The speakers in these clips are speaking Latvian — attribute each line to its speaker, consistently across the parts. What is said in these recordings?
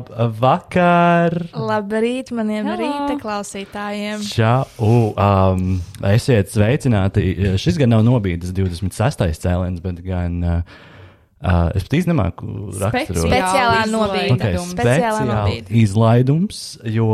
Speaker 1: Labvakar!
Speaker 2: Labrīt, maniem
Speaker 3: Hello.
Speaker 2: rīta klausītājiem.
Speaker 1: Čau! Um, esiet sveicināti! Šis gan nav nobīdes 26. cēliens, bet gan uh, uh, es pat īsti nemāku raksturot.
Speaker 2: Speciālā
Speaker 1: Okay,
Speaker 2: izlaidums. Speciālā
Speaker 1: speciāli
Speaker 2: nobīde.
Speaker 1: izlaidums, jo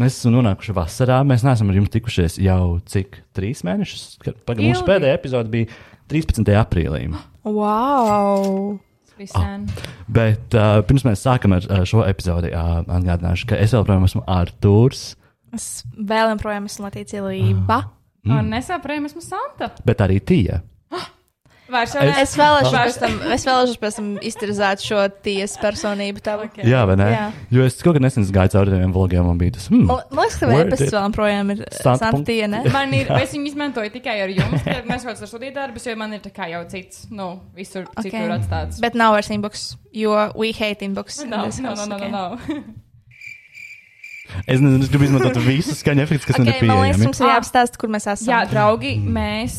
Speaker 1: mēs esam nonākuši vasarā. Mēs neesam ar jums tikušies jau cik trīs mēnešus. Kad- Pagaid, mūsu
Speaker 3: Ilgi.
Speaker 1: pēdējā epizode bija 13. aprīlī.
Speaker 2: Wow!
Speaker 3: Speciālā.
Speaker 1: Bet uh, pirms mēs sākam ar uh, šo epizodi, uh, atgādināšu, ka es joprojām esmu Arthurs,
Speaker 2: Es vēl joprojām esmu Latīcija Lība.
Speaker 1: Ah. Mm.
Speaker 3: Un nesaprēm esmu Santa.
Speaker 1: bet arī Tija.
Speaker 3: Vairs jau
Speaker 1: Es-
Speaker 2: Es vēlēšos pēc tam, es vēlēšos pēc tam iztirzāt šo tiesu personību tavu. Okay.
Speaker 1: Jā, vai ne? Jā.
Speaker 2: Jā.
Speaker 1: Jo es kaut kā nesen gāju cauri tiem vlogiem un bija tas. Hmm.
Speaker 2: Man liekas, ka
Speaker 1: Where
Speaker 2: vēl pēc
Speaker 1: did-
Speaker 2: tam projām ir eh,
Speaker 1: Santa punkt-
Speaker 2: Santīna.
Speaker 3: Man ir, es viņu izmantoju tikai ar jums, kad mēs vairs ar studiju darbus, jo man ir tā kā jau cits, nu, visur okay. citur atstāts. Nu,
Speaker 2: Bet nav vairs inbox, jo we hate inbox.
Speaker 3: Nav, nav, nav, nav,
Speaker 2: Okay.
Speaker 3: nav.
Speaker 1: Es nezinu, es gribu izmantot visus skaņu efektus, kas man ir
Speaker 2: Okay, man liekas,
Speaker 1: pieejami.
Speaker 2: mums ir jāapstāsta, kur mēs esam.
Speaker 3: Jā, draugi, mēs,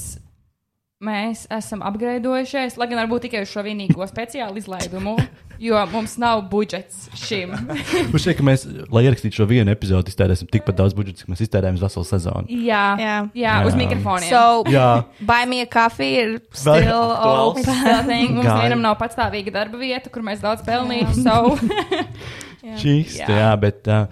Speaker 3: mēs esam apgraidojušies, lai gan varbūt tikai uz šo vienīgo speciālu izlaidumu, jo mums nav budžets šim.
Speaker 1: Mums šķiet, ka mēs, lai ierakstītu šo vienu epizodi, iztērēsim tikpat daudz budžeta, cik mēs iztērējam uz veselu sezonu.
Speaker 3: Jā, jā,
Speaker 2: Jā.
Speaker 3: jā uz
Speaker 1: Jā.
Speaker 3: mikrofoniem.
Speaker 2: So,
Speaker 1: Jā.
Speaker 2: buy me a coffee ir still
Speaker 1: aktuāls.
Speaker 2: old.
Speaker 3: It's still thing. Mums
Speaker 1: Gai.
Speaker 3: vienam nav patstāvīga darba vieta, kur mēs daudz pelnījām. So,
Speaker 1: Čīkst, jā. jā, bet uh,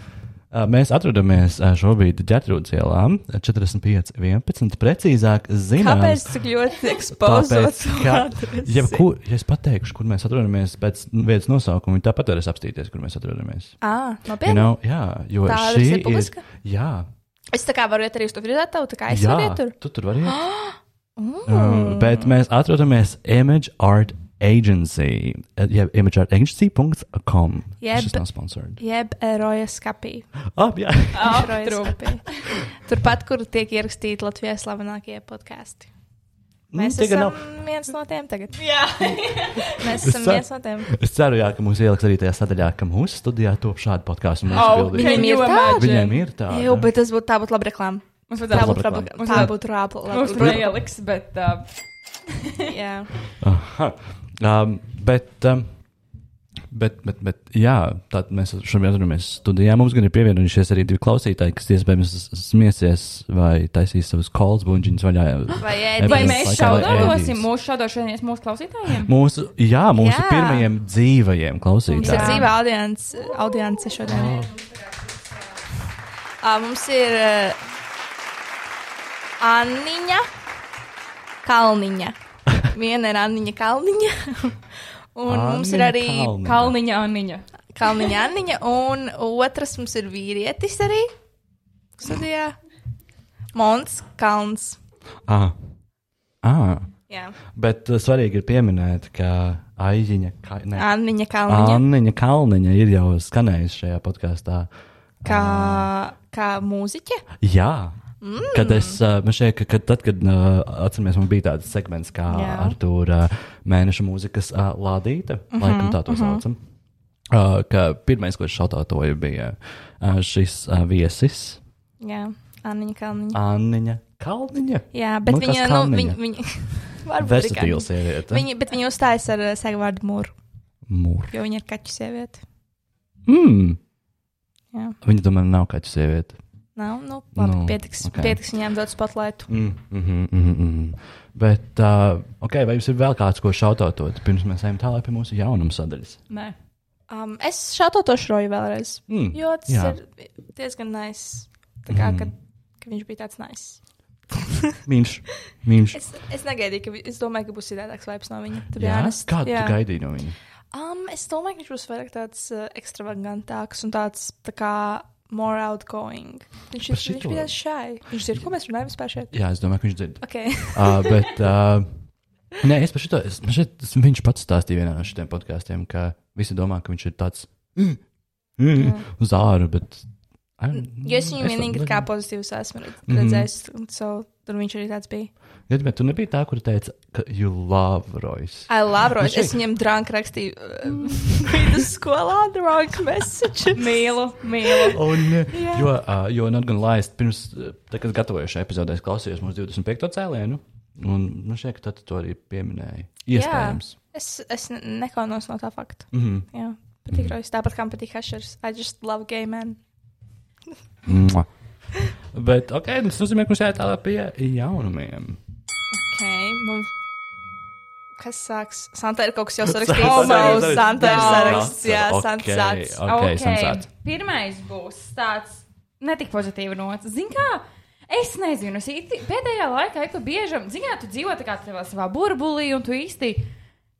Speaker 1: uh, mēs atrodamies uh, šobrīd ģetrūdas ielā, 45, 11, precīzāk
Speaker 2: Kāpēc
Speaker 1: zināms.
Speaker 2: tik ļoti
Speaker 1: Tāpēc,
Speaker 2: ekspozīts?
Speaker 1: ka, ja, kur, ja es pateikšu, kur mēs atrodamies pēc vietas nosaukuma, viņi tāpat varēs apstīties, kur mēs atrodamies.
Speaker 2: Ah,
Speaker 1: You
Speaker 2: nopietni.
Speaker 1: know, jā, jo
Speaker 2: Tā
Speaker 1: šī
Speaker 2: versija publiska?
Speaker 1: Jā,
Speaker 2: Es tā kā varu iet arī uz to frizētāju, tā kā es
Speaker 1: jā
Speaker 2: varu iet tur.
Speaker 1: tu tur var iet. Um, bet mēs atrodamies Image Art Agency, eh, jeb imageartagency.com.
Speaker 2: Jeb-
Speaker 1: Šis nav sponsored.
Speaker 2: Jeb e, erojas kapī.
Speaker 1: Oh, jā.
Speaker 2: Erojas kapī. Turpat, kur tiek ierakstīti Latvijas slavenākie podkāsti.
Speaker 1: Mm,
Speaker 2: Mēs
Speaker 1: tagad
Speaker 2: esam
Speaker 1: nav.
Speaker 2: viens no tiem tagad.
Speaker 3: jā.
Speaker 2: Mēs esam
Speaker 1: ceru-
Speaker 2: viens no tiem.
Speaker 1: Es ceru, jā, ka mūs ieliks arī tajā sadaļā, ka mūsu studijā top šādi podkāstu un mūsu
Speaker 3: Oh,
Speaker 1: bildi.
Speaker 3: can
Speaker 2: Viņiem
Speaker 3: you
Speaker 2: ir
Speaker 3: imagine?
Speaker 1: Viņiem ir tā.
Speaker 2: Jā, bet tas būtu tā būtu laba reklāma.
Speaker 3: Mums
Speaker 2: Tā
Speaker 3: vajadzētu
Speaker 2: būtu laba
Speaker 1: reklāma.
Speaker 2: reklāma. Tā būtu laba
Speaker 3: Mums
Speaker 2: reklāma.
Speaker 3: bija ieliks, bet uh,
Speaker 2: Jā.
Speaker 1: Um, bet, um, bet, bet, bet, jā, tad mēs šobrīd atrodamies studijā. Mums gan ir pievienojušies arī divi klausītāji, kas iespējams s- smiesies vai taisīs savus kolas buļģiņas vaļā.
Speaker 2: Vai
Speaker 1: Vai
Speaker 3: vai
Speaker 2: ēdīs?
Speaker 3: mēs
Speaker 1: laikā vai
Speaker 3: šaudosim
Speaker 1: ēdīs.
Speaker 3: mūsu šaudošanies mūsu klausītājiem?
Speaker 1: Mūsu, jā, mūsu jā.
Speaker 2: Jā.
Speaker 1: pirmajiem dzīvajiem
Speaker 2: Mums ir
Speaker 3: Jā.
Speaker 1: klausītājiem.
Speaker 2: dzīve audience, audience šodien. Uh, mums ir uh, Anniņa Kalniņa. Viena ir Anniņa Kalniņa. Un Anniņa mums ir
Speaker 1: Anniņa
Speaker 2: arī
Speaker 1: Kalniņa.
Speaker 3: Kalniņa, Anniņa.
Speaker 2: Kalniņa Anniņa. Un otrs mums ir vīrietis arī. Studijā. Mons Kalns.
Speaker 1: Ah. Ah.
Speaker 2: Jā.
Speaker 1: Bet uh, svarīgi ir pieminēt, ka Aiziņa, ka, ne,
Speaker 2: Anniņa Kalniņa.
Speaker 1: Anniņa Kalniņa ir jau skanējusi šajā podkāstā.
Speaker 2: Kā, kā mūziķe.
Speaker 1: Jā. Mm. Kad es uh, man šeit, ka, kad, tad, kad uh, atceramies, man bija tāds segments kā
Speaker 2: Jā.
Speaker 1: Artūra uh, mēneša mūzikas uh, lādīte, mm
Speaker 2: Mhm,
Speaker 1: -hmm, laikam tā to mm -hmm. saucam. Uh, ka pirmais, ko es šautātoju, bija uh, šis uh, viesis
Speaker 2: Jā. Anniņa Kalniņa.
Speaker 1: Anniņa Kalniņa.
Speaker 2: Jā, bet
Speaker 1: Man kā
Speaker 2: viņa, nu,
Speaker 1: Kalniņa.
Speaker 2: viņa, viņa, varbūt arī kā-
Speaker 1: Versatīla sieviete.
Speaker 2: Viņa, bet viņa uzstājas ar eh, Segvārdu Mūru,
Speaker 1: Mūr.
Speaker 2: jo viņa ir kaķu sieviete.
Speaker 1: Mm.
Speaker 2: Jā,
Speaker 1: Viņa tomēr nav kaķa sieviete.
Speaker 2: nav, nu, labi,
Speaker 1: Nu,
Speaker 2: no, pietiks,
Speaker 1: ok.
Speaker 2: okay. pietiks viņiem dot spotlightu.
Speaker 1: Mm, mm, mm, mm. Bet, uh, okay, vai jums ir vēl kāds, ko šautātot, pirms mēs ejam tālāk pie mūsu jaunuma sadaļas?
Speaker 3: Nē.
Speaker 2: Um, es šādu to šroju vēlreiz,
Speaker 1: Mm.
Speaker 2: jo tas
Speaker 1: jā. Mhm.
Speaker 2: ir diezgan nais. Tā kā, kad, kad viņš bija tāds nais.
Speaker 1: Mīļš, mīļš.
Speaker 2: Es, es negaidīju, ka vi- es domāju, ka būs citādāks vibes no viņa. to be
Speaker 1: Jā,
Speaker 2: honest.
Speaker 1: kādu
Speaker 2: Jā.
Speaker 1: tu gaidīji no viņa?
Speaker 2: Um, es domāju, ka viņš būs vairāk tāds uh, ekstravagantāks un tāds tā kā more outgoing. Viņš,
Speaker 1: Par
Speaker 2: ir, viņš
Speaker 1: šito-
Speaker 2: bija tāds šai. Viņš ir, ko mēs runājam vispār šeit?
Speaker 1: Jā, es domāju, ka viņš dzird.
Speaker 2: Okay.
Speaker 1: uh, bet, uh, nē, es par šito, es, man šeit, es, viņš pats stāstīja vienā no šiem podkāstiem, ka visi domā, ka viņš ir tāds mm, mm, uz āru, bet.
Speaker 2: Jo es viņu vienīgi tā kā pozitīvi esmu redz- redzējis, mm -hmm. so, tur viņš arī tāds bija.
Speaker 1: Gadi, bet tu nebija tā, kur teica, ka you love Royce.
Speaker 2: Ai, labi,
Speaker 1: Viņš
Speaker 2: es viņam drunk rakstīju uh, vidusskolā, drunk message.
Speaker 3: Mīlu, mīlu.
Speaker 1: Un, jo, uh, jo not gan laist, pirms, uh, tā, kad gatavoju šajā epizodē, es klausījos mūsu 25. cēlienu, un man šķiet, ka tad tu to arī pieminēji. Iespējams.
Speaker 2: es, es ne- nekaunos no tā fakta.
Speaker 1: Mm -hmm.
Speaker 2: Jā. Patīk rojas, tāpat kā man patīk hašers. I just love gay men.
Speaker 1: Mua. Bet, ok, nu, tas nozīmē, ka mums jāiet tālāk pie jaunumiem.
Speaker 2: Ok, mums. Kas sāks? Santa ir kaut kas jau sarakstījis.
Speaker 1: Santa
Speaker 2: Oh,
Speaker 1: ir
Speaker 2: no,
Speaker 1: sarakstījis.
Speaker 2: Santa ir
Speaker 3: Jā.
Speaker 1: Ok,
Speaker 2: sarakstījis. Jā, Santa sāks.
Speaker 1: ok. Okay, sensāts.
Speaker 3: Pirmais būs tāds netik pozitīvs nots. Zini, kā? Es nezinu, es īsti pēdējā laikā ik pa biežam, zinām, tu dzīvo tā kā savā, savā burbulī, un tu īsti.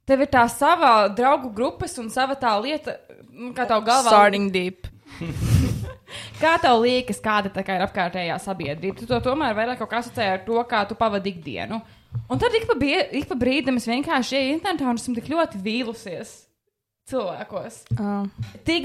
Speaker 3: Tev ir tā sava draugu grupas un sava tā lieta, nu, kā tev galvā.
Speaker 2: Starting deep.
Speaker 3: Kā tev liekas, kāda tā kā ir apkārtējā sabiedrība? Tu to tomēr vairāk kaut kā asociē ar to, kā tu pavadi ikdienu. Un tad ik pa, bie, ik pa brīdim es vienkārši eju internetā un esmu tik ļoti vīlusies cilvēkos.
Speaker 2: Uh,
Speaker 3: Tik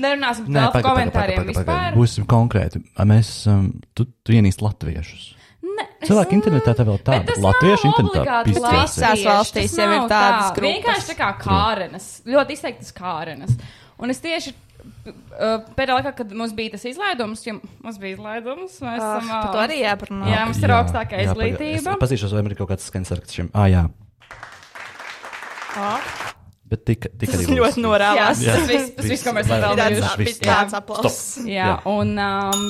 Speaker 3: nerunāsim par telpu komentāriem vispār.
Speaker 1: Būsim konkrēti. A, Mēs esam, tu, tu ienīst latviešus.
Speaker 3: Ne, es-
Speaker 1: Cilvēki internetā tā vēl tā.
Speaker 3: Bet tas
Speaker 1: Latvieši
Speaker 3: nav
Speaker 1: internetā
Speaker 3: obligāti
Speaker 1: pīstās.
Speaker 2: Visās
Speaker 3: latvieši,
Speaker 2: valstīs
Speaker 3: tas
Speaker 2: jau ir
Speaker 3: nav
Speaker 2: tādas
Speaker 3: tā.
Speaker 2: grupas.
Speaker 3: Vienkārši tā kā kārenes, ļoti izteiktas kārenes. Un es tieši p- uh, pēdējā laikā, kad mums bija tas izlaidums, jo mums bija izlaidums, mēs
Speaker 2: ah,
Speaker 3: esam.
Speaker 2: par
Speaker 3: uh,
Speaker 2: to arī jāparunā.
Speaker 1: Ah,
Speaker 3: Jā, mums ir augstākā izglītība.
Speaker 1: Es pazīšos, vai man ir kaut kāds skaņas ar šiem. Ah, jā.
Speaker 2: Ah,
Speaker 1: Bet tika, tika
Speaker 2: Tas ļoti norādās.
Speaker 3: Jā, tas viss, tas viss, ko mēs esam
Speaker 1: Vairāk.
Speaker 3: pelnījuši.
Speaker 1: Tas viss,
Speaker 2: Tāds, tāds aplauss.
Speaker 3: Jā,
Speaker 1: Jā.
Speaker 3: un. Um,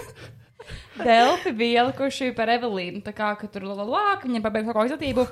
Speaker 3: Delfi bija ielikuši par Evelīnu, tā kā ka tur lalāk, viņa pabeigta kaut ko izglītību.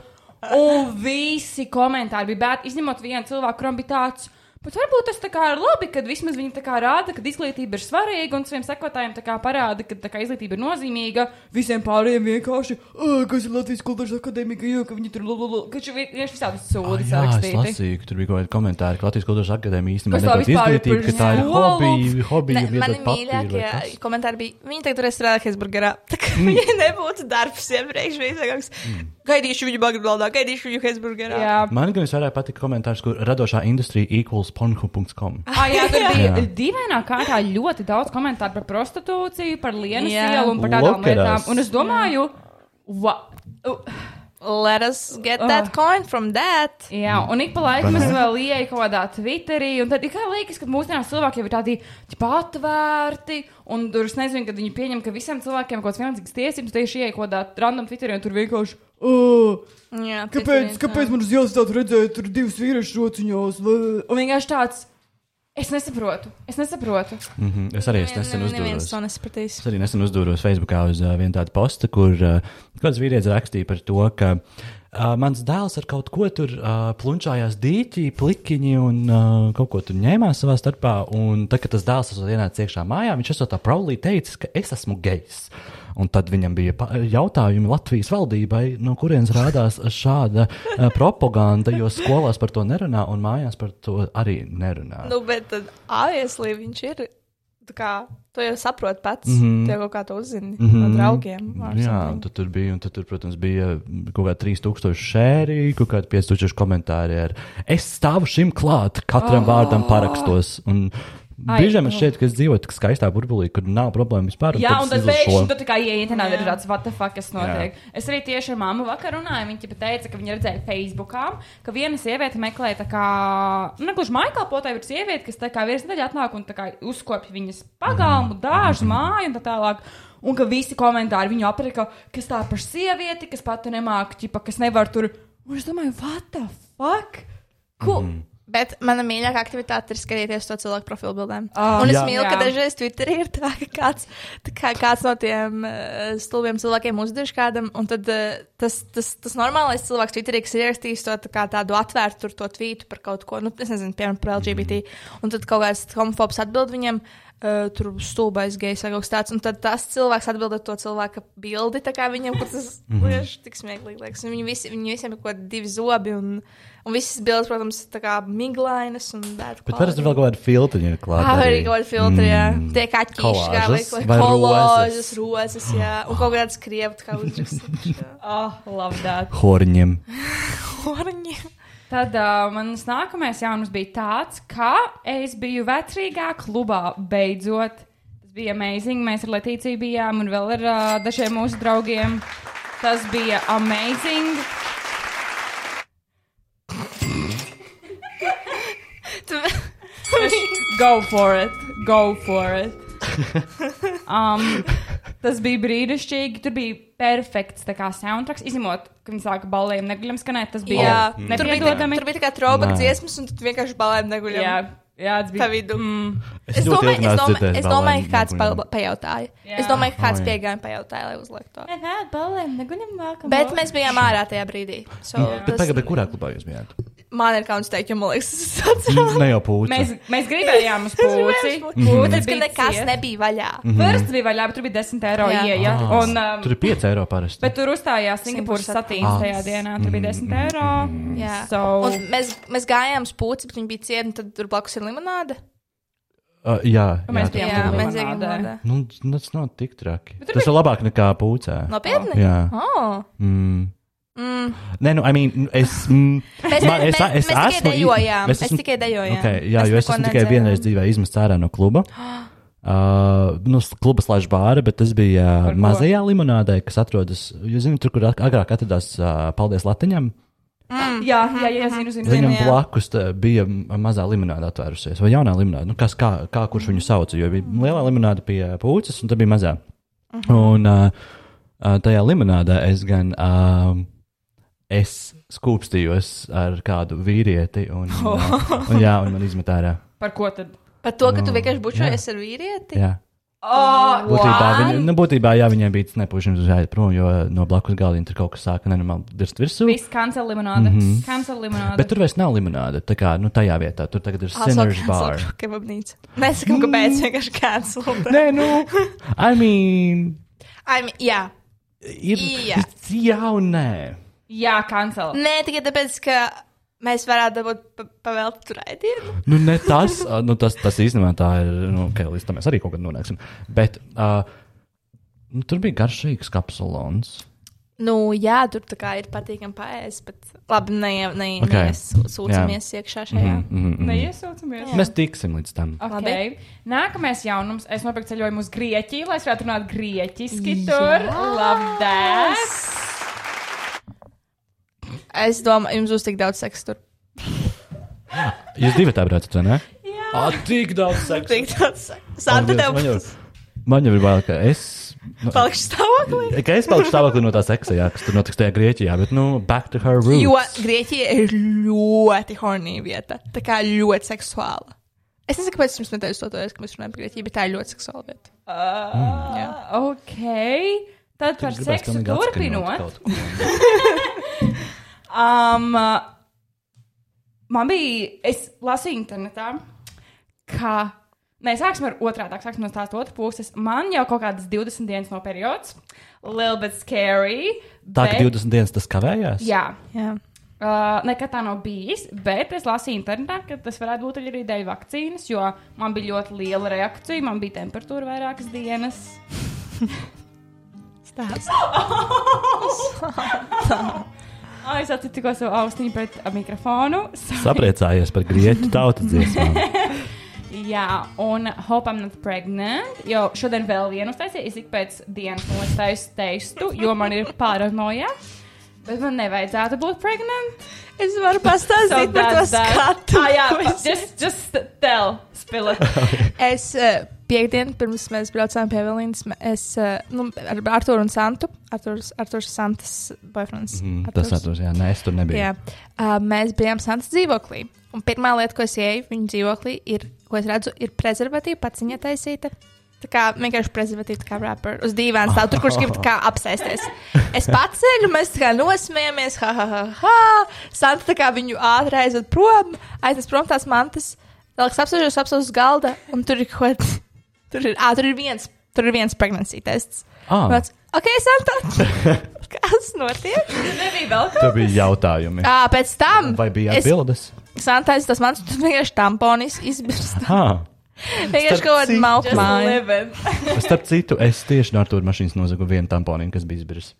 Speaker 3: Un visi komentāri bija bērni, izņemot vienu cilvēku, kuram bija tāds. Bet varbūt tas tā kā ir labi, kad vismaz viņi tā kā rāda, ka izglītība ir svarīga un saviem sekotājiem tā kā parāda, ka tā kā izglītība ir nozīmīga. Visiem pārējiem vienkārši, "Ā, kas ir Latvijas kultūras akadēmija, jo, ka viņi tur lalāk, ka viņš vienkārši visādi
Speaker 1: Ah,
Speaker 3: sūdi
Speaker 1: jā, es
Speaker 3: sarakstīti.
Speaker 1: lasīju, ka tur bija kaut kāda komentāra, ka Latvijas kultūras akadēmija īstenībā
Speaker 3: Kas tā
Speaker 1: nedod
Speaker 3: vispār ir
Speaker 1: izglītību,
Speaker 3: par
Speaker 1: ka tā ir
Speaker 3: skolu?
Speaker 1: hobija,
Speaker 2: Ne,
Speaker 1: hobija,
Speaker 2: Mani
Speaker 1: viedot papīru. vai
Speaker 2: mīļākie
Speaker 1: kas.
Speaker 2: komentāri bija, viņi tagad varēs strādāt Hesburgerā. Tā kā mm. viņai nebūtu darbs iepriekš, viņa sakās,
Speaker 1: Mm.
Speaker 2: gaidīšu viņu Bagdādā, gaidīšu viņu Hesburgerā.
Speaker 3: Jā,
Speaker 1: Man gan visvairāk patika komentārs, kur radošā industrija equals pornhub.com.
Speaker 3: Ah, jā, tur bija
Speaker 1: Jā.
Speaker 3: dīvainā kārtā ļoti daudz komentāru par prostitūciju, par lienas
Speaker 2: Jā.
Speaker 3: ielu un par tādām
Speaker 1: Look at us.
Speaker 3: lietām. Un es domāju, va. u-
Speaker 2: Let us get
Speaker 3: Ah.
Speaker 2: that coin from that.
Speaker 3: Jā, un ik pa laikam es vēl ieeju kaut kādā Twitterī, un tad ir kā liekas, ka mūsdienās cilvēki jau ir tādi ķipa, atvērti, un tur es nezinu, kad viņi pieņem, ka visiem cilvēkiem kaut kāds vienlīdzīgs tiesības, tieši ieeju kaut kādā random Twitterī, un tur vienkārši. "Ā,
Speaker 2: Jā,
Speaker 3: Kāpēc,
Speaker 2: Twitterī,
Speaker 3: kāpēc man uz ielas tādu redzēju, tur divas vīriešu rociņās? vai?" Un vienkārši tāds. Es nesaprotu, es nesaprotu.
Speaker 1: Mm -hmm. Es arī es
Speaker 2: Nē,
Speaker 1: nesen
Speaker 2: nē, Neviens
Speaker 1: uzdūros.
Speaker 2: to nesapratīs.
Speaker 1: Es arī nesen uzdūros Facebookā uz uh, vienu tādu postu, kur uh, kāds vīrietis rakstīja par to, ka uh, mans dēls ar kaut ko tur uh, plunčājās dīķī, plikiņi un uh, kaut ko tur ņēmās savā starpā. Un tad, kad tas dēls esot ienācis iekšā mājā, viņš esot tā praulī teicis, ka es esmu gejs. Un tad viņam bija pa- jautājumi Latvijas valdībai, no kurienes rādās šāda uh, propaganda, jo skolās par to nerunā un mājās par to arī nerunā.
Speaker 2: Nu, bet tad, obviously, viņš ir. tā Kā, to jau saproti pats. Mm -hmm. Tu jau kaut kā to uzzini mm -hmm. no draugiem.
Speaker 3: Nu,
Speaker 2: or
Speaker 1: Mhm. Jā, un
Speaker 2: something.
Speaker 1: tad tur bija, un tad tur, protams, bija kaut kāda 3000 šēri, kaut kāda 5000 komentāri ar es stāvu šim klāt, katram oh. vārdam parakstos. Un
Speaker 3: Ah. Ai,
Speaker 1: biežiem man
Speaker 3: nu.
Speaker 1: šķiet, ka es dzīvoju tik skaistā burbulī, kur nav problēma vispār.
Speaker 3: Jā, un
Speaker 1: es
Speaker 3: tad
Speaker 1: izlasu šo.
Speaker 3: pēkšņi tur kā ienāca ir tāds, what the fuck, kas notiek. Jā. Es arī tieši ar mammu vakar runāju, viņa ķipa teica, ka viņa redzēja Facebookā, ka viena sieviete meklē tā kā, nu, gluži maikalpotāju, bet sieviete, kas tā kā viens nedēļa atnāk un tā kā uzkopja viņas pagalmu, dārzu, māju un tā tālāk. Un ka visi komentāri viņu aprika, kas tā par sievieti, kas pati nemāk, ķipa, kas nevar tur. Un es domāju, what the fuck? Ko?
Speaker 1: Mhm.
Speaker 3: Mm -hmm.
Speaker 2: Bet mana mīļākā aktivitāte ir skatīties to cilvēku profilu bildēm.
Speaker 3: Ah,
Speaker 2: Oh, un es
Speaker 1: jā.
Speaker 2: mīlu, ka
Speaker 3: Jā.
Speaker 2: dažreiz Twitterī ir tā, ka kāds, tā kā kāds no tiem uh, stulbiem cilvēkiem uzdež kādam, un tad uh, tas, tas, tas normālais cilvēks Twitterī, kas ir ierakstījis to tā kā, tādu atvērtu tur to tvītu par kaut ko, nu, es nezinu, piemēram,
Speaker 1: Mhm.
Speaker 2: par LGBT, un tad kaut kāds homofobs atbild viņam. Uh, tur stulbais gejs vai kaut kas tāds. Un tad tas cilvēks atbild ar to cilvēka bildi, tā kā viņam kur tas
Speaker 1: Mhm.
Speaker 2: liekas, tik smieklīgi liekas. Un Viņi, visi, viņi visiem ir kaut kādi divi zobi, un, un visas bildes, protams, tā kā miglainas un bērnu.
Speaker 1: Bet parasti tur vēl kaut kāda filtriņa ir klāta.
Speaker 2: Ah, arī kaut kāda filtra, jā.
Speaker 1: Mm,
Speaker 2: Tiek atšķirta, kā
Speaker 1: Kolāžas
Speaker 2: vai
Speaker 1: vai
Speaker 2: kolāžas, rozes, jā. Un kaut kāds krievts, kā uzrakstīts.
Speaker 3: Oh, love that.
Speaker 1: Horņiem.
Speaker 2: Horņi.
Speaker 3: Tad uh, manas nākamais jaunums bija tāds, ka es biju vecrīgā klubā beidzot. Tas bija amazing. Mēs ar Latīciju bijām un vēl ar uh, dažiem mūsu draugiem. Tas bija amazing.
Speaker 2: Tu-
Speaker 3: Go for it! Go for it! Um, tas bija brīnišķīgi. Tur bija perfekts tā kā soundtracks, izņemot Kad viņi sāka balējiem neguļam skanēt, tas bija
Speaker 2: Jā,
Speaker 3: oh,
Speaker 2: tur bija, tā-
Speaker 3: nepiedodami.
Speaker 2: tur bija tā kā troba
Speaker 1: Nē.
Speaker 2: dziesmas, un tad vienkārši balēm neguļam.
Speaker 3: Jā, jā, tas
Speaker 2: Tā
Speaker 3: bija.
Speaker 2: vidū.
Speaker 3: Mm,
Speaker 2: Es domāju, es domāju, es domāju ka kāds
Speaker 1: palba.
Speaker 2: pa- pajautāja.
Speaker 3: Jā.
Speaker 2: Es domāju, ka kāds
Speaker 1: Ai.
Speaker 2: piegāja un pajautāja, lai uzliktu to.
Speaker 3: nē, balējiem neguļam nākamā.
Speaker 2: Bet mēs bijām ārā tajā brīdī. So,
Speaker 1: Mm, Bet tagad, kurā klubā jūs bijāt? Mm,
Speaker 2: Man ir kauns teikt, jo man liekas, tas ir
Speaker 1: Ne
Speaker 2: tāds.
Speaker 1: Mhm. jau pūlis.
Speaker 3: Mēs, mēs gribējām uz puci.
Speaker 2: Būtis, ka nekas
Speaker 3: ciet.
Speaker 2: nebija vaļā.
Speaker 3: Pirsts bija vaļā, bet tur bija 10 eiro
Speaker 2: Jā.
Speaker 3: ieeja. Un, um,
Speaker 1: Mhm. Ah, Tur ir Ah. 5 eiro parasti.
Speaker 3: Bet tur uzstājās Singapūras
Speaker 2: Singapūras
Speaker 3: satīns tajā dienā. Tur
Speaker 1: Mm.
Speaker 3: bija 10 eiro.
Speaker 2: Jā.
Speaker 3: So,
Speaker 2: Un
Speaker 1: Nu.
Speaker 2: mēs, mēs gājām uz puci, bet viņi bija cieti, un tad tur blakus ir limonāde.
Speaker 1: Uh, jā, jā,
Speaker 3: mēs
Speaker 1: tur
Speaker 3: bijām
Speaker 2: Jā,
Speaker 1: bija.
Speaker 3: limonāde.
Speaker 2: mēs gājām limonādē.
Speaker 1: Nu, tas nav tik traki.
Speaker 3: tur
Speaker 1: Tas ir labāk nekā pūcē.
Speaker 2: Nopietni?
Speaker 1: Jā.
Speaker 2: Oh.
Speaker 1: Mm.
Speaker 2: Mm.
Speaker 1: Nē, nu, I mean, es. Mm,
Speaker 2: Mēs,
Speaker 1: man-
Speaker 2: mēs, mēs, mēs tikai
Speaker 1: esmu-
Speaker 2: dejojām. Mēs
Speaker 1: esmu-
Speaker 2: tikai dejojām.
Speaker 1: Okay, jā,
Speaker 2: Mēs
Speaker 1: jo es
Speaker 2: neko
Speaker 1: esmu tikai
Speaker 2: nedzērām.
Speaker 1: vienreiz dzīvē izmests ārā no kluba. Uh, nu, s- kluba slēdz bāra, bet tas bija
Speaker 3: Par
Speaker 1: uh,
Speaker 3: ko?
Speaker 1: mazajā limonādē, kas atrodas, jūs zināt, tur, kur ak- agrāk atradās, uh, paldies Latviņam,
Speaker 3: jā, jā, jā, zinu, zinu. zinu.
Speaker 1: viņam
Speaker 2: jā.
Speaker 1: blakus tā, bija m- mazā limonāde atvērusies, vai jaunā limonāde, nu, kas, kā, kā kurš viņu sauca, jo bija lielā limonāde pie pūces, un tā bija mazā. Un uh, uh, tajā limonādē es gan, uh, es skūpstījos ar kādu vīrieti, un, uh, un jā, un man izmet ārā.
Speaker 3: Par ko tad?
Speaker 2: Par to, ka tu vienkārši bučojies ar vīrieti.
Speaker 1: Mm. Jā.
Speaker 3: Oh,
Speaker 1: Būtībā, viņa, nu, būtībā jā, viņiem bija tas nepušķis uz aiziet prom, jo no blakus galdiņa tur kaut kas sāka nenormāli dirst virsū.
Speaker 3: Viss kancel limonāde. Mm -hmm. Kancel limonāde.
Speaker 1: Mhm. Bet tur vairs nav limonāde. Tā kā nu, tajā vietā tur tagad ir
Speaker 2: Ah,
Speaker 1: sinners Mm. bar.
Speaker 2: kebabnīca. Mēs sakām, ka pēc vienkārši cancel.
Speaker 1: Nē, nu, I mean,
Speaker 2: I mean, jā.
Speaker 1: ir
Speaker 2: Jā.
Speaker 1: jau nē.
Speaker 3: Jā, kancel.
Speaker 2: Nē, tikai tāpēc, ka mēs varētu dabūt pa- pavēltu raidījumu.
Speaker 1: Nu, ne tas, ah, nu, tas, tas īstenībā tā ir, nu, ok, līdz tam mēs arī kaut kad nonāksim. Bet uh, nu, tur bija garšīgs kapsulons.
Speaker 2: Nu, jā, tur tā kā ir patīkami paēst, bet labi, ne, ne,
Speaker 1: Ok.
Speaker 2: okay. nesūcamies yeah. iekšā šajā. Mm.
Speaker 1: Mm -hmm.
Speaker 3: Neiesaucamies.
Speaker 1: Mēs tiksim līdz tam.
Speaker 3: Okay. Nākamais jaunums. Es nopirku ceļojumu uz Grieķiju, lai es varētu runāt grieķiski. Tur labdēļ!
Speaker 2: Es domāju, jums būs tik daudz seksa tur.
Speaker 1: Jūs divi tā braucat, vai ne? Jā, ah, tik daudz seksa.
Speaker 2: Tik daudz seksa. Santa, tev
Speaker 1: Man jau,
Speaker 2: būs
Speaker 1: man jau ir bail, ka es. Nu,
Speaker 2: palikšu stāvoklī.
Speaker 1: ka es palikšu stāvoklī no tās eksāmena, jā, kas tur notiks tajā Grieķijā, bet, nu, back to her roots.
Speaker 2: Jo Grieķija ir ļoti hornīga vieta. Tā kā ļoti seksuāla. Es nezinu, kāpēc jums neteikts to, ka mēs runājam par Grieķiju, bet tā ir ļoti seksuāla vieta.
Speaker 3: Uh, ok. Tad par
Speaker 1: Es gribētu
Speaker 3: seksu
Speaker 1: pilnīgi atskaņot
Speaker 3: turpinot.
Speaker 1: kaut ko.
Speaker 3: Um, uh, man bija, es lasīju internetā, ka. Nē, sāksim ar otrādi. Sāksim no tās otras puses. Man jau kaut kādas 20 dienas no periods. Little bit scary.
Speaker 1: Tā, ka
Speaker 3: bet-
Speaker 1: 20 dienas tas kavējās.
Speaker 3: Jā.
Speaker 2: Jā.
Speaker 3: Uh, nekad tā nav bijis, bet es lasīju internetā, ka tas varētu būt arī dēļ vakcīnas, jo man bija ļoti liela reakcija, man bija temperatūra vairākas dienas.
Speaker 2: Stāsts.
Speaker 3: Ai, es atcīmēju savu austiņu pret uh, mikrofonu. Sorry.
Speaker 1: Sapriecājies par grieķu tautas dziesmām. Mhm.
Speaker 3: Jā, un hope I'm not pregnant. Jo šodien vēl vienu uztaisīju, es ik pēc dienas nostaisu testu, jo man ir paranoja. Bet man nevajadzētu būt pregnant.
Speaker 2: Es varu pastāstīt par to skatu.
Speaker 3: Ah, jā,
Speaker 2: ko es-
Speaker 3: just, just tell, spill it.
Speaker 2: Es eh, piekdienu, pirms mēs braucām pie Evelīnas, mē- es eh, nu, ar Arthuru un Santu, Arthurs, Arthurs Santas boyfriends.
Speaker 1: Mm, Tas
Speaker 2: Arturs.
Speaker 1: atceros, jā, nē, es tur nebiju.
Speaker 2: Jā, uh, mēs bijām Santas dzīvoklī. Un pirmā lieta, ko es ieju viņa dzīvoklī, ir, ko es redzu, ir prezervatīva paciņa taisīta. Tā kā vienkārši prezervatīva, tā kā rapper. Uz dīvāna stāv tur, kurš grib tā kā apsēsties. Es paceļu, mēs tā kā nosmējamies, ha, ha, ha, ha. Santa tā kā viņu ātri aizved prom, aizved prom tās mantas. Vēl es apsēžos, apsēžos uz galda, un tur ir kaut kas. Tur ir, ā, tur ir viens, tur ir viens pregnancy tests.
Speaker 1: Ah.
Speaker 2: Tāds, ok, Santa, kas notiek?
Speaker 3: Nebija vēl kaut
Speaker 1: Tur bija jautājumi.
Speaker 2: Ā, pēc tam.
Speaker 1: Vai bija
Speaker 2: es-
Speaker 1: atbildes?
Speaker 2: Santais, tas mans tur vienkārši tamponis izbrist.
Speaker 1: Ah,
Speaker 2: Vienkārši
Speaker 1: Starp
Speaker 2: kaut kāda
Speaker 1: citu-
Speaker 2: mauka
Speaker 3: kas
Speaker 2: māja.
Speaker 3: living.
Speaker 1: starp citu, es tieši no Artur mašīnas nozagu vienu tamponīnu, kas bija izbirs.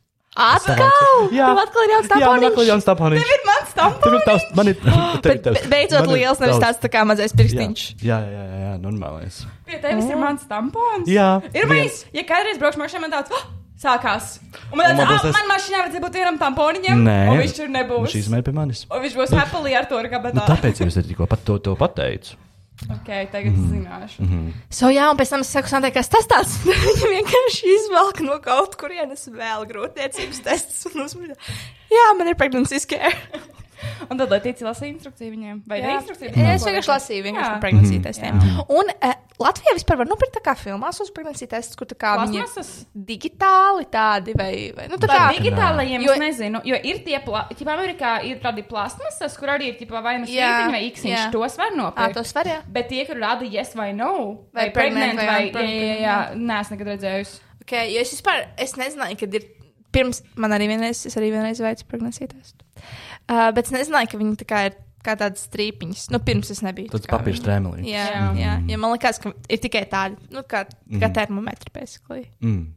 Speaker 2: Atkal!
Speaker 1: Jā.
Speaker 2: Jā, atkal ir jauns
Speaker 1: Jā, man atkal
Speaker 2: tamponis.
Speaker 1: jauns tamponīns.
Speaker 2: Ir mans tamponis.
Speaker 1: Tur ir tavs, man ir, tev ir
Speaker 2: Bet
Speaker 1: tavs.
Speaker 2: be- beidzot
Speaker 1: Man ir
Speaker 2: liels, nevis
Speaker 1: tavs.
Speaker 2: tāds tā kā mazais
Speaker 1: Jā,
Speaker 2: pirkstiņš.
Speaker 1: jā, jā, jā, jā normālais.
Speaker 3: Pie tevis ir mans tampons.
Speaker 1: Jā,
Speaker 3: ir bijis.
Speaker 1: viens.
Speaker 3: Ja kādreiz braukšu mašīnā, man tāds oh, sākās. Un man
Speaker 1: Un man
Speaker 3: tāds,
Speaker 1: būs
Speaker 3: ah,
Speaker 1: tas-
Speaker 3: man mašīnā vajadzēja būt vienam tamponiņam. un viņš tur nebūs.
Speaker 1: Viņš izmēra pie manis.
Speaker 3: Un viņš būs happily ar to, ka
Speaker 1: Nu,
Speaker 3: bet.
Speaker 1: tāpēc jau es arī tikko pat to, to pateicu.
Speaker 3: Ok, tagad mm. zināšu. Mm -hmm.
Speaker 2: So, jā, un pēc tam es saku, Sandai, kas tas tāds - viņa vienkārši izvelk no kaut kurienes vēl grūtniecības testus un uzmīda. Jā, man ir pregnancy scare.
Speaker 3: Un tad Latvijas lasīja instrukciju viņiem. Vai ne instrukciju?
Speaker 2: Jā, es vienkārši lasīju, vienkārši par
Speaker 1: Mhm.
Speaker 2: pregnancy testiem. Un eh, Latvijā vispār var nopirkt tā kā filmās uz pregnancy testus, kur tā kā viņi ir
Speaker 3: Plasmasas?
Speaker 2: digitāli tādi vai, vai nu tā kā.
Speaker 3: Par digitālajiem
Speaker 2: Jo-
Speaker 3: jo, es nezinu, jo ir tie, piemēram, Amerikā ir tādi plasmasas, kur arī ir ķipā, vai nu
Speaker 2: Jā,
Speaker 3: sīkumi vai iksiņš,
Speaker 2: jā.
Speaker 3: tos var
Speaker 2: Ā,
Speaker 3: nopirkt.
Speaker 2: tos var, jā.
Speaker 3: Bet tie, kur rāda yes vai no,
Speaker 2: Vai
Speaker 3: vai, vai
Speaker 2: pregnant
Speaker 3: pregnant,
Speaker 2: vai
Speaker 3: vai, vai
Speaker 2: unpregnant,
Speaker 3: jā, jā, jā, nē, es nekad redzējusi.
Speaker 2: Okay, jo es vispār es nezināju, kad ir. Pirms man arī vienreiz, es arī vienreiz veicu prognozi testu. Uh, bet es nezināju, ka viņi tā kā ir kā tādas strīpiņas. Nu, pirms es nebiju.
Speaker 1: Tāds
Speaker 2: tā kā-
Speaker 1: papīrs trēmelī.
Speaker 2: Jā, jā.
Speaker 3: Jā.
Speaker 2: jā.
Speaker 1: Mm.
Speaker 2: Ja man liekas, ka ir tikai tādi, nu, kā, mm.
Speaker 1: Mhm.
Speaker 2: kā termometri, basically.
Speaker 1: Mm.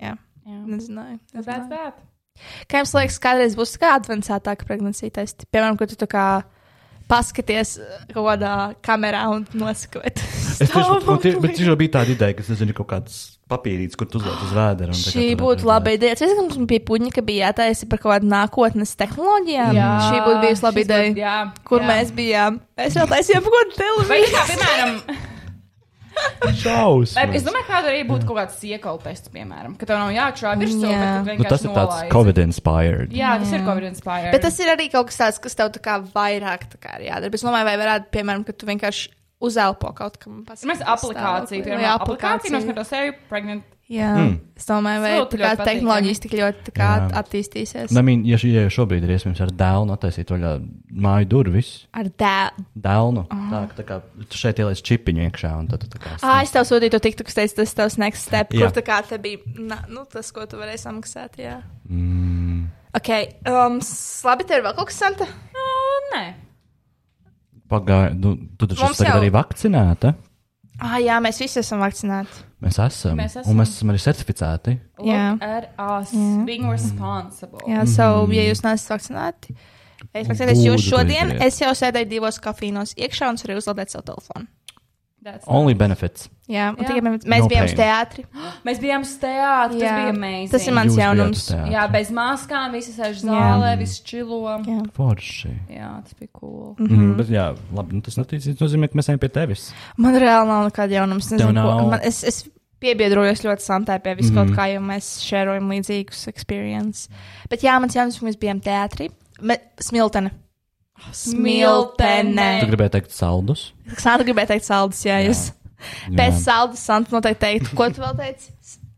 Speaker 2: Jā,
Speaker 3: Jā.
Speaker 2: nezināju.
Speaker 3: That's
Speaker 2: nezināju.
Speaker 3: that.
Speaker 2: Kā jums liekas, kādreiz būs tā kā advancētāka prognozi testi? Piemēram, kur tu tā kā paskaties uh, kaut kādā kamerā un nosakot.
Speaker 1: Es tiešām tie, biju tāda ideja, ka tas ir kaut kāds papīrītis, kur tu uzliec uz vēdera. un tā kā tu
Speaker 2: Šī būtu
Speaker 1: varētu-
Speaker 2: laba ideja. Es domāju, ka mums bija puņa, ka bija jātaisa par kaut kādu nākotnes tehnoloģijām. Jā, šī būtu bijusi laba
Speaker 3: šis
Speaker 2: ideja.
Speaker 3: būtu- jā,
Speaker 2: Kur
Speaker 3: jā.
Speaker 2: jā. mēs bijām? Es vēl taisīju par kaut kādu
Speaker 3: Vai
Speaker 2: televīziju.
Speaker 3: kā, piemēram,
Speaker 1: Šausmas.
Speaker 3: vai- es domāju, kāda arī būtu kaut kāds siekola tests, piemēram, ka tev nav jāčurā virsū,
Speaker 2: Jā.
Speaker 3: bet tu
Speaker 1: Nu, tas
Speaker 3: vienkārši
Speaker 1: ir tāds
Speaker 3: nolaidi.
Speaker 1: Covid-inspired.
Speaker 3: Jā, tas ir covid-inspired.
Speaker 2: Bet tas ir arī kaut kas tāds, kas tev tā kā vairāk tā kā ir jādara. Bet Es domāju, vai varētu, piemēram, ka tu vienkārši uzelpo kaut kam. pasaki,
Speaker 3: Mēs
Speaker 2: kas
Speaker 3: aplikāciju,
Speaker 2: stāvokli.
Speaker 3: piemēram,
Speaker 2: Jā,
Speaker 3: aplikāciju noskatās sevi pregnant.
Speaker 2: Jā, mm. es domāju, vai tā
Speaker 3: Svilpi
Speaker 2: kā
Speaker 3: ļoti patīkami.
Speaker 2: tehnoloģijas tik ļoti tā kā
Speaker 1: Hmm. Jā.
Speaker 2: attīstīsies.
Speaker 1: Nu, I mean, ja šī ideja šobrīd ir iespējams ar dēlu attaisīt vaļā māju durvis,
Speaker 2: Ar dēlu.
Speaker 1: dēlnu, tā, tā kā tu šeit ieliec čipiņu iekšā un tad tu tā kā.
Speaker 2: Ah, es tev sūtīju to tiktu, kas teica, tas ir tavs next step,
Speaker 1: Jā.
Speaker 2: kur tā kā te bija, na, nu, tas, ko tu varēji samaksāt, jā. Mm. Ok, um, s- labi, tev ir vēl kaut kas, Santa?
Speaker 3: Ā, Oh, Nē.
Speaker 1: Pagāju, nu, tu taču
Speaker 2: Mums
Speaker 1: esi tagad
Speaker 2: jau-
Speaker 1: arī vakcinēta.
Speaker 2: Ah, jā, mēs visi esam vakcinēti.
Speaker 1: Mēs esam.
Speaker 3: Mēs esam.
Speaker 1: Un mēs esam arī certificēti.
Speaker 3: Look
Speaker 2: Jā.
Speaker 3: at us being responsible.
Speaker 2: Jā,
Speaker 1: Mhm.
Speaker 2: mm. so, ja jūs neesat vakcinēti,
Speaker 1: Nu,
Speaker 2: es vakcinēties jūs
Speaker 1: Lūdzu, to
Speaker 2: šodien,
Speaker 1: izdariet.
Speaker 2: es jau sēdēju divos kafīnos iekšā un es varēju uzlādēt savu telefonu.
Speaker 3: That's
Speaker 1: Only benefits.
Speaker 2: Jā, un
Speaker 3: Jā.
Speaker 2: tikai mēs, mēs
Speaker 1: No
Speaker 2: no bijām uz
Speaker 1: pain.
Speaker 2: teātri.
Speaker 3: Mēs bijām uz teātra. Tas bija amazing.
Speaker 2: Tas ir mans
Speaker 1: Jūs bijāt
Speaker 2: jaunums.
Speaker 1: uz teātri.
Speaker 3: Jā, bez maskām, visi sēž zālē,
Speaker 1: Mm.
Speaker 3: viss čilo.
Speaker 2: Jā.
Speaker 3: Jā.
Speaker 1: Forši.
Speaker 3: jā, tas bija cool.
Speaker 2: Mhm.
Speaker 1: Mm, bet, jā, labi, nu, tas noticis, nozīmē, ka mēs ejam pie tevis.
Speaker 2: Man reāli nav nekāda jaunums. Nezinu,
Speaker 1: nav?
Speaker 2: ko- Man, es, es piebiedrojos ļoti santē pie visu kaut kā, jo mēs šērojam līdzīgus experiences. Bet jā, mans jaunums, ka mēs bijām teātri. Me, smiltene.
Speaker 1: Tu
Speaker 2: Eh.
Speaker 3: Smiltene.
Speaker 1: gribēji teikt saldus?
Speaker 2: Santa gribēja teikt saldus, jā, jūs. Pēc saldus Santa noteikti teikt, ko tu vēl teici?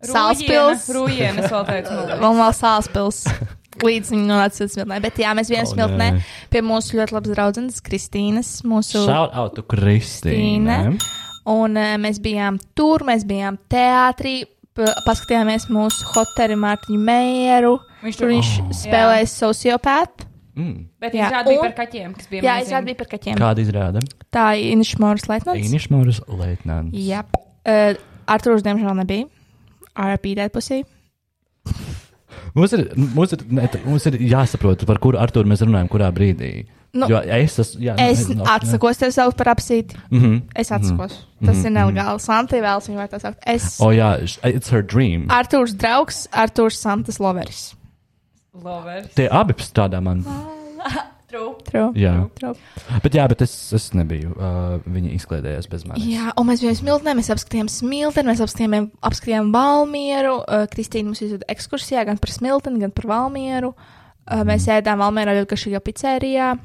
Speaker 2: Sālspils.
Speaker 3: Rūjienes vēl teicu.
Speaker 2: vēl nav sāls pilsēta. Līdz viņa nonāca līdz smiltnē. Bet jā, mēs vienā
Speaker 1: O,
Speaker 2: oh, smiltnē
Speaker 1: nē.
Speaker 2: pie mūsu ļoti labas draudzenes, Kristīnas. Mūsu...
Speaker 1: Shout out to Kristīne.
Speaker 2: Kristīne. Un uh, mēs bijām tur, mēs bijām teātrī, p- paskatījāmies mūsu hoteli Mārtiņu Meieru.
Speaker 3: Viņš
Speaker 2: Tur
Speaker 3: tur-
Speaker 2: viņš
Speaker 3: Oh.
Speaker 2: oh, spēlēja sociopātu.
Speaker 1: Mm.
Speaker 3: Bet
Speaker 2: Jā,
Speaker 3: izrādi bija
Speaker 2: un-
Speaker 3: par kaķiem, kas bija.
Speaker 2: Jā,
Speaker 3: amazing.
Speaker 2: izrādīja bija par kaķiem. Kā?
Speaker 1: Kāda izrāda?
Speaker 2: Tā ir Iniša Moras Leitnants.
Speaker 1: Iniš Mūris Leitnants.
Speaker 2: Jā. Uh, Artūrs, diemžēl, nebija. RP dēļpusī.
Speaker 1: Mums ir, mums, ir, ne, t- mums ir jāsaprot, par kuru Artur mēs runājam, kurā brīdī.
Speaker 2: Nu,
Speaker 1: jo es esmu. Jā,
Speaker 2: Es
Speaker 1: nu,
Speaker 2: atsakos tev saukt par apsīti.
Speaker 1: Mm -hmm.
Speaker 2: Es atsakos. Tas ir nelegāli. Santa vēlas viņu vai tā saukt. Es
Speaker 1: O, Oh, jā, š- it's her dream. Ar...
Speaker 2: Arthurs draugs, Arthurs Santas Loveris.
Speaker 3: Lovers.
Speaker 1: Tie abi strādā man.
Speaker 3: True.
Speaker 2: True.
Speaker 1: Jā,
Speaker 2: True.
Speaker 1: bet, jā, bet es, es nebiju. Uh, viņa izklaidējās bez manis.
Speaker 2: Jā, un mēs bijām smiltenē, mēs apskatījām smilteni, mēs apskatījām, apskatījām Valmieru. Uh, Kristīna mums izveda ekskursijā gan par smilteni, gan par Valmieru. Uh, mēs ēdām Valmierā ļoti garšīgā pizzērijā.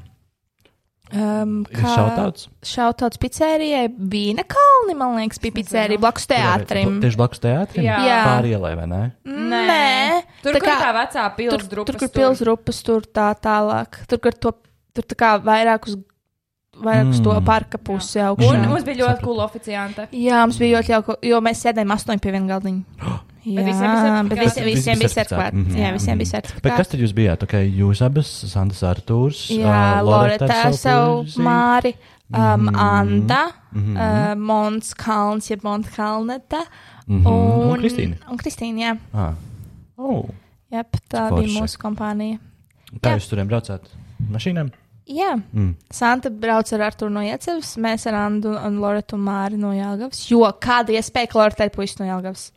Speaker 2: Um,
Speaker 1: Šautauts.
Speaker 2: Šautauts pizzērijai, Vīna Kalni, man liekas, bija pizzērija blakus teātrim.
Speaker 1: Tieši blakus teātrim.
Speaker 3: Jā.
Speaker 2: Jā. Nu,
Speaker 1: Pārielai, vai ne?
Speaker 2: Nē,
Speaker 3: Tur,
Speaker 2: tā
Speaker 3: kur
Speaker 2: kā-
Speaker 3: tā vecā pils
Speaker 2: Tur,
Speaker 3: drupas.
Speaker 2: tur kur pilsrupas, tur tā tālāk. Tur, kur to, tur tā kā vairāk uz, vairāk uz to
Speaker 1: Mm.
Speaker 2: parka pusi augšā.
Speaker 3: Un mums bija ļoti cool oficianta.
Speaker 2: Jā, mums bija ļoti jauki, jo mēs sēdējām astoņi pie viena galdiņa. Jā,
Speaker 3: visiem bija certifikāti.
Speaker 2: bet visi, visiem
Speaker 3: Bet
Speaker 1: visi
Speaker 2: bija
Speaker 1: certifikāti.
Speaker 2: sertifikāti.
Speaker 1: Mhm.
Speaker 2: Jā, visiem bija
Speaker 1: Bet kas
Speaker 2: sertifikāti.
Speaker 1: tad jūs bijāt? Okay, jūs abas, Sandra Artūrs, uh,
Speaker 2: Jā, Loreta ar savu māri, um,
Speaker 1: Mhm.
Speaker 2: Anda, uh, Mons Kalns, jeb Mons Kalneta.
Speaker 1: Mhm. Un Kristīna.
Speaker 2: Un Kristīna, jā.
Speaker 1: Ah. Oh.
Speaker 2: Jep, tā
Speaker 1: Forši.
Speaker 2: bija mūsu kompānija.
Speaker 1: Kā
Speaker 2: Jā.
Speaker 1: jūs turiem braucāt? Mašīnām?
Speaker 2: Jā, mm. Santa brauc ar Artu no Iecevas, mēs ar Andu un Loretu Māri no Jāgavas. Jo kāda iespēja, ka Loreta ir puisis no Jāgavas?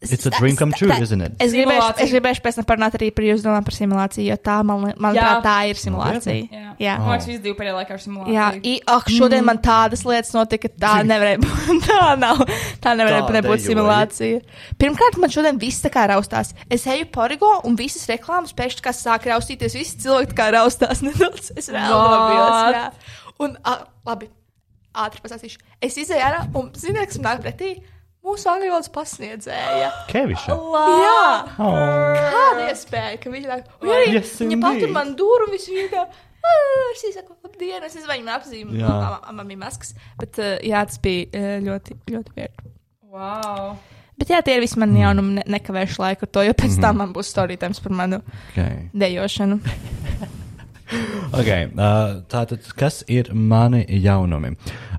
Speaker 1: It's a dream come true,
Speaker 2: Tā-
Speaker 1: isn't it?
Speaker 2: Es gribēju,
Speaker 3: Simulācija.
Speaker 2: es gribēju pēc tam parunāt arī par jūsu domām par simulāciju, jo tā, man, li- manuprāt,
Speaker 3: Jā.
Speaker 2: tā ir simulācija.
Speaker 3: Jā,
Speaker 2: Jā.
Speaker 3: man liekas, visi divi pēdējā laikā ar simulāciju.
Speaker 2: Jā, i, ak, šodien man tādas lietas notika, tā nevarēja būt. Tā nav, tā nevarēja
Speaker 1: Tā
Speaker 2: nebūt
Speaker 1: dejoji.
Speaker 2: simulācija. Pirmkārt, man šodien viss tā kā raustās. Es eju porigo un visas reklāmas pēkšņi kā sāk raustīties, visi cilvēki tā kā raustās nedaudz. Es reāli
Speaker 3: What?
Speaker 2: domāju, jā. Un, a, labi, ātri pasāstīšu. Es izēju ārā un, zini, kas man nāk pretī, mūsu angļu valodas pasniedzēja.
Speaker 1: Keviša.
Speaker 2: Jā!
Speaker 1: Oh.
Speaker 2: Kāda iespēja, ka viņa tā un arī
Speaker 1: Yes,
Speaker 2: yes, viņa patur
Speaker 1: indeed.
Speaker 2: man dūru un visu viņa tā. "Ah," Es saku, labdien, es nezinu, vai viņa apzīmē,
Speaker 1: Jā.
Speaker 2: kā man bija maskas. Bet eh, jā, tas bija eh, ļoti, ļoti viegli.
Speaker 3: Wow.
Speaker 2: Bet jā, tie ir visi
Speaker 1: Mm.
Speaker 2: mani jaunumi. Ne, nekavēšu laiku ar to, jo pēc tam man būs storītājums par manu
Speaker 1: Okay.
Speaker 2: dejošanu.
Speaker 1: Okay, uh, tātad, kas ir mani jaunumi?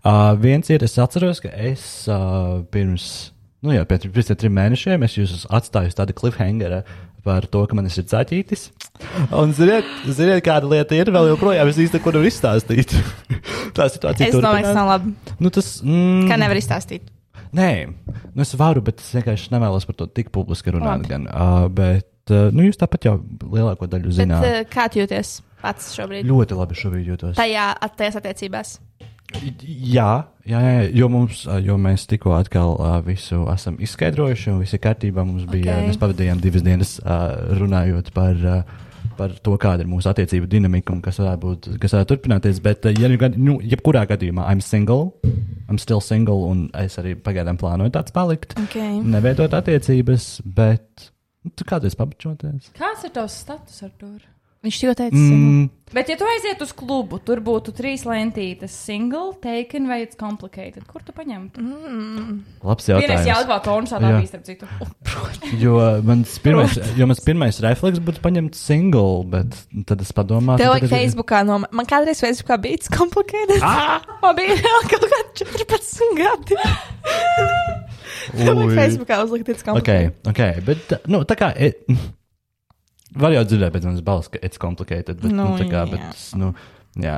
Speaker 1: Uh, viens ir, es atceros, ka es uh, pirms, nu jā, pēc, pēc tiem trim mēnešiem es jūs atstāju uz tādu cliffhangeru par to, ka man ir zaķītis. Un ziniet, ziniet, kāda lieta ir vēl joprojām, es īsti neko nevaru izstāstīt. Tā situācija
Speaker 2: Es domāju, ka tas nav labi.
Speaker 1: Nu, tas, mm,
Speaker 2: Kā nevar izstāstīt?
Speaker 1: Nē, nu es varu, bet es vienkārši nevēlos par to tik publiski runāt. Gan, uh, bet, uh, nu, jūs tāpat jau lielāko daļu
Speaker 2: Bet,
Speaker 1: zināt.
Speaker 2: eh, kā tu jūties pats šobrīd?
Speaker 1: Ļoti labi šobrīd jūtos.
Speaker 2: Tajā tajās attiecībās.
Speaker 1: Jā, jā, jā, jā, jo, mums, ā, jo mēs tikko atkal ā, visu esam izskaidrojuši, un viss ir kārtībā. Mums bija,
Speaker 2: Ok.
Speaker 1: okay. mēs pavadījām divas dienas ā, runājot par, ā, par to, kāda ir mūsu attiecību dinamika un kas varētu, būt, kas varētu turpināties. Bet, ā, ja, nu gad- nu, jebkurā gadījumā, I'm single, I'm still single, un es arī pagaidām plānoju tāds palikt.
Speaker 2: Okay.
Speaker 1: Neveidot attiecības, bet nu, tu kādreiz pabeigšoties?
Speaker 3: Kāds ir tavs status ar to?
Speaker 2: Viņš jau teica, mm.
Speaker 3: Bet, ja tu aiziet uz klubu, tur būtu trīs lentītes, single, taken vai it's complicated. Kur tu paņemtu? Mm,
Speaker 1: Labs
Speaker 3: Vienais
Speaker 1: jautājums.
Speaker 3: jāatbāk konusā,
Speaker 1: Jā.
Speaker 3: bija starp citu. Oh,
Speaker 1: Jo mans pirmais, jo mans pirmais refleks būtu paņemt single, bet tad es padomāju,
Speaker 2: Tev vajag Facebookā no man kādreiz Facebookā bija tas komplikēts. Man bija vēl kaut kādi 14 gadi. Tev vajag Facebookā uzlikt tas
Speaker 1: Ok,
Speaker 2: komplikēts.
Speaker 1: ok, bet nu, tā kā. It, var jau dzirdēt pēc manas balss, ka it's complicated, bet, nu,
Speaker 2: Nu,
Speaker 1: tā kā,
Speaker 2: jā.
Speaker 1: bet, nu, jā.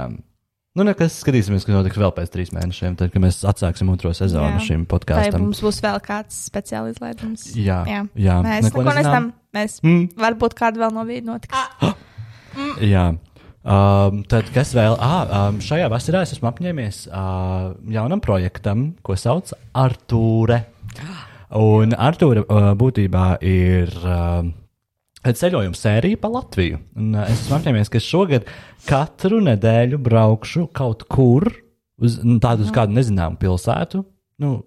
Speaker 1: Nu, nekas, skatīsimies, kas notiks vēl pēc trīs mēnešiem, tad, kad mēs atsāksim otro sezonu
Speaker 2: Jā.
Speaker 1: šim
Speaker 2: Vai
Speaker 1: podkāstam.
Speaker 2: mums būs vēl kāds speciāls izlaidums?
Speaker 1: Jā, jā,
Speaker 2: Jā.
Speaker 1: jā.
Speaker 2: Mēs neko, neko
Speaker 1: nezinām.
Speaker 2: nezinām. Mēs
Speaker 1: Mm.
Speaker 2: varbūt kādu vēl novīdi notiks.
Speaker 1: Jā. Um, tad, kas vēl? Ah, um, šajā vasarā es esmu apņēmies uh, jaunam projektam, ko sauc Artūra. Un Artūra uh, būtībā ir. Uh, Ceļojuma sērija pa Latviju. Un, uh, es esmu apņēmies, ka šogad katru nedēļu braukšu kaut kur uz nu, tādu uz kādu nezināmu pilsētu. Nu,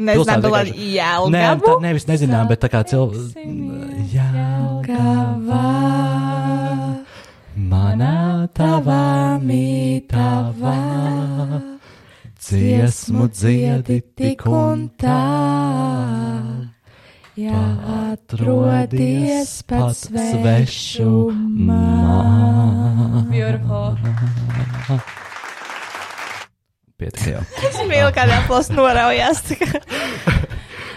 Speaker 2: Nezinām,
Speaker 1: pilsētu
Speaker 2: vēl ar
Speaker 1: vienkārši- Nē, tā
Speaker 2: jēlu.
Speaker 1: nevis nezinām, bet tā kā cilvēks.
Speaker 3: Satiksimies
Speaker 1: Jā, Jelgavā. Manā tavā mītāvā dziesmu dziedi tik un tā.
Speaker 2: E
Speaker 1: Ja atrodies pats svešumā.
Speaker 3: Beautiful.
Speaker 1: Pietiek jau.
Speaker 2: Es mīlu, kādā plosā noraujās. tā kā.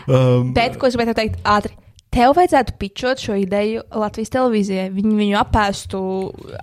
Speaker 1: Um,
Speaker 2: Bet, ko es gribēju tev teikt ātri? Tev vajadzētu pičot šo ideju Latvijas televīzijai. Viņi viņu apēstu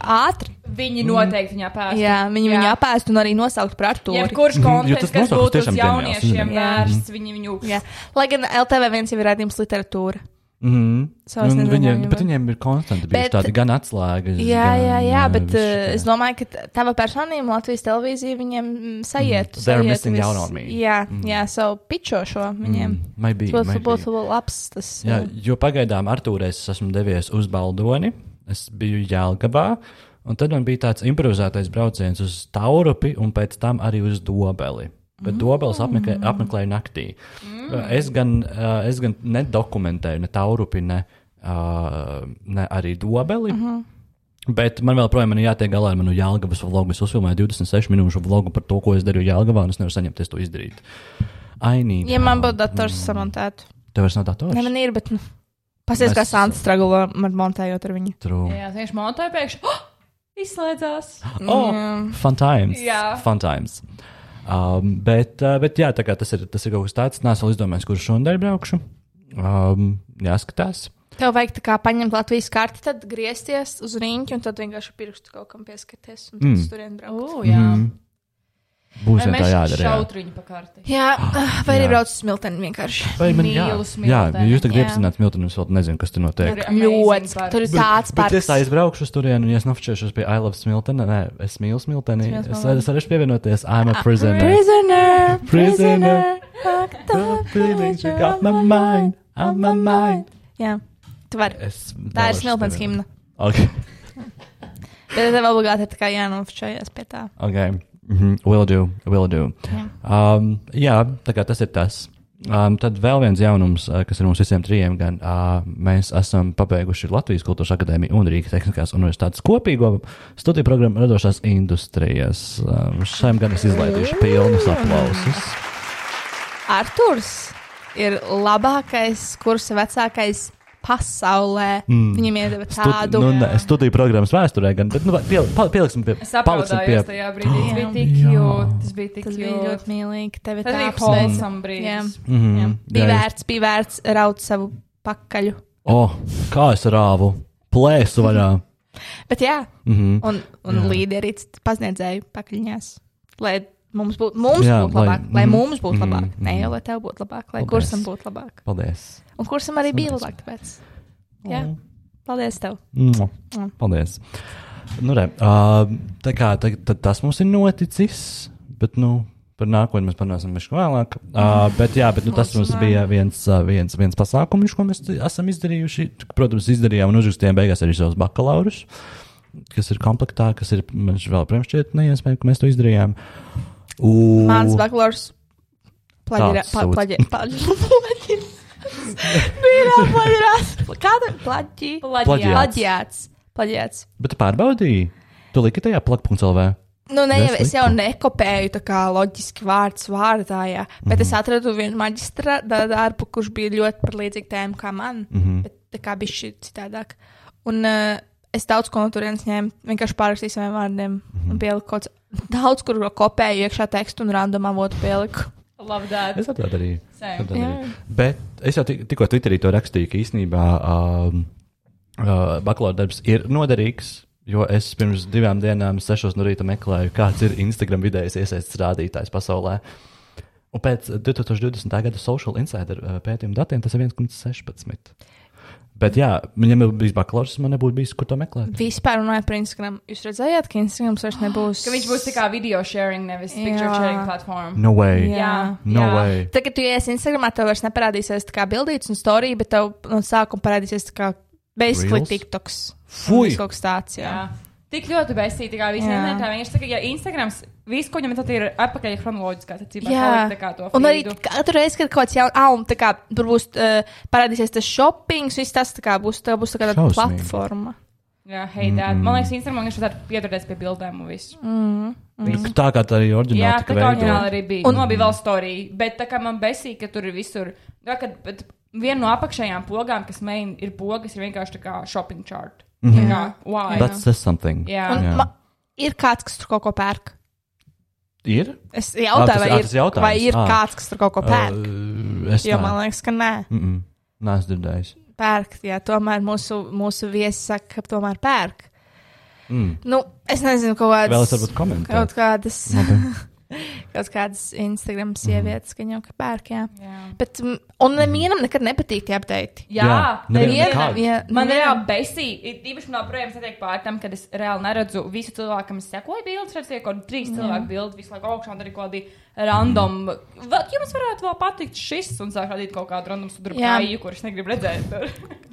Speaker 2: ātri.
Speaker 3: Viņi
Speaker 1: Mm.
Speaker 3: noteikti viņā pēst.
Speaker 2: Jā, viņi viņu apēstu un arī nosauktu par Artūru.
Speaker 3: Jebkurš
Speaker 1: Mhm. Jo tas
Speaker 3: konteksts, kas
Speaker 1: nosaukums
Speaker 3: būtu uz
Speaker 1: tiešām ģeniāls,
Speaker 3: jauniešiem
Speaker 1: nezinu.
Speaker 3: vērsts, viņi viņu
Speaker 2: Jā. Lai gan LTV viens jau ir redzējums literatūra.
Speaker 1: Mm.
Speaker 2: Savas
Speaker 1: Un Viņiem,
Speaker 2: nezināmības.
Speaker 1: bet viņiem ir konstanti bijusi
Speaker 2: Bet-
Speaker 1: tāda gan atslēga.
Speaker 2: Jā, jā, jā, bet uh, es
Speaker 1: es.
Speaker 2: domāju, ka tava personība Latvijas televīzija viņiem mm, sajiet.
Speaker 1: Mm. They're
Speaker 2: sajiet
Speaker 1: missing
Speaker 2: vis-
Speaker 1: out on me. Mm.
Speaker 2: Jā, jā, savu pičo šo viņiem.
Speaker 1: Might be,
Speaker 2: Tas būtu-
Speaker 1: might be.
Speaker 2: būtu labs. Tas,
Speaker 1: Jā, jo pagaidām Artūrē es esmu devies uz Baldoni, es biju Jālgabā, un tad man bija tāds improvizētais brauciens uz Taurupi un pēc tam arī uz Dobeli. Bet
Speaker 2: Mm.
Speaker 1: Dobelis apmeklē, apmeklēja naktī. Mm. Es, gan, uh, es gan nedokumentēju ne Taurupi, ne, uh, ne arī Dobeli. Mm
Speaker 2: Mhm.
Speaker 1: -hmm. Bet man vēl projām ir jātiek galā ar manu Jālgavas vlogu. Es uzfilmēju 26 minūšu vlogu par to, ko es darīju Jālgavā, un es nevaru saņemties to izdarīt. Ainīgi.
Speaker 2: ja man būtu dators mm. samontēts,
Speaker 1: Tev vairs nav dators?
Speaker 2: ne man ir, bet nu, pasies, kā
Speaker 1: Mēs-
Speaker 2: Santa stragulā man montējot ar viņu.
Speaker 1: True.
Speaker 3: Jā, tieši monētāji pēkšņi oh! izslēdzās.
Speaker 1: Oh, fun times.
Speaker 3: Jā.
Speaker 1: Fun times. Um, bet, uh, bet jā, tā kā tas ir, tas ir kaut kas tāds. Nē, es vēl izdomāju, kurš šodien braukšu. Um, jāskatās.
Speaker 2: Tev vajag tā kā paņemt Latvijas karti, tad griezties uz rīņķi un tad vienkārši pirkstu kaut kam pieskaties un tad mm. turien braukt.
Speaker 3: O, jā. Mm.
Speaker 1: Mhm. Būs jau tā jādara. Jā.
Speaker 3: Šautriņu pa karti.
Speaker 2: Jā, vai arī
Speaker 1: Ah, Jā.
Speaker 2: braucu uz smilteni vienkārši.
Speaker 1: Vai man jā, jā,
Speaker 3: Mīlu
Speaker 1: ja jūs
Speaker 3: smilteni,
Speaker 1: tagad
Speaker 3: jā.
Speaker 1: iepazīstināt smiltenes, vēl nezinu, kas tur notiek.
Speaker 3: ir amazing
Speaker 2: Ļoti.
Speaker 3: parks.
Speaker 2: Tur ir tāds
Speaker 1: Bet es
Speaker 2: parks.
Speaker 1: aizbraukšu uz turieni, un ja es nofčēšos pie I love smilteni, nē, es mīlu smilteni.
Speaker 3: Es mīlu
Speaker 1: Es,
Speaker 3: smilteni.
Speaker 1: es varēšu pievienoties I'm a
Speaker 2: Ah,
Speaker 1: prisoner.
Speaker 2: Prisoner,
Speaker 1: Prisoner.
Speaker 2: prisoner, fuck
Speaker 1: The feelings you got my
Speaker 2: mind,
Speaker 1: mind, on my mind.
Speaker 2: Jā, tu vari.
Speaker 1: Es
Speaker 2: Oh Tā ir
Speaker 1: vēlos
Speaker 2: smiltens
Speaker 1: pievienot.
Speaker 2: himna.
Speaker 1: Okay.
Speaker 2: Bet tev obligāti ir tā kā jānofčējas pie tā.
Speaker 1: Okay. Mm -hmm. Will do, will do. Um, jā, tā kā tas ir tas. Um, tad vēl viens jaunums, uh, kas ir mums visiem trijiem, gan uh, mēs esam pabeiguši Latvijas Kultūras Akadēmiju un Rīgas Tehniskās Universitātes kopīgo studiju programmu radošās industrijas. Um, šajam gan es izlaidīšu pilnus aplausus.
Speaker 2: Arthurs ir labākais kursa vecākais pasaulē. Mm. Viņam iedeva
Speaker 1: Studi-
Speaker 2: tādu
Speaker 1: nu, ne, studiju programmas vēsturē, gan, bet nu, vai- piel, pa- pieliksim pie,
Speaker 3: Es
Speaker 1: paliksim
Speaker 3: apraudājos
Speaker 1: pie.
Speaker 3: tajā brīdī. Tas bija tik
Speaker 1: Jā.
Speaker 3: jūt. Tas bija tik
Speaker 2: Tas bija
Speaker 3: jūt.
Speaker 2: ļoti mīlīgi. Tev ir
Speaker 3: Tas
Speaker 2: tā
Speaker 3: bija
Speaker 2: apsveic.
Speaker 3: holsam
Speaker 2: Jā.
Speaker 3: brīdis.
Speaker 1: Mhm.
Speaker 2: Jā.
Speaker 1: Jā,
Speaker 2: Bija
Speaker 1: jā.
Speaker 2: vērts, bija vērts raut savu pakaļu.
Speaker 1: O, Oh, kā es rāvu? Plēsu vaļā.
Speaker 2: Bet jā,
Speaker 1: Mm -hmm.
Speaker 2: un, un līderis pasniedzēju pakaļņās. Lai mums būtu mums
Speaker 1: Jā,
Speaker 2: būt
Speaker 1: lai-
Speaker 2: labāk, lai
Speaker 1: mhm,
Speaker 2: mums būtu
Speaker 1: mhm,
Speaker 2: labāk. Nē,
Speaker 1: mhm.
Speaker 2: jau lai tev būtu labāk, lai
Speaker 1: Paldies.
Speaker 2: kursam būtu labāk.
Speaker 1: Paldies.
Speaker 2: Un kursam arī bija
Speaker 1: Paldies.
Speaker 2: labāk. Tāpēc. Jā, paldies tev.
Speaker 1: Mua. Paldies. Nu, re, uh, tā kā tā, tā, tas mums ir noticis, bet nu, par nākotni mēs parunāsim nedaudz vēlāk. Uh, bet jā, bet, nu, tas mums bija viens, uh, viens, viens pasākums, ko mēs esam izdarījuši. Protams, izdarījām un uzrakstījām beigās arī savus bakalaurus, kas ir komplektā, kas ir man šķiet vēl priekšķiet neiespējami, ka mēs to izdarījām. U,
Speaker 2: Mans bakalaurs. Plaģirā.
Speaker 1: Tāds
Speaker 2: pa-
Speaker 1: sūds.
Speaker 2: plaģi- plaģi- Bija plaģirāts. Kāda? Plaģi.
Speaker 1: Plaģiāts.
Speaker 2: Plaģiāts. Plaģiāts.
Speaker 1: bet tu pārbaudīji, tu liki tajā plakpunktcelvē.
Speaker 2: Nu, ne, jau, es
Speaker 1: Neslikti.
Speaker 2: jau nekopēju tā kā loģiski vārds vārdā, jā. bet mm -hmm. es atradu vienu maģistra da- darbu, kurš bija ļoti par līdzīgu tēmu kā man, mm -hmm. bet tā kā bija šī citādāk. Un uh, es daudz ko no turienes ņēmu, vienkārši pārrakstīju saviem vārdiem mm -hmm. un pieliku kaut ko daudz, kur kopēju iekšā tekstu un randomā votu pieliku.
Speaker 3: Labdien!
Speaker 1: Es tā darīju.
Speaker 3: Same.
Speaker 1: Es tā darīju. Bet es jau tik- tikko Twitterī to rakstīju, ka īsnībā um, uh, bakalaura darbs ir noderīgs. Jo es pirms divām dienām, sešos no rīta meklēju, kāds ir Instagram vidējais iesaistīts rādītājs pasaulē. Un pēc 2020. gada Social Insider uh, pētījuma datiem tas ir 1,16. Bet, jā, viņam ir bijis bakalaurs, man nebūtu bijis, kur to meklēt.
Speaker 2: Vispār runājot par Instagram, jūs redzējāt, ka Instagram vairs nebūs.
Speaker 3: Ka viņš būs tā kā video sharing, nevis picture
Speaker 2: Jā.
Speaker 3: sharing platform.
Speaker 1: No way.
Speaker 2: Jā.
Speaker 1: No way.
Speaker 2: Tad, kad tu iesi Instagramā, tev vairs neparādīsies tā kā bildītas un storija, bet tev no sākuma parādīsies tā kā basically
Speaker 1: Reels?
Speaker 2: TikToks.
Speaker 1: Fui!
Speaker 2: Un viss Kaut kas tāds, jā.
Speaker 3: Jā. Tik ļoti besīgi, kā visiem
Speaker 2: Jā.
Speaker 3: lietām. Viņš saka, ja Instagrams, visu, ko viņam tad ir apakaļ chronoloģiskā, tad cībā tā kā to
Speaker 2: un arī
Speaker 3: feedu.
Speaker 2: katru reizi, kad kaut kāds jauns, ah, un tā kā tur būs uh, parādīsies tas shoppings, viss tas tā kā būs, tā būs tā kā tāda
Speaker 1: Šausmīgi.
Speaker 2: platforma.
Speaker 3: Jā, hei, dad. Man liekas, Instagram viņš tad pieturēs pie bildēm un visu.
Speaker 1: Nu, Tā kā tā arī
Speaker 3: Jā,
Speaker 1: oriģināli
Speaker 3: tā
Speaker 1: tika
Speaker 3: kā
Speaker 1: veidota.
Speaker 3: oriģināli arī bija. Un labi, vēl storija. Bet tā kā man besīk, ka tur ir visur. Tā kā bet viena no apakšējām pogām, kas main ir pogas, ir vienkārši tā kā shopping chart. Tā kā, why?
Speaker 1: That says something.
Speaker 3: Jā.
Speaker 2: Un
Speaker 1: Jā.
Speaker 2: ma, ir kāds, kas tur kaut ko pērk.
Speaker 1: Ir?
Speaker 2: Es
Speaker 1: Ah, tas-
Speaker 2: jautāju, vai
Speaker 1: ah, tas
Speaker 2: ir,
Speaker 1: jautājums.
Speaker 2: vai ir
Speaker 1: Ah.
Speaker 2: kāds, kas tur kaut ko pērk.
Speaker 1: Uh, es
Speaker 2: Jo
Speaker 1: nē.
Speaker 2: man liekas, ka nē.
Speaker 1: Mm -mm. Nē, es dzirdēju.
Speaker 2: pērk. Jā, tomēr mūsu, mūsu viesi saka, ka tomēr pērk.
Speaker 1: Mm.
Speaker 2: Nu, es nezinu, ko kādas.
Speaker 1: Vēl es varbūt komentēju.
Speaker 2: Kaut kādas, kaut kādas Instagram
Speaker 1: Mhm.
Speaker 2: sievietes, ka viņam ka pērk, jā.
Speaker 3: Jā.
Speaker 2: Bet, mm, un nevienam nekad nepatīk tie apteikti.
Speaker 3: Jā,
Speaker 1: Jā,
Speaker 3: tā
Speaker 1: nevienam
Speaker 3: ir.
Speaker 1: nekādu.
Speaker 2: Nu, Jā,
Speaker 3: Man
Speaker 2: nevienam.
Speaker 3: reāli besīja. Īpaši man projām satiek pār tam, kad es reāli neredzu visu cilvēku, kam es sekoju bildes, redzu, ka ir trīs cilvēku bildes visu laiku augšā, un tur ir kaut kādi random. Va- Jums varētu vēl patikt šis, un sāk radīt kaut kādu random
Speaker 2: Jā.
Speaker 3: sudrabkāju, kurš negrib redzēt. tur.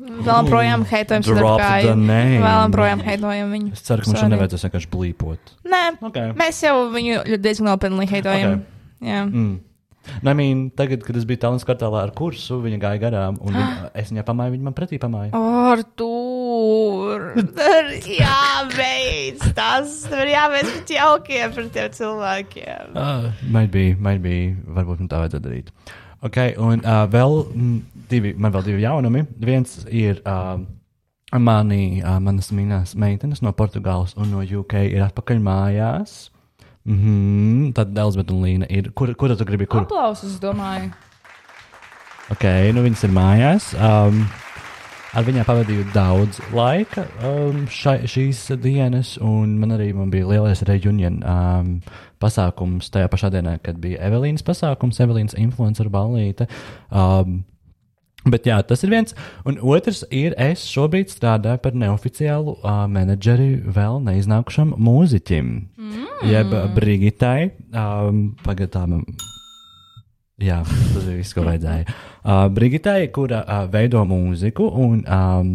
Speaker 2: Vēl projām heitojam
Speaker 1: Drop the
Speaker 2: sadarbkāju.
Speaker 1: name.
Speaker 2: Vēl projām heitojam viņu.
Speaker 1: Es ceru, ka mums
Speaker 2: Sorry.
Speaker 1: šodien nevajadzēs vienkārši blīpot.
Speaker 2: Nē,
Speaker 1: Okay.
Speaker 2: mēs jau viņu ļoti diezgan nopietni
Speaker 1: Okay.
Speaker 2: heitojam. Jā.
Speaker 1: Mm. Nu, I mean, tagad, kad es biju tālāk skartālā ar kursu, viņa gāja garām, un viņa, es viņai pamāju, viņa man pretī pamāja.
Speaker 2: Ar tur. Tur jābeidz tas. Tur jābeidz pēc jaukiem par tiem cilvēkiem.
Speaker 1: Uh, might be, might be, varbūt man tā vajadzētu darīt. Ok, un uh, vēl mm, divi, man vēl divi jaunumi. Viens ir uh, mani, uh, manas mīļās meitenes no Portugāles un no UK ir atpakaļ mājās. Mm -hmm. Tad Elizabeth un Līna ir. Kur, kur tu gribi? Kur?
Speaker 3: Aplausus, es domāju.
Speaker 1: Ok, nu viņas ir mājās. Um, Ar viņu pavadīju daudz laika um, šai, šīs dienas, un man arī man bija lielais reunion um, pasākums tajā pašā dienā, kad bija Evelīnas pasākums, Evelīnas influencer ballīte. Um, Bet jā, tas ir viens. Un otrs ir, es šobrīd strādāju par neoficiālu uh, menedžeri vēl neiznākušam mūziķim. Mm. Jeb ā, Brigitai. Um, Pagaidām. Jā, tas bija viss, ko vajadzēja. Uh, Brigitai, kura uh, veido mūziku un um,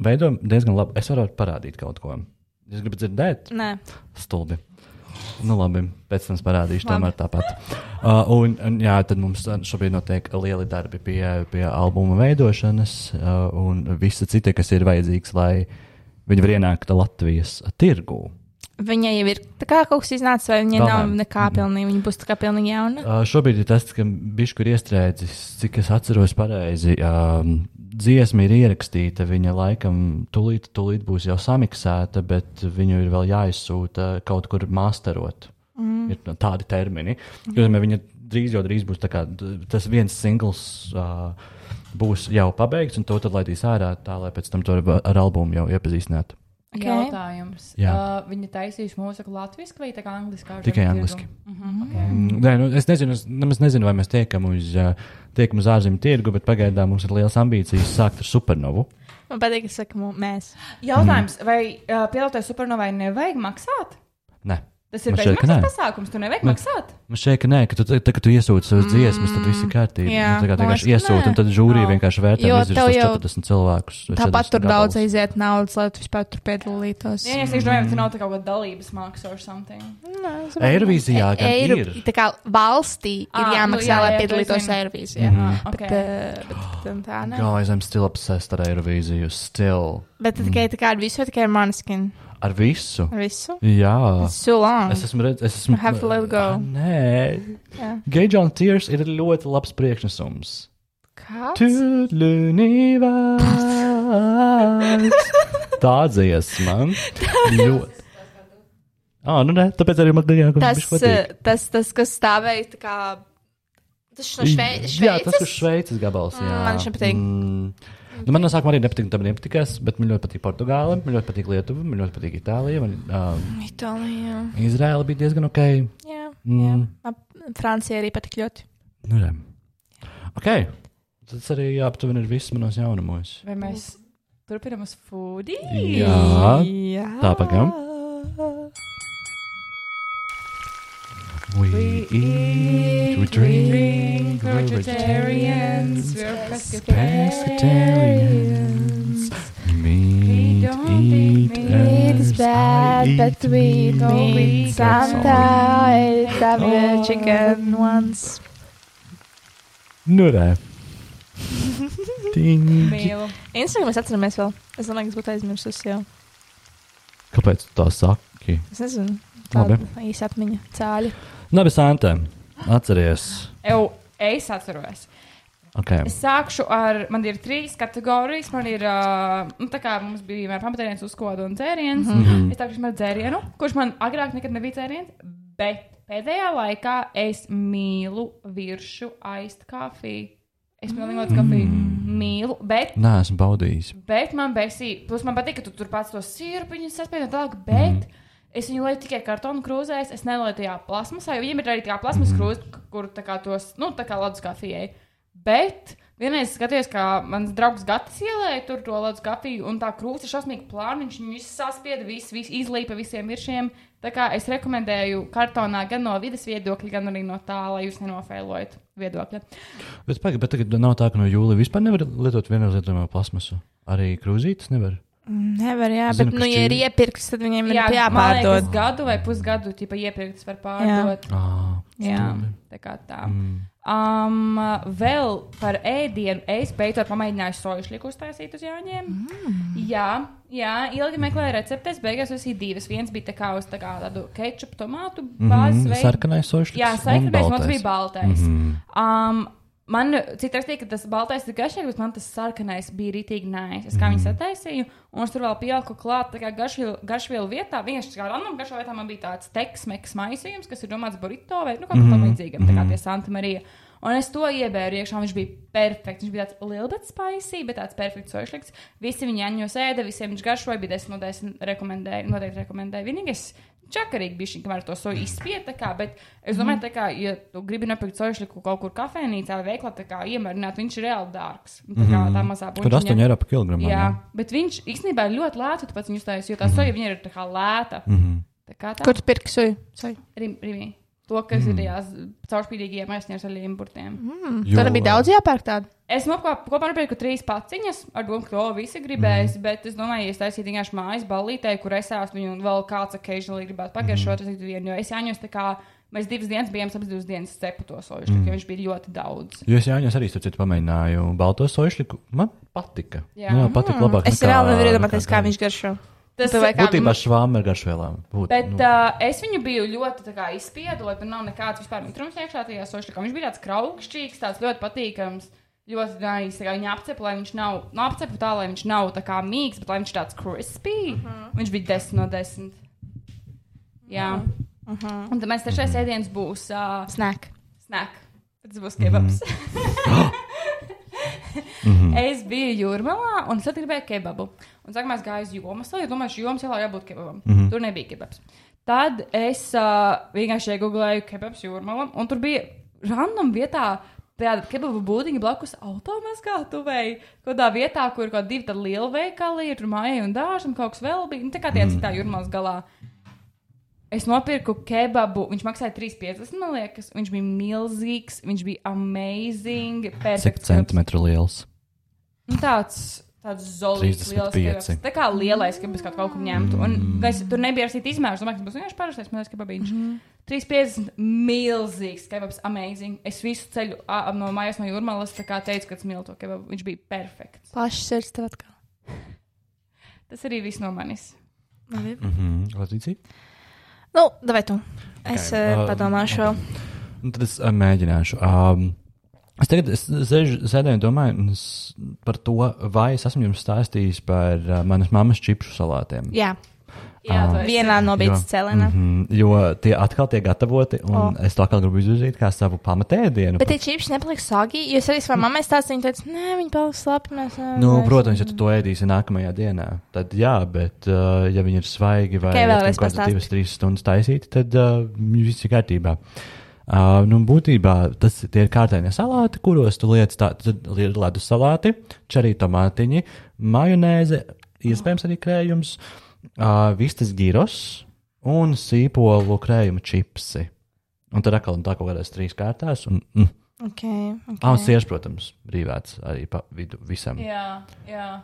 Speaker 1: veido diezgan labi. Es varu parādīt kaut ko. Jūs gribat dzirdēt?
Speaker 2: Nē,
Speaker 1: Stulbi. Nu, labi, pēc tam es parādīšu, tomēr tāpat. Uh, un, un, jā, tad mums šobrīd notiek lieli darbi pie, pie albuma veidošanas uh, un visa cita, kas ir vajadzīgs, lai viņi var ienākt Latvijas tirgū.
Speaker 2: viņai jau ir tā kā kaut kas iznācis, vai viņai
Speaker 1: Vēl
Speaker 2: nav
Speaker 1: nē.
Speaker 2: nekā pilnīgi. Viņa būs tā kā pilnīgi jauna.
Speaker 1: Uh, šobrīd ir tas, ka bišķi ir iestrēdzis, cik es atceros pareizi. Um, dziesma ir ierakstīta, viņa laikam tūlīt, tūlīt būs jau samiksēta, bet viņu ir vēl jāizsūta kaut kur masterot. Mm. Ir tā- tādi termini. Mm. Viņa drīz jau drīz būs tā kā, d- tas viens singls. Uh, Būs jau pabeigts, un to tad laidīs ārā, tā lai pēc tam to ar, ar albumu jau iepazīstinātu.
Speaker 2: Ok.
Speaker 3: Jautājums.
Speaker 1: Jā.
Speaker 3: Uh, viņa taisīs mūziku latviešu vai tikai angliski? Mhm,
Speaker 1: Tikai angliski. Mm, Nē, nu, es nezinu, es nemaz nezinu, vai mēs tiekam uz, ā, tiekam uz ārzemju tirgu, bet pagaidām mums ir liels ambīcijas sākt ar supernovu.
Speaker 2: Man patīk, ka saka, mu- mēs.
Speaker 3: Jautājums, vai uh, pilotai supernovai nevajag maksāt?
Speaker 1: Nē,
Speaker 3: Tas ir
Speaker 1: Man šķiet, ka
Speaker 3: bezmaksas
Speaker 1: nē. Nu.
Speaker 3: pasākums, tu nevajag
Speaker 1: Man-
Speaker 3: maksāt.
Speaker 1: man šeit ka nē, ka tu, tā, ka tu iesūti savas dziesmas, tad viss ir kārtībā.
Speaker 2: Mm. jā,
Speaker 1: Nu, tā kā
Speaker 2: man
Speaker 1: vienkārši
Speaker 2: liekas, ka
Speaker 1: iesūti,
Speaker 2: nē.
Speaker 1: un tad jūrija
Speaker 3: Nav.
Speaker 1: vienkārši vērtē
Speaker 2: Jo
Speaker 1: visus
Speaker 2: tev
Speaker 1: tos
Speaker 2: jau-
Speaker 1: 40 cilvēkus. vai
Speaker 2: Tāpat
Speaker 1: 40
Speaker 2: tur daudz
Speaker 1: gabalus.
Speaker 2: aiziet naudas, lai tu vispār tur piedalītos.
Speaker 3: Jā, es domāju, ka tā nav tā kaut kāda dalības māksla vai something.
Speaker 1: Eirovīzijā gan
Speaker 2: Eiru,
Speaker 1: ir.
Speaker 2: tā kā valstī ir
Speaker 3: Ā, nu
Speaker 2: jāmaksā,
Speaker 3: jā,
Speaker 2: lai
Speaker 3: jā, to es
Speaker 2: piedalītos
Speaker 3: zinu.
Speaker 2: Eirovīzijā.
Speaker 1: Mhm.
Speaker 2: Bet,
Speaker 3: Okay.
Speaker 2: eh, bet, bet tā nav.
Speaker 1: Guys, I'm still obsessed ar Eirovīziju. Still.
Speaker 2: Bet tad tikai tā kā ar visu, vai tikai ar maniskin?
Speaker 1: Ar visu.
Speaker 2: Ar visu?
Speaker 1: Jā.
Speaker 2: It's too long.
Speaker 1: Es esmu redzējis, es esmu.
Speaker 2: have to let
Speaker 1: Ah,
Speaker 2: go.
Speaker 1: Nē,
Speaker 2: Jā.
Speaker 1: Gage on Tears ir ļoti labs priekšnesums.
Speaker 2: Kāds?
Speaker 1: Tūlīnīvās. Tā dziesma. Ļoti. Ah, nu nē, tāpēc arī man bija jāsaka,
Speaker 2: Tas,
Speaker 1: kas bija.
Speaker 2: eh, tas, tas, kas stāvēja tā kā. Tas no Švei-
Speaker 1: Jā, tas ir
Speaker 2: Šveices.
Speaker 1: Šveices gabals. Jā.
Speaker 2: Mm, man viņš nepatīk.
Speaker 1: Mm. Nu, man no sākuma arī nepatīk, tam nepatīkās, bet man ļoti patīk Portugāla, man ļoti patīk Lietuva, man ļoti patīk Itālija, man um,
Speaker 2: Itālijā.
Speaker 1: Izraela bija diezgan ok.
Speaker 2: Jā, jā.
Speaker 1: Mm.
Speaker 2: Ap- Francija arī patīk ļoti.
Speaker 1: Nu, re. ok, tas arī aptuveni ir viss manos jaunumos.
Speaker 3: Vai mēs turpinām uz foodī?
Speaker 1: Jā,
Speaker 2: jā.
Speaker 1: tā pagaidām. We eat, we drink, we're vegetarians,
Speaker 3: we're
Speaker 1: pescatarians.
Speaker 3: We
Speaker 1: Meat,
Speaker 3: don't
Speaker 1: eat,
Speaker 3: eat meat.
Speaker 4: It
Speaker 1: and
Speaker 4: is
Speaker 1: I
Speaker 4: bad, but
Speaker 1: eat
Speaker 4: we don't eat
Speaker 1: meat.
Speaker 3: eat
Speaker 1: all.
Speaker 3: That's
Speaker 4: sometimes. Have
Speaker 1: Oh.
Speaker 4: a chicken once.
Speaker 1: Nu, re. Ding.
Speaker 3: Mīlu.
Speaker 2: Instagram mēs atceramies vēl. Es domāju, ka es būtu aizmirsusi jau.
Speaker 1: Kāpēc tu tā saki?
Speaker 2: Es nezinu. Tāda
Speaker 1: Labi.
Speaker 2: īsa atmiņa. Cāļi.
Speaker 1: Labi, Santa, atceries.
Speaker 3: Ew, es atceros.
Speaker 1: Okay.
Speaker 3: Es sākšu ar, man ir trīs kategorijas. Man ir, uh, nu, tā kā mums bija vienmēr pamatdienas uzkoda un dzēriens. Mm -hmm. Es sākšu ar dzērienu, kurš man agrāk nekad nebija dzēriens, bet pēdējā laikā es mīlu viršu aizt kafiju. Es pilnīgi mm. kafiju mīlu, bet
Speaker 1: Nē, esmu baudījis.
Speaker 3: Bet man besī, plus man patīk, ka tu tur pats to sirpiņu saspēli un tālāk, bet mm. es viņu lieku tikai kartonu krūzēs, es nelieku tajā plasmasā, jo viņiem ir arī tā kā plasmas mm. krūze, kur tā kā tos, nu, tā kā ledus kafijai. Bet vienreiz es skatījos, kā mans draugs Gatis ielēja tur to ledus kafiju, un tā krūze ir šausmīgi plāna, viņš viņu visu saspieda, visu, visu izlīpa visiem viršiem. Tā kā es rekomendēju kartonā gan no vidas viedokļa, gan arī no tā, lai jūs nenofēlojat viedokļa.
Speaker 1: Bet, paga, bet tagad nav tā, ka no jūlija vispār nevar lietot vienreizlietojumu plasmasu. Arī krūzītes nevar.
Speaker 2: Nevar, jā.
Speaker 1: Zinu,
Speaker 2: Bet,
Speaker 1: kas
Speaker 2: nu, ja ir
Speaker 1: šķīvi.
Speaker 2: iepirkts, tad viņiem ir
Speaker 3: Jā, man liekas,
Speaker 2: jāpārdod.
Speaker 3: gadu vai pusgadu tipa iepirkts var pārdot.
Speaker 1: Ah,
Speaker 3: Jā, Mm. tā kā tā. Um, vēl par ēdienu. Es beidzot pamēģināju soju šliku uztaisīt uz jāņiem. Mm. Jā, jā, ilgi meklēju recepti. Es beigās uzsīju divas. Viens bija tā kā uz tā kā tādu kečupu, tomātu bāzi.
Speaker 1: Mm, sarkanais sošs.
Speaker 3: Jā, sarkanais, mums bija baltais. Mm -hmm. um, Man citreiz teica, ka tas baltais ir garšīgs, bet man tas sarkanais bija rītīgi nē. Es kā mm. viņu sataisīju, un es tur vēl pieliku klāt, tā kā garšvielu, garšvielu vietā, vienkārši kā random garšā vietā man bija tāds teksmeks maisījums, kas ir domāts burrito vai nu, kaut kam mm. līdzīgam, tā kā tie Santa Marija. Un es to iebēru iekšā, un viņš bija perfekts. Viņš bija tāds liels, bet spēcīgs, bet tāds perfekts sošliks. Visi viņi aņos ēda, visiem viņš garšoja, bija 10 no 10. Rekomendēju, noteikti rekomendēju. Vienīgais čakarīgi bija šī, kamēr to soju izspiest. Bet es domāju, ka, ja tu gribi nopirkt sojušliku kaut kur kafejnīcā vai veiklā, tā kā iemērnāt, viņš ir reāli dārgs. Tā kā tā mazā
Speaker 1: Mhm. Tur 8
Speaker 3: buļbuļsakta.
Speaker 1: eiro par kilogramu.
Speaker 3: Jā, bet viņš īstenībā ir ļoti lēts. Tu pats viņu stājies, jo tā
Speaker 1: Mhm.
Speaker 3: soja viņai ir tā kā lēta.
Speaker 1: Mm -hmm.
Speaker 3: Tā kā tā
Speaker 2: Kur tu pirksi soju? Soju.
Speaker 3: Rim- rimī. To, kas
Speaker 1: Mhm.
Speaker 3: ir tajās caurspīdīgajiem maisiņiem ar lieliem burtiem.
Speaker 2: Mm.
Speaker 1: Jo,
Speaker 2: Tur nebija
Speaker 1: ā,
Speaker 2: daudz jāpērk tādu.
Speaker 3: Es nopirku kopā nopirku trīs paciņas, ar domu, ka to visi gribēs, mm. bet es domāju, ja es taisīju vienkārši mājas ballītē, kur es esmu, un vēl kāds occasionally gribētu pagaršot, mm. es vienu, jo es jāņos tā kā, mēs divas dienas bijām, abas divas dienas cepu to sojušu, mm. jo viņš bija ļoti daudz.
Speaker 1: Jo es Jāņos arī starp citu pamēģināju balto sojušliku. Man patika.
Speaker 3: Jā. Mm.
Speaker 1: Jā, man patika labāk.
Speaker 2: Es
Speaker 1: nekā-
Speaker 2: reāli nevaru iedomāties,
Speaker 1: nekā
Speaker 2: kā
Speaker 1: tā.
Speaker 2: viņš garšo.
Speaker 3: Tas
Speaker 2: Tev vajag kā-
Speaker 1: Būtībā švām ir garšvielām. Būt,
Speaker 3: Bet
Speaker 1: nu,
Speaker 3: nu. uh, es viņu biju ļoti tā kā, izspiedu, lai tur nav nekāds vispār mitrums iekšā tajā sošļakā. Viņš bija tāds kraukšķīgs, tāds ļoti patīkams, ļoti nācis. Viņa apcepa, lai viņš nav, nu, apcepa tā, lai viņš nav tā kā mīgs, bet lai viņš tāds crispy. Uh -huh. Viņš bija 10 no 10. Jā. Uh -huh. Un tad mēs trešais ēdiens būs uh,
Speaker 2: Snack.
Speaker 3: snack. Tas būs kebabs. es biju jūrmalā un satikbēju kebabu. Un sākumā es gāju uz jomas, jo domāju, ka jomas jau jābūt kebabam. Mm -hmm. Tur nebija kebabs. Tad es uh, vienkārši iegūlēju kebabs jūrmalam, un tur bija random vietā. Tāda kebabu būdiņa blakus automašīnai, kaut kādā vietā, kur kaut kāda liela veikala ir, tur māja un dārza, un kaut kas vēl bija. Nu, tā kā tie mm. citā jūrmālas galā. Es nopirku kebabu. Viņš maksāja 3,50. Man liekas, viņš bija milzīgs. Viņš bija amazing.
Speaker 1: Cik
Speaker 3: Perfekts.
Speaker 1: centimetru liels?
Speaker 3: Nu, tāds tāds zolīts,
Speaker 1: 35.
Speaker 3: liels kebabs. Tā kā lielais, ka bez kaut kā kaut ņemtu. Un gaisa tur nebija arī izmērs. Domāju, ka tas būs vienkārši parastais. Man liekas, kebabiņš. 3,50. Milzīgs kebabs. Amazing. Es visu ceļu ā, no mājas no jūrmālas tā kā teicu, ka smilto kebabu. Viņš bija perfekts.
Speaker 2: Plašs sirds tev atkal.
Speaker 3: Tas arī viss no manis.
Speaker 1: Mhm. Latīcija?
Speaker 2: Nu, davai tu. Es
Speaker 1: Gai, ā,
Speaker 2: uh, padomāšu vēl.
Speaker 1: Nu, tad es ā, mēģināšu. Um, es tagad es sēžu, sēdēju un domāju un es par to, vai es esmu jums stāstījis par uh, manas mammas čipšu salātiem.
Speaker 2: Jā,
Speaker 3: Jā,
Speaker 1: Ā.
Speaker 3: tu esi.
Speaker 2: vienā no beigas cēlēnā.
Speaker 1: Mm -hmm, jo tie atkal tiek gatavoti, un oh. es to atkal gribu izdarīt kā savu pamatēdienu.
Speaker 2: Bet tie čips nepaliek sāgi, jo es arī savai mammai stāstīju, viņa teica, nē, viņi paliek slapi. Mēs, ā,
Speaker 1: Nu,
Speaker 2: mēs-
Speaker 1: protams, ja tu to ēdīsi nākamajā dienā, tad jā, bet uh, ja viņi ir svaigi vai ja
Speaker 2: Tikai vēlreiz
Speaker 1: tur kaut kādas
Speaker 2: pastāsti.
Speaker 1: divas, trīs stundas taisīti, tad uh, viss ir kārtībā. Uh, nu, būtībā tas tie ir kārtējie salāti, kuros tu lietas tādi ledus salāti, čerī tomātiņi, majonēze, iespējams arī krējums, uh, vistas giros un sīpolu krējuma čipsi. Un tad atkal un tā kaut kādās trīs kārtās. Un, mm.
Speaker 2: Okay, okay.
Speaker 1: Ah, un siež, protams, brīvēts arī pa vidu visam. Mhm.
Speaker 3: Jā, jā.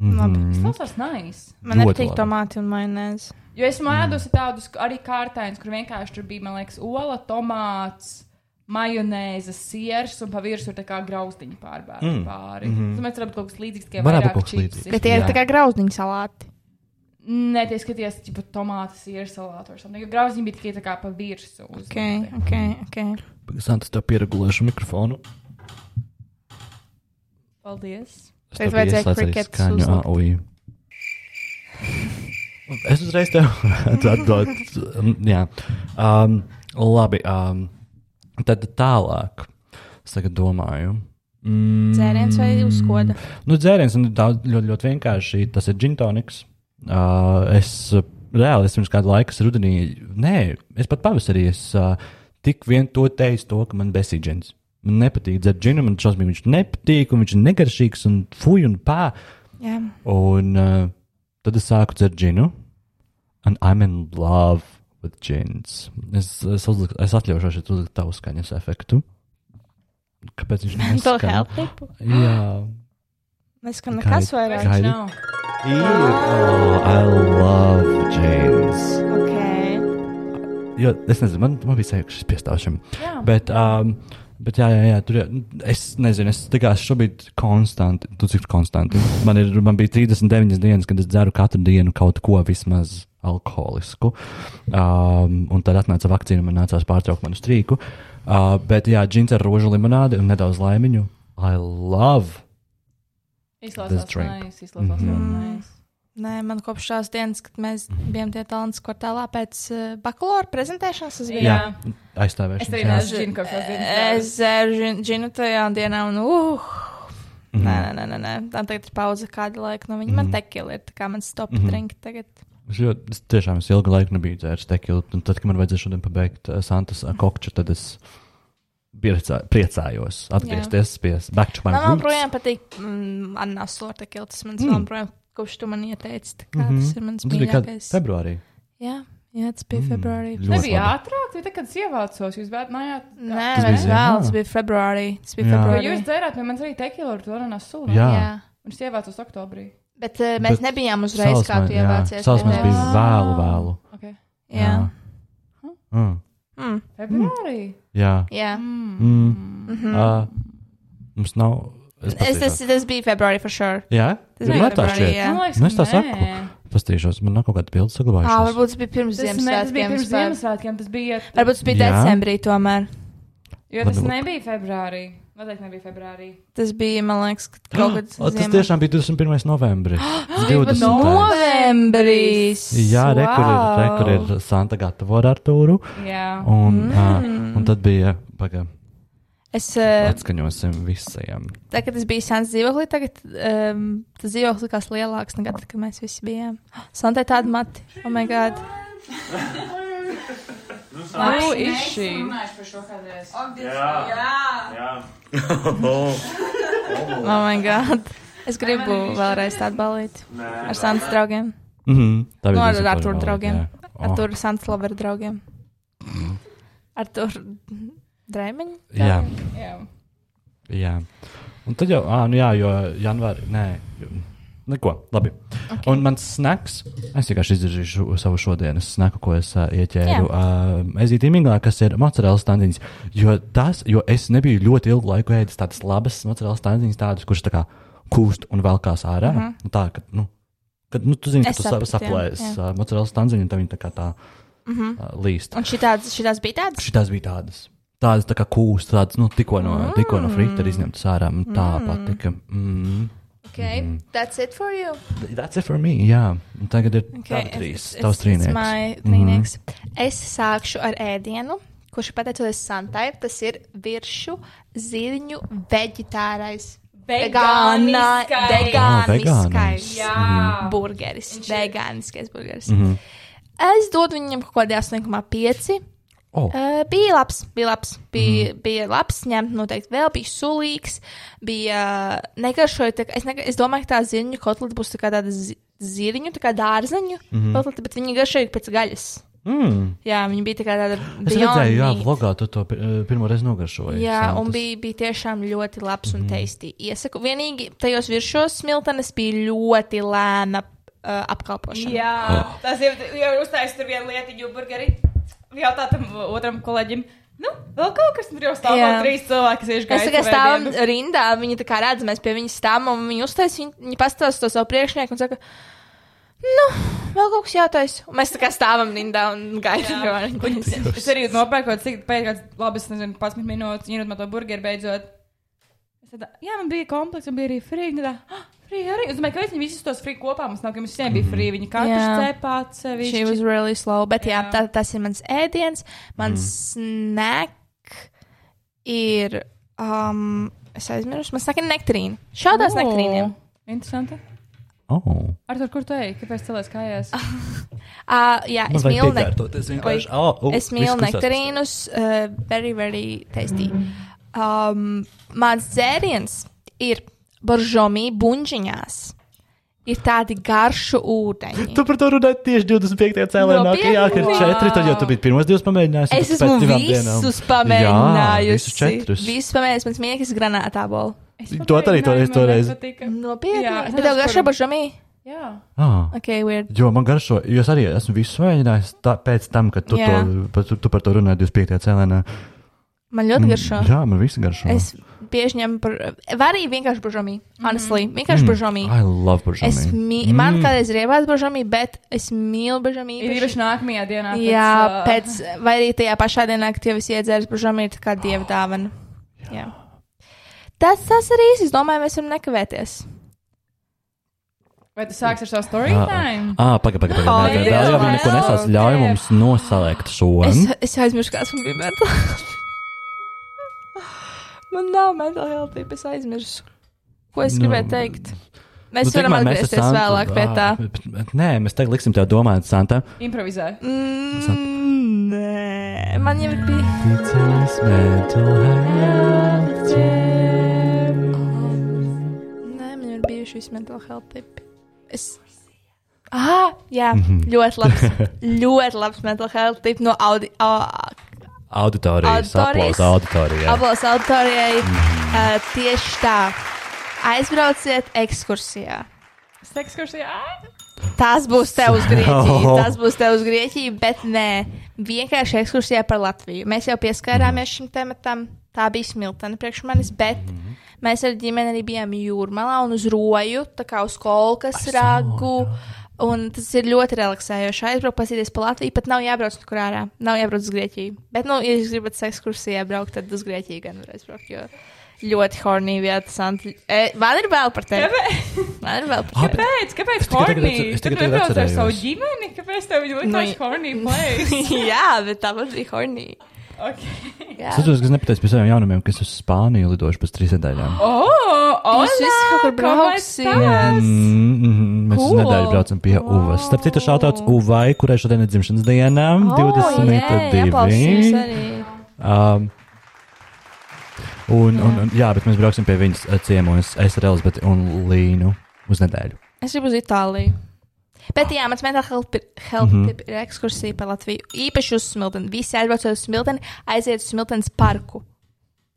Speaker 2: Labi.
Speaker 3: Tas tas nice.
Speaker 2: Man
Speaker 1: ļoti
Speaker 2: nepatīk
Speaker 1: labi.
Speaker 2: tomāti un maināzi.
Speaker 3: Jo
Speaker 1: Mm.
Speaker 3: esmu ēdusi tādus arī kārtainus, kur vienkārši tur bija, man liekas, ola, tomāts, majonēze, siers un pa virsmu ir tā kā grauzdiņa pārbērta mm. pāri. Mm -hmm. Mēs varam kaut kas līdzīgs, kā
Speaker 1: Mhm. Varētu
Speaker 3: vairāk
Speaker 1: kaut kas
Speaker 3: čipsi.
Speaker 1: līdzīgs.
Speaker 2: Bet tie ir
Speaker 1: Jā.
Speaker 2: tā kā grauzdiņu salāti.
Speaker 3: Nē, tie skatījās, tipo, tomātu sieru salātu vai something. jo Grauzdiņa bija tikai tā kā pa virsmu. uz
Speaker 2: Okay,
Speaker 3: noteikti.
Speaker 2: okay, okay.
Speaker 1: Pagaidām, tas tev pieregulēšu mikrofonu.
Speaker 3: Paldies.
Speaker 1: Es
Speaker 2: Tagad
Speaker 1: tev
Speaker 2: vajadzēja
Speaker 1: ieslēdzu arī
Speaker 2: kriketus
Speaker 1: skaņu.
Speaker 2: uzlikt.
Speaker 1: Ā, ui. Es uzreiz tev varētu atdot. um, Jā, um, labi. Um, tad tālāk. Es tagad domāju. Mm,
Speaker 2: Dzēriens vai uzkoda?
Speaker 1: Nu, dzēriens ir daudz, ļoti, ļoti vienkārši. Tas ir gintoniks. Uh, es uh, reāli es pirms kāda laika, es rudenī, nē, es pat pavasarī, es uh, tik vien to teicu, to, ka man besīd džins. Man nepatīk dzert džinu, man šausmīgi viņš nepatīk, un viņš ir negaršīgs un fuj un pā.
Speaker 2: Jā,
Speaker 1: Un uh, tad es sāku dzert džinu, un I'm in love with džins. Es, es, uzliku, es atļaušos šeit uzlikt tavu skaņas efektu. Kāpēc viņš
Speaker 2: to
Speaker 1: neskan?
Speaker 2: help.
Speaker 1: Jā.
Speaker 2: Neskan nekas vairāk.
Speaker 1: Gaidi.
Speaker 3: Nav.
Speaker 1: Ir. Oh, I love James.
Speaker 2: Okay.
Speaker 1: Jo, es nezinu, man, man bija sajūta, ka šis piestāvšam.
Speaker 3: Jā.
Speaker 1: Bet, um, bet jā, jā, jā, tur ir. Es nezinu, es tikai šobrīd konstanti, tu cik konstanti. Man, ir, man bija 39 dienas, kad es dzeru katru dienu kaut ko vismaz alkoholisku. Um, un tad atnāca vakcīna, man nācās pārtraukt manu strīku. Uh, bet jā, džins ar rožu limonādi un nedaudz laimiņu. I love!
Speaker 3: Izklausās
Speaker 1: drink. Mhm.
Speaker 3: nice, izklausās mm -hmm. nice.
Speaker 2: Nē, man kopš tās dienas, kad mēs bijām tie talantu kvartālā pēc uh, bakalaura prezentēšanas, tas bija.
Speaker 3: Jā.
Speaker 1: aizstāvēšu.
Speaker 3: Es arī
Speaker 1: jā.
Speaker 3: neesmu zinu, kas tas ir.
Speaker 2: Eh, Es dzinu tajā dienā, un uh,
Speaker 1: Mhm.
Speaker 2: nē, nē, nē, nē, tā tagad ir pauze kādu laiku. No viņa man tekila ir tā kā man stop
Speaker 1: Mhm.
Speaker 2: drink tagad.
Speaker 1: Es ļoti, es tiešām es ilgu laiku nebiju dzēris tekilu, un tad, kad man vajadzēja šodien pabeigt uh, Santas uh, kokču, tad es priecā, priecājos atgriezties pie s- back to my
Speaker 2: Man
Speaker 1: roots.
Speaker 2: joprojām patīk mm, ananas ar tekila, tas man
Speaker 1: Mm.
Speaker 2: mm. joprojām, kurš tu man ieteici, tā kā
Speaker 1: Mhm.
Speaker 2: tas ir mans
Speaker 1: Tas bija kad
Speaker 2: mīļākais.
Speaker 1: februārī.
Speaker 2: Jā, jā, tas bija
Speaker 1: Mm,
Speaker 2: februārī.
Speaker 1: ļoti
Speaker 3: Nebija
Speaker 1: labi.
Speaker 3: ātrāk, vai tad, kad es ievācos, jūs bijāt mājā?
Speaker 2: Nē,
Speaker 1: Tas
Speaker 2: vēl
Speaker 1: bija ziemā?
Speaker 2: tas bija februārī. Tas bija
Speaker 1: Jā.
Speaker 2: februārī.
Speaker 3: Jūs dzērāt, vai man arī tekilu ar to runās sulu?
Speaker 1: Jā.
Speaker 3: Un es ievācos oktobrī.
Speaker 2: Bet eh,
Speaker 1: Bet
Speaker 2: mēs nebijām uzreiz, kā tu ievācies.
Speaker 1: Salsmans
Speaker 2: pie
Speaker 1: bija
Speaker 2: tevis.
Speaker 1: vēlu, vēlu.
Speaker 3: Okay.
Speaker 1: Jā.
Speaker 2: Jā.
Speaker 1: Mm.
Speaker 2: Mm,
Speaker 3: Februārī.
Speaker 1: Jā.
Speaker 2: jā.
Speaker 3: Mm.
Speaker 1: Mm.
Speaker 2: Mhm.
Speaker 1: Uh, mums nav.
Speaker 2: Es, tas,
Speaker 1: pastīšos.
Speaker 2: tas bija februārī, for sure.
Speaker 1: Jā,
Speaker 2: Tas
Speaker 1: Vienmēr
Speaker 2: bija
Speaker 1: tā šķiet.
Speaker 2: februārī. jā.
Speaker 3: Man liekas,
Speaker 1: Nu, es tā
Speaker 3: nē.
Speaker 1: saku. pastīšos. Man nav kaut kāda bilde saglabājušās.
Speaker 2: Ā, varbūt tas bija pirms
Speaker 3: Tas, ne, tas bija
Speaker 2: Ziemassvētkiem.
Speaker 3: pirms
Speaker 2: vai-
Speaker 3: Ziemassvētkiem. Tas bija.
Speaker 2: Varbūt tas bija
Speaker 1: Jā.
Speaker 2: decembrī, tomēr.
Speaker 3: Jo tas
Speaker 1: Varbūt.
Speaker 3: nebija februārī. Noteikti nebija februārī.
Speaker 2: Tas bija, man liekas, kad kaut kad.
Speaker 1: O, Oh, tas
Speaker 2: ziemā.
Speaker 1: tiešām bija 21. novembris. Tas 20.
Speaker 2: Novembrīs!
Speaker 1: Jā, rekur ir, rekur ir Santa gatavo ar Artūru.
Speaker 3: Jā.
Speaker 1: Un, mm.
Speaker 2: Mm-hmm.
Speaker 1: uh, un tad bija pagaidām.
Speaker 2: Hmm. Es, eh,
Speaker 1: Atskaņosim visiem.
Speaker 2: tā, kad es biju sens dzīvoklī, tagad um, tas dzīvoklis likās lielāks nekā tad, kad mēs visi bijām. Santē tāda mati, oh my god.
Speaker 3: Who is she?
Speaker 2: Oh my god. Es gribu vēlreiz tādu balīti ar Santas draugiem.
Speaker 1: Mm -hmm. Tā
Speaker 2: Nu, ar
Speaker 1: diezgan
Speaker 2: Artūru
Speaker 1: labi,
Speaker 2: draugiem.
Speaker 1: jā.
Speaker 2: Ar tur Santas loveru draugiem. Ar tur drēmiņu?
Speaker 1: Jā,
Speaker 3: Jā.
Speaker 1: jā. Un tad jau, ah, nu jā, jo janvārī, nē, jo- neko, labi. Okay. Un mans snacks, es vienkārši izdarīšu savu šodienas snaku, ko es uh, ieķēru uh, aizītīmīgā, kas ir mocerela standiņas. Jo tas, jo es nebiju ļoti ilgu laiku ēdis tādas labas mocerela standiņas, tādas, kuras tā kā kūst un velkās ārā. Mm -hmm. Tā, ka, nu, kad, nu, tu zini, ka
Speaker 2: Mhm. Es
Speaker 1: tu
Speaker 2: sapratu, jā,
Speaker 1: saplēsi
Speaker 2: jā. Mhm.
Speaker 1: uh, mocerela standiņu, un tad viņi tā kā tā mm -hmm. uh, līst.
Speaker 2: Un šitāds, šitāds bija tāds?
Speaker 1: Šitās bija tādas. Tādas tā kā kūstas, tādas nu, tikko no, mm. no frīķa izņemtas ārā. Man tā mm. patika. Mm.
Speaker 2: Okay, that's it for you.
Speaker 1: That's it for me. Jā. Un Tagad ir okay,
Speaker 2: Okay,
Speaker 1: trīs.
Speaker 2: it's- it's-
Speaker 1: Tavs
Speaker 2: it's
Speaker 1: trīnieks. Mhm.
Speaker 2: my trīnieks. Es sākšu ar ēdienu, kurš pateicoties Santai, tas ir virsmu zirņu veģetārais. Vegāna-
Speaker 3: Vegāniskais.
Speaker 1: Ah,
Speaker 2: vegāniskais.
Speaker 1: vegānis.
Speaker 2: Burgeris, vegāniskais burgeris. Mm
Speaker 1: Mhm.
Speaker 2: -hmm. Es dodu viņam kaut kādu 8,5.
Speaker 1: Oh.
Speaker 2: Uh, bija labs, bija labs, bija,
Speaker 1: Mhm.
Speaker 2: mm. bija labs, ņemt noteikti vēl, bija sulīgs, bija negaršoja. tā kā- Es, nega, es domāju, ka tā zirņu kotleta būs tā kā tāda zi- zirņu, tā kā dārzeņu
Speaker 1: Mhm.
Speaker 2: mm. kotleta, bet viņi garšoja pēc gaļas.
Speaker 1: Mm.
Speaker 2: Jā, viņi bija tā kā tāda
Speaker 1: Es redzēju, jā,
Speaker 2: Eh, meat.
Speaker 1: vlogā tu to pi- eh, pirmo reizi nogaršoji.
Speaker 2: Jā,
Speaker 1: Santas.
Speaker 2: un bija, bija tiešām ļoti labs
Speaker 1: Mhm.
Speaker 2: un teisti. Iesaku, vienīgi tajos viršos smiltenes bija ļoti lēna uh, apkalpošana.
Speaker 3: Jā, tas jau ir uztaisījis tur vienu lietiņu, burgeri. Jautā tam otram kolēģim, nu, vēl kaut kas tur jau stāv,
Speaker 2: Jā.
Speaker 3: vēl trīs cilvēki sēž
Speaker 2: Mēs
Speaker 3: gaisa
Speaker 2: tikai stāvam
Speaker 3: vēdienu.
Speaker 2: rindā, viņi tā kā redz, mēs pie viņas stāvam, un viņi uztais, viņi, viņi pastāv to savu priekšnieku un saka, nu, vēl kaut kas jātais. Un mēs tā kā stāvam rindā un gaidām, jo viņi
Speaker 3: Es arī nopērkot, cik pēc kādas labas, nezinu, 15 minūtes, ņemot man to burgeru beidzot. Es tāda, jā, man bija komplekss, un bija arī frī. un Tāda, ah, frī arī. Es domāju, ka viņi visus tos frī kopā mums nav, ka mums visiem bija
Speaker 1: Mhm.
Speaker 3: frī. Viņi katrs
Speaker 2: Jā.
Speaker 3: cepāt
Speaker 2: She was
Speaker 3: sevi.
Speaker 2: really slow, bet jā,
Speaker 3: Jā.
Speaker 2: tā, tas ir mans ēdiens, mans
Speaker 1: Mm.
Speaker 2: snack ir, um, es aizmirsu, man saka nektarīna. Šādās nektarīniem.
Speaker 3: Interesanti.
Speaker 1: Oh.
Speaker 3: Ar to, kur tu ej? Kāpēc cilvēks kājās?
Speaker 2: Ah. Uh, jā,
Speaker 1: Man
Speaker 2: es
Speaker 1: vajag
Speaker 2: mīlu nektarīnu.
Speaker 1: piekārtoties vienkārši.
Speaker 2: Oi,
Speaker 1: Oh, oh,
Speaker 2: Es mīlu
Speaker 1: viss kustās.
Speaker 2: nektarīnus. Uh, very, very tasty. Um, mans dzēriens ir boržomī buļģiņās. Ir tādi garšu ūdeņi.
Speaker 1: Tu par to runāji tieši 25. cēlēnā, no,
Speaker 2: No
Speaker 1: ka jā, ka ir
Speaker 2: piekdienā.
Speaker 1: četri, tad jau tu biji pirmos divus pamēģinājis. un
Speaker 2: Es
Speaker 1: tad
Speaker 2: esmu
Speaker 1: pēc divām dienām-
Speaker 2: visus
Speaker 1: Jā,
Speaker 2: pamēģinājusi.
Speaker 1: visus četrus.
Speaker 2: Visus pamēģinājusi. Mans miegas granātā bola.
Speaker 1: To arī toreiz- toreiz.
Speaker 2: Mm. Nopietni.
Speaker 3: Jā, es
Speaker 2: Bet tev
Speaker 3: nezinu,
Speaker 2: garšo
Speaker 3: kuram.
Speaker 2: boržomī?
Speaker 3: Jā.
Speaker 1: Ah.
Speaker 2: Ok, weird.
Speaker 1: Jo man garšo, jo es arī esmu visu mēģinājis tā, pēc tam, kad tu,
Speaker 2: Jā.
Speaker 1: to, pa- tu, tu par to runāji 25. cēlēnā.
Speaker 2: Man ļoti garšo.
Speaker 1: Mm, Jā, man viss garšo.
Speaker 2: Es bieži ņemu par... Var arī vienkārši boržomī. Honestly.
Speaker 1: Mm.
Speaker 2: Vienkārši boržomī.
Speaker 1: I love buržu.
Speaker 2: Es mīlu, man
Speaker 1: Mm.
Speaker 2: kādreiz ir ievācis bažāmī, bet es mīlu bažāmī.
Speaker 3: Ir īpaši nākamajā dienā. uh, pēc,
Speaker 2: Jā,
Speaker 3: ā,
Speaker 2: pēc, vai arī tajā pašā dienā, kad jau es iedzēru bažāmī, ir tā kā dieva dāvana. Ah. Jā. Tas, tas arī īsi. Es domāju, mēs varam nekavēties.
Speaker 3: Vai tu sāksi ar savu story
Speaker 1: Ah.
Speaker 3: time?
Speaker 1: pagaidi, pagaidi. Paga,
Speaker 2: Ai,
Speaker 1: paga, jā, jau
Speaker 2: jā,
Speaker 1: neko
Speaker 2: jā,
Speaker 1: nesās. Ļauj mums noslēgt šo.
Speaker 2: Es, es aizmirsu, kas man bija mentāla. man nav mentāla healthība, es aizmirsu. Ko es
Speaker 1: Nu,
Speaker 2: gribēju teikt? Mēs
Speaker 1: Nu,
Speaker 2: nu, varam
Speaker 1: tikmēr mēs ar
Speaker 2: atgriezties
Speaker 1: Santu-
Speaker 2: vēlāk pie
Speaker 1: Ā,
Speaker 2: tā.
Speaker 1: bet- bet Nē, mēs tagad liksim tev domāt, Santa.
Speaker 3: Improvizē.
Speaker 2: Mm, nē, man jau ir bijis.
Speaker 1: Ticās mental health
Speaker 2: Nē, man jau ir bijuši visi mentāla healthība. Es. Ah, jā, ļoti labs. ļoti labs mentāla healthība no audi. au-
Speaker 1: Auditorijas,
Speaker 2: Auditorijas.
Speaker 1: aplausa auditorijai.
Speaker 2: Abos autorijai uh, tieši tā. Aizbrauciet ekskursijā.
Speaker 3: Sekskursijā.
Speaker 2: Tas būs tev uz Grieķiju.
Speaker 1: Oh.
Speaker 2: Tas būs tev uz Grieķiju, bet nē, vienkārši ekskursijā par Latviju. Mēs jau pieskārāmies šim tematam. Tā bija smiltene priekš manis, bet mēs ar ģimeni arī bijām jūrmalā un uz roju, tā kā uz kolkas ragu. Un tas ir ļoti relaksējoši. Aizbraukt, pasīties pa Latviju, pat nav jābrauc nekur ārā. Nav jābrauc uz Grieķiju. Bet, nu, ja jūs gribat ekskursijā braukt, tad uz Grieķiju gan var aizbraukt. Jo ļoti hornīgi vieta, Santa. E, man ir vēl par tevi. Man ir vēl par tevi.
Speaker 3: Kāpēc? Kāpēc
Speaker 1: Es tikai tagad
Speaker 3: horny?
Speaker 1: atcer- es
Speaker 3: Tur
Speaker 1: tikai tagad
Speaker 3: nebrauc ar
Speaker 1: atcerējos.
Speaker 3: savu ģimeni? Kāpēc tev
Speaker 2: Nu,
Speaker 3: jūtas horny place?
Speaker 2: Jā, bet tāpat bija hornī.
Speaker 3: Okay.
Speaker 2: Jā,
Speaker 1: Es saprotu, ka es nepateicu par saviem jaunumiem, ka es uz Spāniju lidošu pēc trīs nedēļām.
Speaker 3: Oh, oh,
Speaker 2: Jūs visi kaut kur brauksiet.
Speaker 1: Mm, mm, Mēs cool.
Speaker 3: Cool.
Speaker 1: nedēļu braucam pie wow. Uvas. Starp citu, šāds Uvai, kurai šodien ir dzimšanas diena, oh,
Speaker 2: jā, aplausus
Speaker 1: 22.
Speaker 2: arī.
Speaker 1: Um, un, un, un, jā, bet mēs brauksim pie viņas eh, ciemos, es ar Elizabeti un Līnu uz nedēļu.
Speaker 2: Es gribu uz Itāliju. Bet, jā, mans mental health, pi- health mm -hmm. ir ekskursija pa Latviju. Īpaši uz Smilteni. Visi aizbraucot uz Smilteni, aiziet uz Smiltenes parku.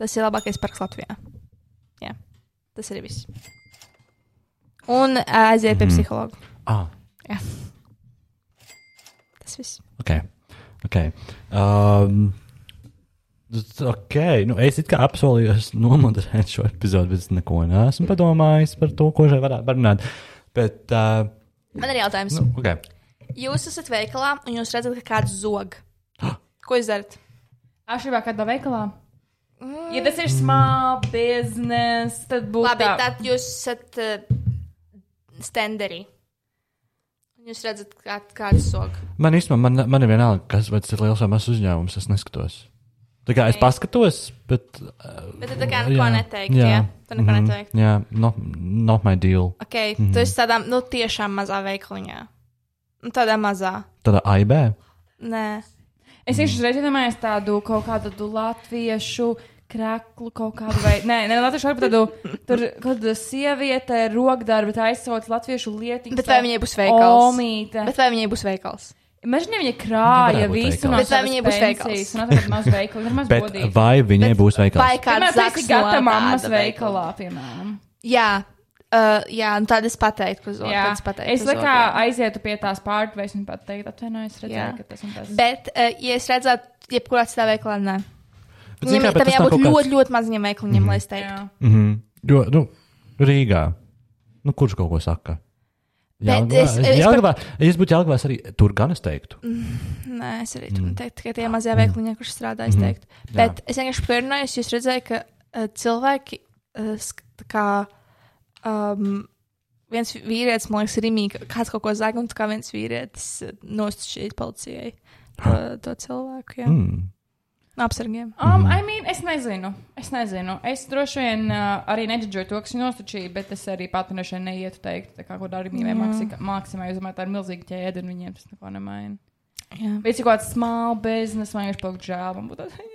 Speaker 2: Tas ir labākais parks Latvijā. Jā, tas arī viss. Un ā, aiziet pie psihologa.
Speaker 1: Ah,
Speaker 2: Tas viss.
Speaker 1: ok. okay. Um, tas- Ok, nu es it kā apsolījos nomoderēt šo episodu, bet es neko neesmu padomājis par to, ko šai varētu parunāt. Bet, uh,
Speaker 2: Man ir jautājums.
Speaker 1: nu, ok.
Speaker 2: Jūs esat veikalā un jūs redzat, ka kāds zog. Ko jūs darat?
Speaker 3: Atšķirībā kādā veikalā. Ja tas ir small business, tad būtu
Speaker 2: Mm. Labi,
Speaker 3: tā.
Speaker 2: tad jūs esat uh, standarī. Jūs redzat, kā, kāda soga.
Speaker 1: Man īstenībā, man, man ir vienalga, kas vai tas ir liels vai mazs uzņēmums, es neskatos. Tā kā es paskatos, bet. mhm,
Speaker 2: Bet tad tā kā neko neteikt, jā? Tu neko neteikt.
Speaker 1: Jā, not, not my deal.
Speaker 2: Ok, mm.
Speaker 1: Mhm.
Speaker 2: tu esi tādā, nu, tiešām mazā veikaliņā. Nu, Tādā mazā.
Speaker 1: Tādā AIB.
Speaker 2: Nē,
Speaker 3: Es tieši uzreiz iedomājos tādu kaut kādu tādu latviešu. Kraklu kaut kādu vai nē, nē, latviešu varbūt tādu, tur, kad sieviete rokdarbi taisot latviešu lietiņu.
Speaker 2: Bet vai viņai būs veikals?
Speaker 3: Omīte.
Speaker 2: bet vai viņai būs veikals?
Speaker 3: Imagini, ja viņa krāja
Speaker 1: Nevarētu būt veikals.
Speaker 3: visu no
Speaker 2: Bet vai
Speaker 3: savas
Speaker 2: viņai būs veikals?
Speaker 3: pensijas un atrod mazu veikalu. Ir maz
Speaker 1: Bet
Speaker 3: godīgi.
Speaker 1: vai viņai
Speaker 2: Bet
Speaker 1: būs
Speaker 2: Vai
Speaker 1: veikals?
Speaker 2: kāda
Speaker 3: Piemēram, tas ir gata mammas veikalā, piemēram.
Speaker 2: Jā, uh, jā, nu tāda es pateiktu, ka zog.
Speaker 3: Jā,
Speaker 2: tāda Es, pateiktu,
Speaker 3: es
Speaker 2: ka
Speaker 3: tā
Speaker 2: zog,
Speaker 3: kā
Speaker 2: jā.
Speaker 3: aizietu pie tās pārdevējas un pat teikt, atvainojiet,
Speaker 2: Jā.
Speaker 3: redzēju, ka tas ir tas.
Speaker 2: Bet, uh, ja es redzētu, jebkurā citā veikalā, nē.
Speaker 1: Bet, zini
Speaker 2: Viņam
Speaker 1: kā,
Speaker 2: ir
Speaker 1: bet
Speaker 2: tam
Speaker 1: tas nav kaut
Speaker 2: jābūt
Speaker 1: kāds-
Speaker 2: ļoti, ļoti maziņam veikaliņam, lai es teiktu.
Speaker 3: Jā.
Speaker 1: Mhm. Jo, nu, Rīgā. Nu, kurš kaut ko saka? Jā,
Speaker 2: Bet es- es Mm. par-
Speaker 1: Jālgavā. Ja es būtu Jālgavās arī tur gan es teiktu.
Speaker 2: Nē, es arī tur
Speaker 1: Mm.
Speaker 2: teiktu, tikai tajā mazajā veikaliņā, kurš
Speaker 1: Mhm.
Speaker 2: strādā, es teiktu. Bet es vienkārši pierunājos, jūs redzējāt, ka uh, cilvēki, uh, sk- tā kā um, viens vīrietis, man liekas, Rimīgi, kāds kaut ko zaga, un tā kā viens vīrietis uh, nostšķīja policijai to, to cilvēku, jā, mm.
Speaker 1: Ah. Mm.
Speaker 2: apsargiem.
Speaker 3: Um, I mean, es nezinu. Es nezinu. Es droši vien uh, arī nedzirdēju to, kas ir nostačīja, bet es arī pati droši vien neietu teikt, tā kā kaut kādā armijā mākslā. Es domāju, tā ir milzīga ķēde, un viņiem tas neko nemaina.
Speaker 2: Jā.
Speaker 3: Vai tas ir kaut kāds small business, man vienkārši palikt žēl. man būtu tāds,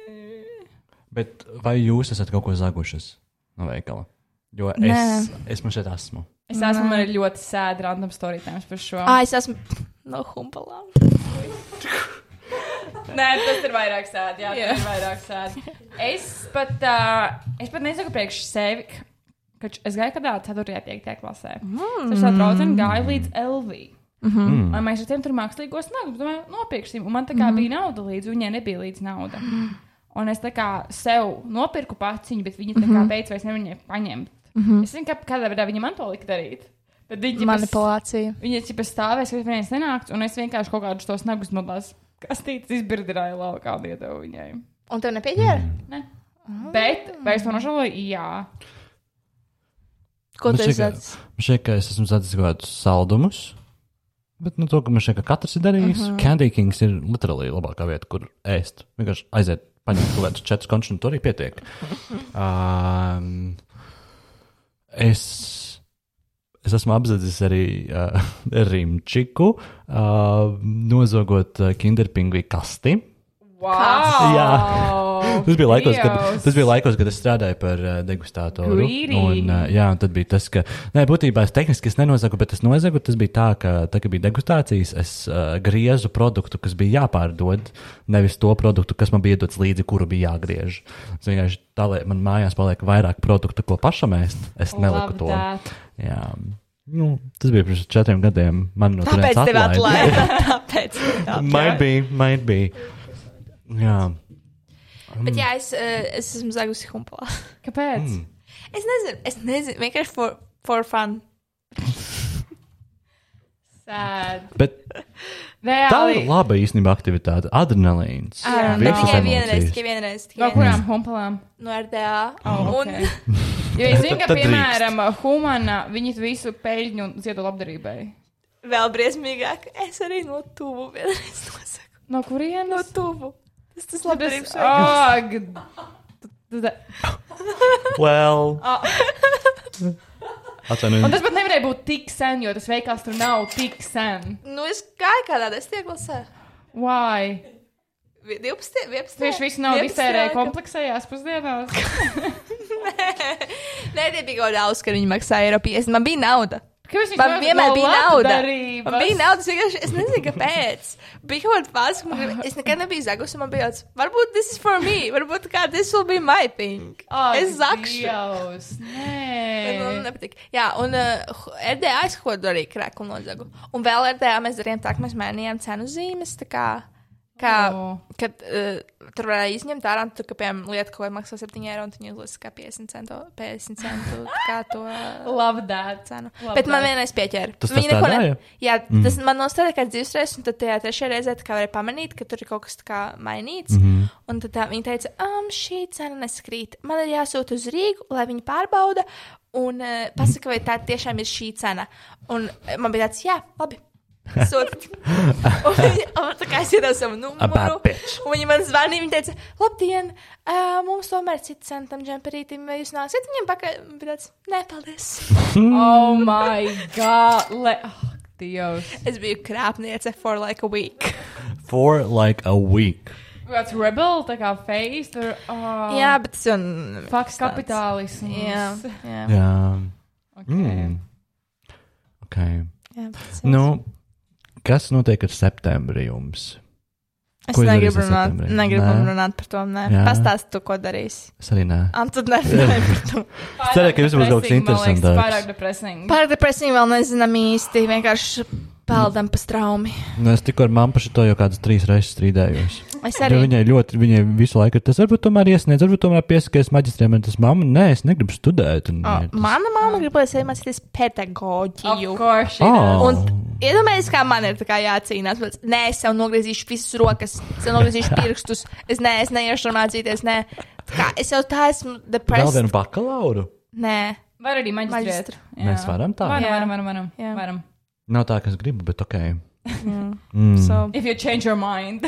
Speaker 1: Bet vai jūs esat kaut ko zagušas no veikala? Jo es,
Speaker 2: Nē.
Speaker 1: es man šeit esmu.
Speaker 3: Es esmu man ir ļoti sēdi random story times par šo.
Speaker 2: Ah, es esmu no Humpalām.
Speaker 3: Nē, tas ir vairāk sēdi. Jā, yeah. tas ir vairāk sēdi. Es pat, uh, es pat nesaku priekš sevi. ka- Kad š- es gāju kādā 4. un 5. klasē. Mm. Es ar draugu gāju līdz LV.
Speaker 2: Mhm.
Speaker 3: Mm. Un mēs ar tiem tur mākslīgos nākam, domāju, nopirksim. Un man tā kā mm. bija nauda līdzi, viņai nebija līdzi nauda. Un es tā kā sev nopirku paciņu, bet viņa tā kā beidz vairs nevienai paņemt.
Speaker 2: Mhm.
Speaker 3: Es zinu, kā- kādā veidā viņa man to lika darīt. Bet viņa ģipas-
Speaker 2: Manipulācija.
Speaker 3: Viņa tikai stāvēs, kad viens nenāks, un es vienkārši kaut kādus tos nagus modās kastītes izbirdināju laukā un iedevu viņai.
Speaker 2: Un tev
Speaker 1: Mm.
Speaker 3: Ah.
Speaker 2: nepieģēra?
Speaker 3: Ne? Bet, vai es to nožēloju? Jā.
Speaker 2: Ko
Speaker 1: Nu,
Speaker 2: tu
Speaker 1: cik-
Speaker 2: izdarīji?
Speaker 1: Man šķiet, ka es esmu redzējis kaut kādus saldumus. Bet nu, to, ka man šeit katrs ir darījis, uh -huh. Candy Kings ir literāli labākā vieta, kur ēst. Vienkārši aiziet, paņemt kaut kādus četrus končus, un tur arī pietiek. Um, es, es esmu apzinājies arī uh, rīmčiku, uh, nozogot uh, kinderpingvī kasti.
Speaker 3: Wow!
Speaker 1: Jā. Tas bija, laikos, kad,
Speaker 3: Dievs!
Speaker 1: tas bija laikos, kad es strādāju par uh, degustatoru.
Speaker 3: Greedy.
Speaker 1: Un, uh, jā, un tad bija tas, ka, nē, būtībā es tehniski es nenozagu, bet es nozagu. Tas bija tā, ka, tā, ka bija degustācijas, es uh, griezu produktu, kas bija jāpārdod, nevis to produktu, kas man bija dots līdzi, kuru bija jāgriež. Es vienkārši tā, lai man mājās paliek vairāk produktu, ko pašam ēst, es neliku
Speaker 3: Love
Speaker 1: to.
Speaker 3: that.
Speaker 1: Jā. Nu, tas bija pirms četriem gadiem. Man no turienes
Speaker 2: Tāpēc tev
Speaker 1: atlaida.
Speaker 2: atlaida. Tāpēc. tā.
Speaker 1: nu, Might be, might be. Jā.
Speaker 2: Bet jā, es, eh, es esmu zagusi humpalā.
Speaker 3: Kāpēc?
Speaker 1: Mm.
Speaker 2: Es nezinu, es nezinu, vienkārši for, for fun.
Speaker 3: Sad.
Speaker 1: Bet Tā
Speaker 3: Reāli.
Speaker 1: ir laba īstenībā aktivitāte. Adrenalīns.
Speaker 3: Ārā,
Speaker 2: Bet
Speaker 1: Visas
Speaker 2: Tikai vienreiz,
Speaker 1: emocijas.
Speaker 2: tikai vienreiz.
Speaker 3: No
Speaker 2: Tikai vienreiz.
Speaker 3: kurām humpalām?
Speaker 2: No RDA.
Speaker 3: Oh,
Speaker 2: Un
Speaker 3: okay. Jo es zinu, ka,
Speaker 1: Tad- tad
Speaker 3: piemēram, humana, viņi visu peļņu ziedo labdarībai.
Speaker 2: vēl briesmīgāk, es arī no tuvu vienreiz nosaku.
Speaker 3: No kurienes?
Speaker 2: No tuvu. Tas tas labdarības
Speaker 3: Labdarības
Speaker 2: veids.
Speaker 3: veids.
Speaker 1: Well.
Speaker 2: Oh.
Speaker 3: Ah. Un
Speaker 1: Atvainojiet.
Speaker 3: tas pat nevarēja būt tik sen, jo tas veikals tur nav tik sen.
Speaker 2: Nu, es gāju kādā desmitajā klasē.
Speaker 3: Why?
Speaker 2: Vi- 12, 11.
Speaker 3: Tieši visu naudu
Speaker 2: 11.
Speaker 3: iztērēja kompleksējās pusdienās.
Speaker 2: Nē, tie bija kaut kāda auska, kad viņi maksāja eiro 50. Man bija nauda.
Speaker 3: Kāpēc viņš
Speaker 2: Man
Speaker 3: nav-
Speaker 2: vienmēr
Speaker 3: no
Speaker 2: bija nauda.
Speaker 3: labdarības?
Speaker 2: Man bija nauda, es vienkārši es nezinu, kāpēc. Bija kaut kāda fāze, kad man grib- es nekad nebiju zagusi. Man bija tāds, varbūt this is for me, varbūt kā this will be my thing.
Speaker 3: Ak,
Speaker 2: es zakšu.
Speaker 3: Dievs,
Speaker 2: Bet Man
Speaker 3: nē.
Speaker 2: nepatīk. Jā, un uh, RDA es ko darīju, krāku un nodegu. Un vēl RDA mēs darījām tā, ka mēs mainījām cenu zīmes. tā Kā, kā,
Speaker 3: O.
Speaker 2: oh. Kad uh, tur varēja izņemt ārā, un tur, ka, piemēram, lieta, ko maksā 7 eiro, un viņi uzlika kā 50 centu, 50 centu tā kā to uh,
Speaker 3: Love that.
Speaker 2: cenu.
Speaker 3: Labi,
Speaker 2: Bet man
Speaker 3: tā.
Speaker 2: vienreiz pieķēra.
Speaker 1: Tas tā Mhm.
Speaker 2: Viņi neko
Speaker 1: strādāja?
Speaker 2: Jā, tas mm. man nostāja kā dzīves reizes, un tad tajā trešajā reizē tā kā varēja pamanīt, ka tur ir kaut kas tā kā mainīts. Mm
Speaker 1: Mhm.
Speaker 2: -hmm. Un tad tā, viņa teica, am, šī cena neskrīt. Man ir jāsūt uz Rīgu, lai viņi pārbauda un uh, pasaka, vai tā tiešām ir šī cena. Un eh, man bija tāds, jā, labi. Sūtiet. un viņa un tā kā es iedodu savu
Speaker 1: A bad
Speaker 2: numuru.
Speaker 1: bitch.
Speaker 2: Un viņa man zvanīja, viņa teica, labdien, uh, mums tomēr ir cits centam džemperītim, vai jūs nāksiet viņam pakaļ? Un bija tāds, nē, paldies.
Speaker 3: Oh my god. Le... Oh, Dievs.
Speaker 2: Es biju krāpniece for like a week.
Speaker 1: For like a week.
Speaker 3: Kāds rebel, tā kā face. Tur, oh,
Speaker 2: Jā, bet tas ir.
Speaker 3: Faks kapitālisms.
Speaker 2: Jā, jā.
Speaker 1: Jā.
Speaker 3: Okay.
Speaker 1: Mm. Ok.
Speaker 2: jā tas ir.
Speaker 1: Nu, kas notiek ar septembrī jums?
Speaker 2: es
Speaker 1: ko jūs
Speaker 2: negribu
Speaker 1: darīsiet
Speaker 2: runāt,
Speaker 1: septembrī?
Speaker 2: negribu
Speaker 1: Nē.
Speaker 2: runāt par to. Nē,
Speaker 1: Jā.
Speaker 2: pastāst, tu, ko darīsi.
Speaker 1: Es arī nē.
Speaker 2: Antūri nerunāju par to.
Speaker 3: Pārāk
Speaker 1: Cerēju, ka jums būs kaut kas
Speaker 3: depresīgi, man liekas,
Speaker 1: interesantāks.
Speaker 3: Pārāk depresīgi.
Speaker 2: Par depresiju vēl nezinām īsti. Vienkārši peldam pa straumi.
Speaker 1: Nu, es tikko ar mammu par šo jau kādas trīs reizes strīdējos.
Speaker 2: Es
Speaker 1: Jo
Speaker 2: arī.
Speaker 1: viņai ļoti, viņai visu laiku ir tas, varbūt tomēr iesniedz, varbūt tomēr piesakies maģistriem, un tas mamma, nē, es negribu studēt. Un,
Speaker 2: Oh,
Speaker 1: nē, tas...
Speaker 2: mana mamma grib, lai es mācītos
Speaker 3: Of
Speaker 2: pedagoģiju.
Speaker 3: course she
Speaker 1: Oh.
Speaker 3: does.
Speaker 2: Un iedomājieties, kā man ir tā kā jācīnās. Bet, nē, es jau nogriezīšu visas rokas, es jau nogriezīšu pirkstus. Es, nē, es neiešu tur mācīties. Nē, Tā kā, es jau tā esmu
Speaker 1: Vēl
Speaker 2: depresija.
Speaker 1: vienu bakalauru?
Speaker 2: Nē,
Speaker 3: Var arī maģistrēt.
Speaker 2: Maģistru.
Speaker 3: Jā.
Speaker 1: Mēs varam tā?
Speaker 3: Varam,
Speaker 2: Jā.
Speaker 3: varam, varam, varam.
Speaker 2: Jā.
Speaker 3: varam.
Speaker 1: Nav tā, kas gribu, bet ok. Mm.
Speaker 2: so.
Speaker 3: If you change your mind.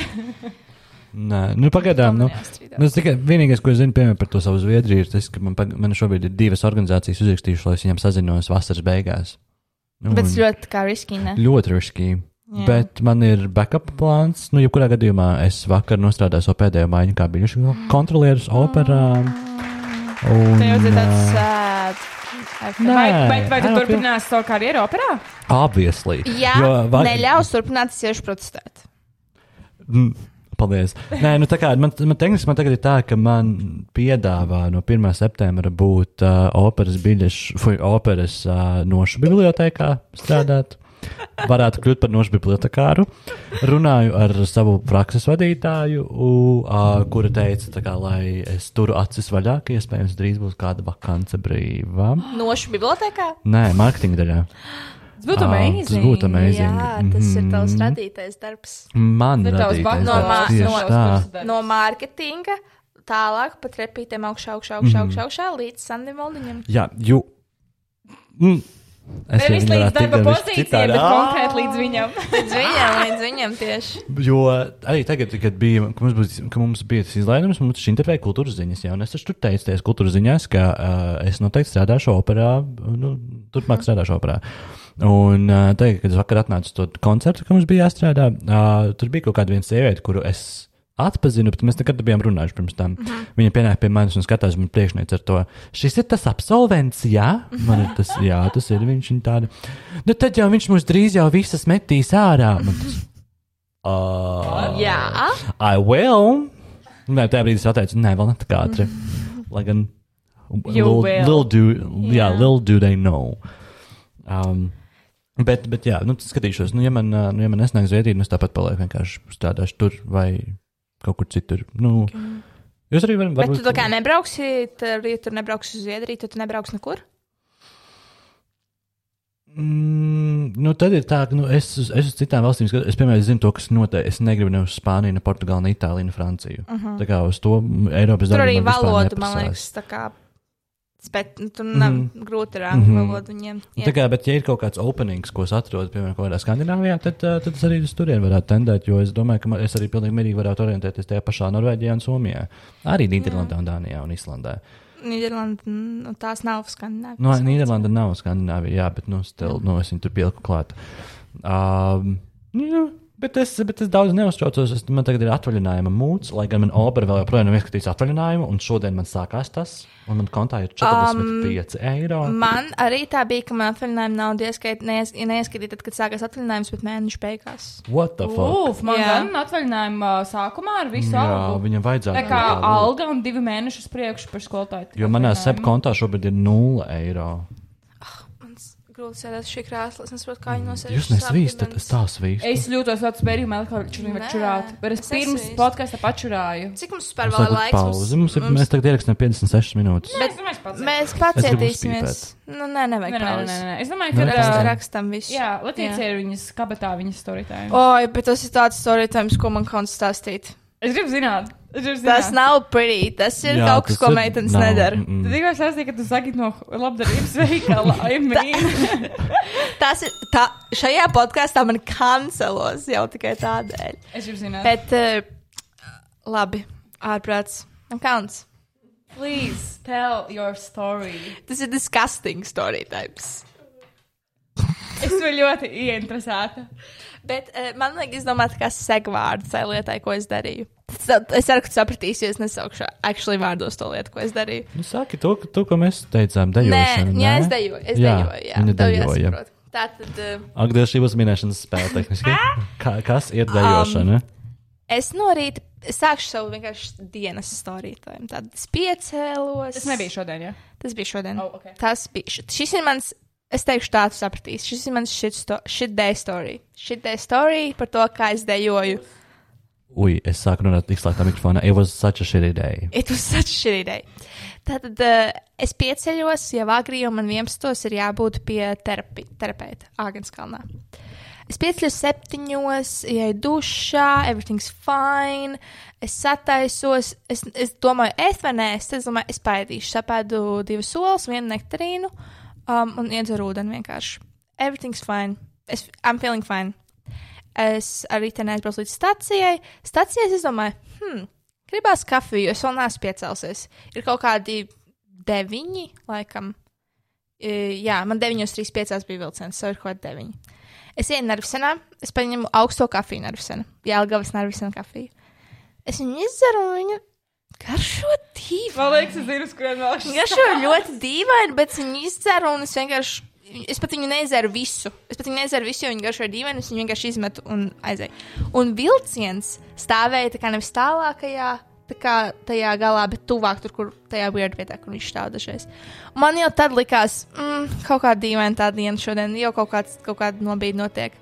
Speaker 1: Nē, nu pagaidām, nu. Nu, es tikai vienīgais, ko es zinu piemēram, par to savu Zviedriju, ir tas, ka man, pag- man šobrīd ir divas organizācijas uzrakstījušas, lai es viņām sazinos vasaras beigās. Nu,
Speaker 2: Bet
Speaker 1: un
Speaker 2: tas ļoti kā riskīgi.
Speaker 1: ļoti riskīgi.
Speaker 2: Jā.
Speaker 1: Bet man ir backup plāns. Nu, jebkurā gadījumā es vakar nostrādāju savu pēdējo maiņu kā biļešu kontrolieris operā. Un,
Speaker 2: Mm. Tā jau ir tāds
Speaker 1: ā,
Speaker 2: sēd.
Speaker 1: Nē.
Speaker 3: Vai, vai, vai tu
Speaker 1: I don't feel-
Speaker 3: turpinās savu karjeru operā?
Speaker 1: obviously.
Speaker 2: uh, Jā,
Speaker 1: Jo va-
Speaker 2: neļaus turpināt siešu protestēt.
Speaker 1: Mm, Paldies. Nē, nu tā kā man, man tehniski man tagad ir tā, ka man piedāvā no 1. septembra būt uh, operas biļešu, fui, operas uh, nošu bibliotekā strādāt. Varētu kļūt par nošu bibliotekāru. Runāju ar savu prakses vadītāju, u, uh, kura teica, tā kā, lai es turu acis vaļā, ka iespējams drīz būs kāda vakance brīvā.
Speaker 2: Nošu bibliotekā?
Speaker 1: Nē, mārketinga daļā.
Speaker 3: Tas būtu
Speaker 1: Ā,
Speaker 3: amazing.
Speaker 1: tas būtu amazing.
Speaker 2: Jā, tas
Speaker 1: Mhm.
Speaker 2: ir tavs radītais darbs.
Speaker 1: Man
Speaker 3: Bet tavs
Speaker 1: radītais
Speaker 3: bak- no
Speaker 1: darbs,
Speaker 2: mā-
Speaker 1: tieši
Speaker 2: no-
Speaker 1: tā.
Speaker 2: No mārketinga
Speaker 1: Mhm.
Speaker 2: tālāk pa trepītēm augšā, augšā, augšā, augšā, augšā līdz Sandim Valdiņam.
Speaker 1: Jā, jo Mm. Es
Speaker 3: Nevis
Speaker 1: viņu
Speaker 3: līdz
Speaker 1: varētu
Speaker 3: darba
Speaker 1: tikt, nevis
Speaker 3: pozīcijai,
Speaker 1: citādi.
Speaker 3: bet
Speaker 1: Ā!
Speaker 3: konkrēti līdz viņam.
Speaker 2: Līdz viņam, līdz viņam tieši.
Speaker 1: Jo arī tagad, kad bija, ka mums, būs, ka mums bija tas izlaidums, mums taču intervēja kultūras ziņas. Jā, un es taču tur teicu, tajās kultūras ziņās, ka uh, es noteikti strādāšu operā, nu, turpmāk strādāšu operā. Un uh, tagad, kad es vakar atnācu to koncertu, ka mums bija jāstrādā, uh, tur bija kaut kāda viena sieviete, kuru es atpazinu, bet mēs nekad nebijām runājuši pirms tam. Mm -hmm. Viņa pienāca pie manis un skatās man priekšnieci ar to. Šis ir tas absolvents, jā, man ir tas, jā, tas ir viņš un tāda. Nu tad jau viņš mūs drīz jau visas metīs ārā. Man Tas, uh,
Speaker 2: Jā,
Speaker 1: I will. Nē, tajā brīdī es pateicu, nē, vēl ne tā kā ātri. Lai gan,
Speaker 3: You
Speaker 1: little,
Speaker 3: will.
Speaker 1: little do, yeah,
Speaker 3: Jā.
Speaker 1: little do they know. Um, bet, bet, jā, nu, skatīšos, nu, ja man, ā, nu, ja man nesnāk Zviedrija, nu, es tāpat palieku vienkārši strādāšu tur vai kaut kur citur. Nu, jūs arī varat,
Speaker 2: bet
Speaker 1: varbūt.
Speaker 2: tu tā kā nebrauksi, tad, ja tur nebrauksi uz Zviedriju, tad tu nebrauksi nekur.
Speaker 1: Mm, nu, tad ir tā, ka nu, es, uz- es uz citām valstīm skatos, es piemēram zinu to, kas notiek. Es negribu ne uz Spāniju, ne Portugāli, ne Itāliju, ne Franciju. Uh -huh. Tā kā uz to mm, Eiropas
Speaker 2: Mhm. Tur
Speaker 1: darbu
Speaker 2: arī
Speaker 1: man vispār
Speaker 2: valoda, man
Speaker 1: neprasās.
Speaker 2: liekas, tā kā. Bet nu, tur nav mm
Speaker 1: Mhm.
Speaker 2: -hmm. grūti ar angļu
Speaker 1: Mhm.
Speaker 2: valodu viņiem.
Speaker 1: Nu,
Speaker 2: iet.
Speaker 1: Tā kā, bet, ja ir kaut kāds openings, ko es atrodu, piemēram, kaut kādā Skandināvijā, tad, ā, tad es arī uz turieni varētu tendēt, jo es domāju, ka man, es arī pilnīgi mierīgi varētu orientēties tajā pašā Norvēģijā un Somijā. Arī Nīderlandē, un Dānijā un Islandē.
Speaker 2: Nīderlanda, nu, tās nav skandināvas.
Speaker 1: No Nīderlanda nav Skandināvija, jā, bet, nu, stil, nu es viņu tur pieliku klāt. Um, jā, bet, es, bet es daudz neuztraucos. Es, man tagad ir atvaļinājuma mūts, lai gan man opera vēl joprojām nav ieskatījis atvaļinājumu, un šodien man sākās tas, un man kontā ir 45 um, eiro.
Speaker 2: Man arī tā bija, ka man atvaļinājuma naudu ieskait, neies, ja neieskaitīt, tad, kad sākās atvaļinājums, bet mēnešu beigās.
Speaker 1: What the fuck?
Speaker 3: Uf, man
Speaker 2: Jā.
Speaker 3: gan atvaļinājuma sākumā ar visu
Speaker 1: Jā,
Speaker 3: algu.
Speaker 1: viņam vajadzētu
Speaker 3: Tā kā
Speaker 1: kaut kā
Speaker 3: alga un divi mēneši uz priekšu par skolotāju.
Speaker 1: Jo manā
Speaker 3: atvaļinājumu.
Speaker 1: sep kontā šobrīd ir 0 eiro.
Speaker 2: Mans grūti sēdēt šī krēsla, es nesaprotu, kā viņi nosēž.
Speaker 1: Mm, Jūs nesvīstat, es tā svīstu.
Speaker 3: Es jūtos vecā bērnībā, kā viņš
Speaker 2: Nē,
Speaker 3: bija čurāt. Bet es
Speaker 2: es
Speaker 3: pirms
Speaker 2: esmu-
Speaker 3: podkāsta pačurāju.
Speaker 2: Cik mums vispār
Speaker 1: Mums
Speaker 2: vēl
Speaker 1: tagad
Speaker 2: ir
Speaker 1: būs
Speaker 2: laiks?
Speaker 1: pauze. Mums ir, mēs tagad ierakstam 56 minūtes.
Speaker 3: Bet, es domāju, ka
Speaker 2: mēs
Speaker 1: gribu
Speaker 2: pacietīsimies. Nu, nē,
Speaker 3: Nē,
Speaker 2: nevajag
Speaker 3: nē, nē,
Speaker 2: pauzi.
Speaker 3: nē. Es domāju,
Speaker 1: Nu,
Speaker 3: ka
Speaker 1: nē.
Speaker 2: Mēs
Speaker 1: Nē.
Speaker 3: tā-
Speaker 2: rakstam visu.
Speaker 3: jā, Latvijas ir viņas kabatā, viņas storytājiem.
Speaker 2: Oi, bet tas ir tāds storytājums, ko man kauns stāstīt.
Speaker 3: Es gribu zināt, es gribu zināt.
Speaker 2: Tas nav pretty, tas ir
Speaker 1: Jā,
Speaker 2: kaut
Speaker 1: tas
Speaker 2: kas, ko
Speaker 1: ir-
Speaker 2: meitenes
Speaker 1: nav,
Speaker 2: nedara.
Speaker 1: mm,
Speaker 3: Tad
Speaker 1: mm.
Speaker 3: tikko sasniedz, ka tu saki no labdarības veikala, aimīgi.
Speaker 2: Tas ir, tā, šajā podkāstā man kancelos jau tikai tādēļ.
Speaker 3: Es gribu zināt.
Speaker 2: Bet, eh, labi, ārprāts. Man kauns.
Speaker 3: Please tell your story.
Speaker 2: Tas ir disgusting storytājums.
Speaker 3: Es esmu ļoti ieinteresēta.
Speaker 2: Bet eh, man liekas, izdomāt, kas segvārds tai lietai, ko es darīju. Tas- Es ceru, ka tu sapratīsi, jo es nesaukšu actually vārdos to lietu, ko es darīju.
Speaker 1: Nu, saki to, ka- to, ko mēs teicām, dejošana.
Speaker 2: Nē, jā, es dejoju. Es
Speaker 1: Jā,
Speaker 2: dejoju, jā.
Speaker 1: viņa
Speaker 2: Tev
Speaker 1: dejoja.
Speaker 2: jāsaprot. Tā tad eh,
Speaker 1: Ak, Dievs, šī būs minēšanas spēle tehniski. Kā, kas
Speaker 2: Um.
Speaker 1: ir dejošana?
Speaker 2: es no rīta es sākšu savu vienkārši dienas storītājumu. Tad es piecēlos.
Speaker 3: Tas nebija šodien, jā.
Speaker 2: Tas bija šodien.
Speaker 3: Oh, ok.
Speaker 2: Tas bija. š- Šis ir mans, es teikšu, tāds sapratīs. Šis ir mans shit, sto, shit day story. Shit day story par to, kā es dejoju.
Speaker 1: Ui, es sāku runāt izslēgtā mikrofonā. It was such a shitty day.
Speaker 2: It was such a shitty day. Tātad uh, es pieceļos jau agri, jo man 11. ir jābūt pie terapi, terapeita Āgānskalnā. Es pieceļos septiņos, ieju dušā, everything's fine. Es sataisos, es, es domāju, es vai nē, es tad domāju, es pēdīšu. Sapēdu divas olas, vienu nektarīnu um, un iedzeru ūdeni vienkārši. Everything's fine. Es, I'm feeling fine. Es arī te neaizbraucu līdz stacijai. Stacijai es domāju, hmm, gribās kafiju, jo es vēl neesmu piecēlusies. Ir kaut kādi deviņi, laikam. E, Jā, man 9,35 bija vilciens, jau ir kaut kādi deviņi. Es ienāku nervusēnā, es paņemu augsto kafiju nervusēnu, Jēlgavas nervusēnu kafiju. Es viņu izdaru un viņa garšo tīvi.
Speaker 3: Man liekas, es zinu, skrien vēl
Speaker 2: Viņa
Speaker 3: šis.
Speaker 2: garšo ļoti dīvaini, bet viņi izdzēra un es vienkārši. Es pat viņu nedzēru visu. Es pat viņu nedzēru visu, jo viņi garšo dīvaini. Es viņu vienkārši izmetu un aizēju. Un vilciens stāvēja tā kā nevis tālākajā. Tā kā tajā galā, bet tuvāk tur, kur tajā weird vietā, kur viņš stāv dažreiz. Man jau tad likās, mm, kaut kāda dīvaina tā diena šodien, jau kaut, kāds, kaut kāda nobīde notiek.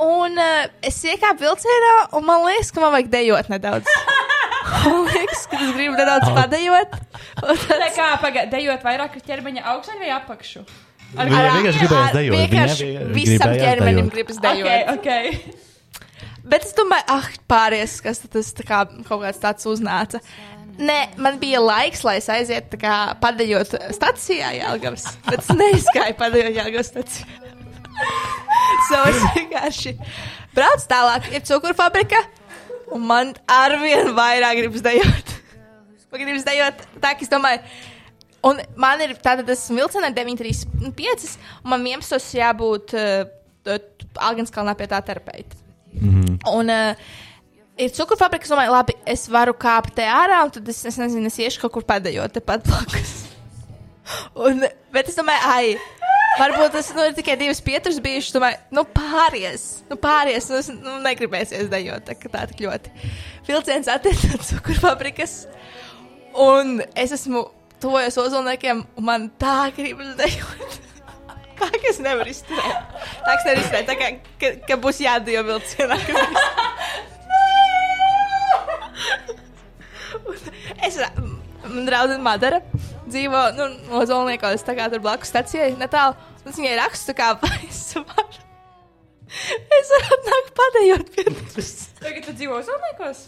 Speaker 2: Un uh, es iekāpu vilcienā, un man liekas, ka man vajag dejot nedaudz. man liekas, ka es gribu nedaudz padejot. Un tad-
Speaker 3: Tā kā pagaidējot vairāk ar ķermeņa augšā vai apakšu.
Speaker 1: Viņa vienkārši gribēja
Speaker 2: Ar-
Speaker 1: dejot. Viņa
Speaker 2: Vienkārši
Speaker 1: vienkārši
Speaker 2: visam
Speaker 1: gribēja
Speaker 2: ķermenim
Speaker 1: dejot.
Speaker 2: gribas
Speaker 3: Ok,
Speaker 2: dejot.
Speaker 3: ok.
Speaker 2: Bet es domāju, ah, pāries, kas tad tas tā kā, kaut kāds tāds uznāca. Nē, man bija laiks, lai es aizietu tā kā padējot stacijā Jālgavas. Bet es neizgāju padējot Jālgavas stacijā. so es vienkārši braucu tālāk, ir cukurfabrika, un man arvien vairāk gribas dejot. Man gribas dejot tā, ka es domāju. Un man ir tāda vilciena 9,35, un man 11 jābūt uh, Alganskalnā pie tā terapeita. Mm -hmm. Un uh, ir cukurfabrika, es domāju, labi, es varu kāpt te ārā, un tad es, es nezinu, es iešu kaut kur pēdējot tepat blakus. Un, bet es domāju, ai, varbūt tas nu, ir tikai divas pieturas bijušas. Domāju, nu pāries, nu pāries, nu, es, nu negribēsies dejot tā, tā tik ļoti. Vilciens attiec no cukurfabrikas, un es esmu tuvojas ozolniekiem, un man tā gribas dejot. Tā kā es nevaru izturēt. Tā kā es nevaru izturēt, tā kā ka, ka būs jādejo vilcienā. ka būs- Es man draudzene Madara dzīvo nu, Ozolniekos, tā kā tur blakus stacijai netālu. Un Es viņai rakstu, kā vai es varu. Es varu atnākt padējot pie tevis.
Speaker 3: Tagad tu dzīvo Zvaigznes.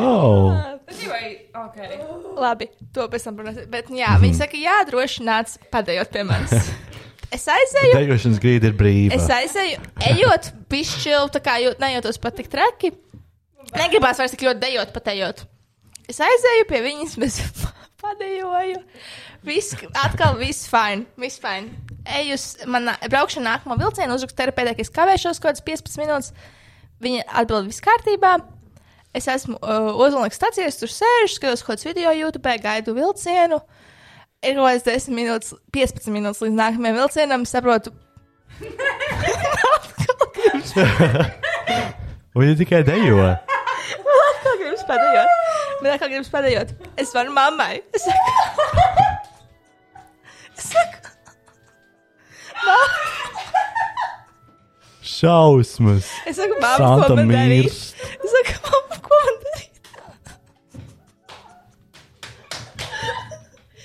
Speaker 1: Oh.
Speaker 3: Tu dzīvoji. Okay.
Speaker 2: Labi, to pēc tam parunāsim. Bet jā, viņi saka, jā, droši nāc padējot pie manis. Es aizēju,
Speaker 1: Dejošanas grīda ir brīva.
Speaker 2: es aizēju, ejot, pišķilu, tā kā jūt, nejūtos pat tik traki. Negribās vairs tik ļoti dejot, patējot. Es aizēju pie viņas, bez padejoju. Viss, atkal viss fine, viss fine. Eju, uz- man braukšu nākamo vilcienu, uzrakstu terapeitē, ka es kavēšos kaut kādas 15 minūtes. Viņa atbild viss kārtībā. Es esmu uh, Ozolnieks stācijā, es tur sēžu, skatos kaut kādus video YouTube, gaidu vilcienu. Ir kaut kāds 10 minūtes, 15 minūtes līdz nākamajam vilcienam, saprotu. Atkal gribas
Speaker 1: Un viņi tikai dejo.
Speaker 2: Man atkal gribas padējot. Man atkal gribas padējot. Es varu mammai. Es saku, es saku
Speaker 1: Šausmas.
Speaker 2: es saku mamma, ko
Speaker 1: Santa
Speaker 2: man darīt?
Speaker 1: mīrs.
Speaker 2: Es saku, mamma, ko man darīt?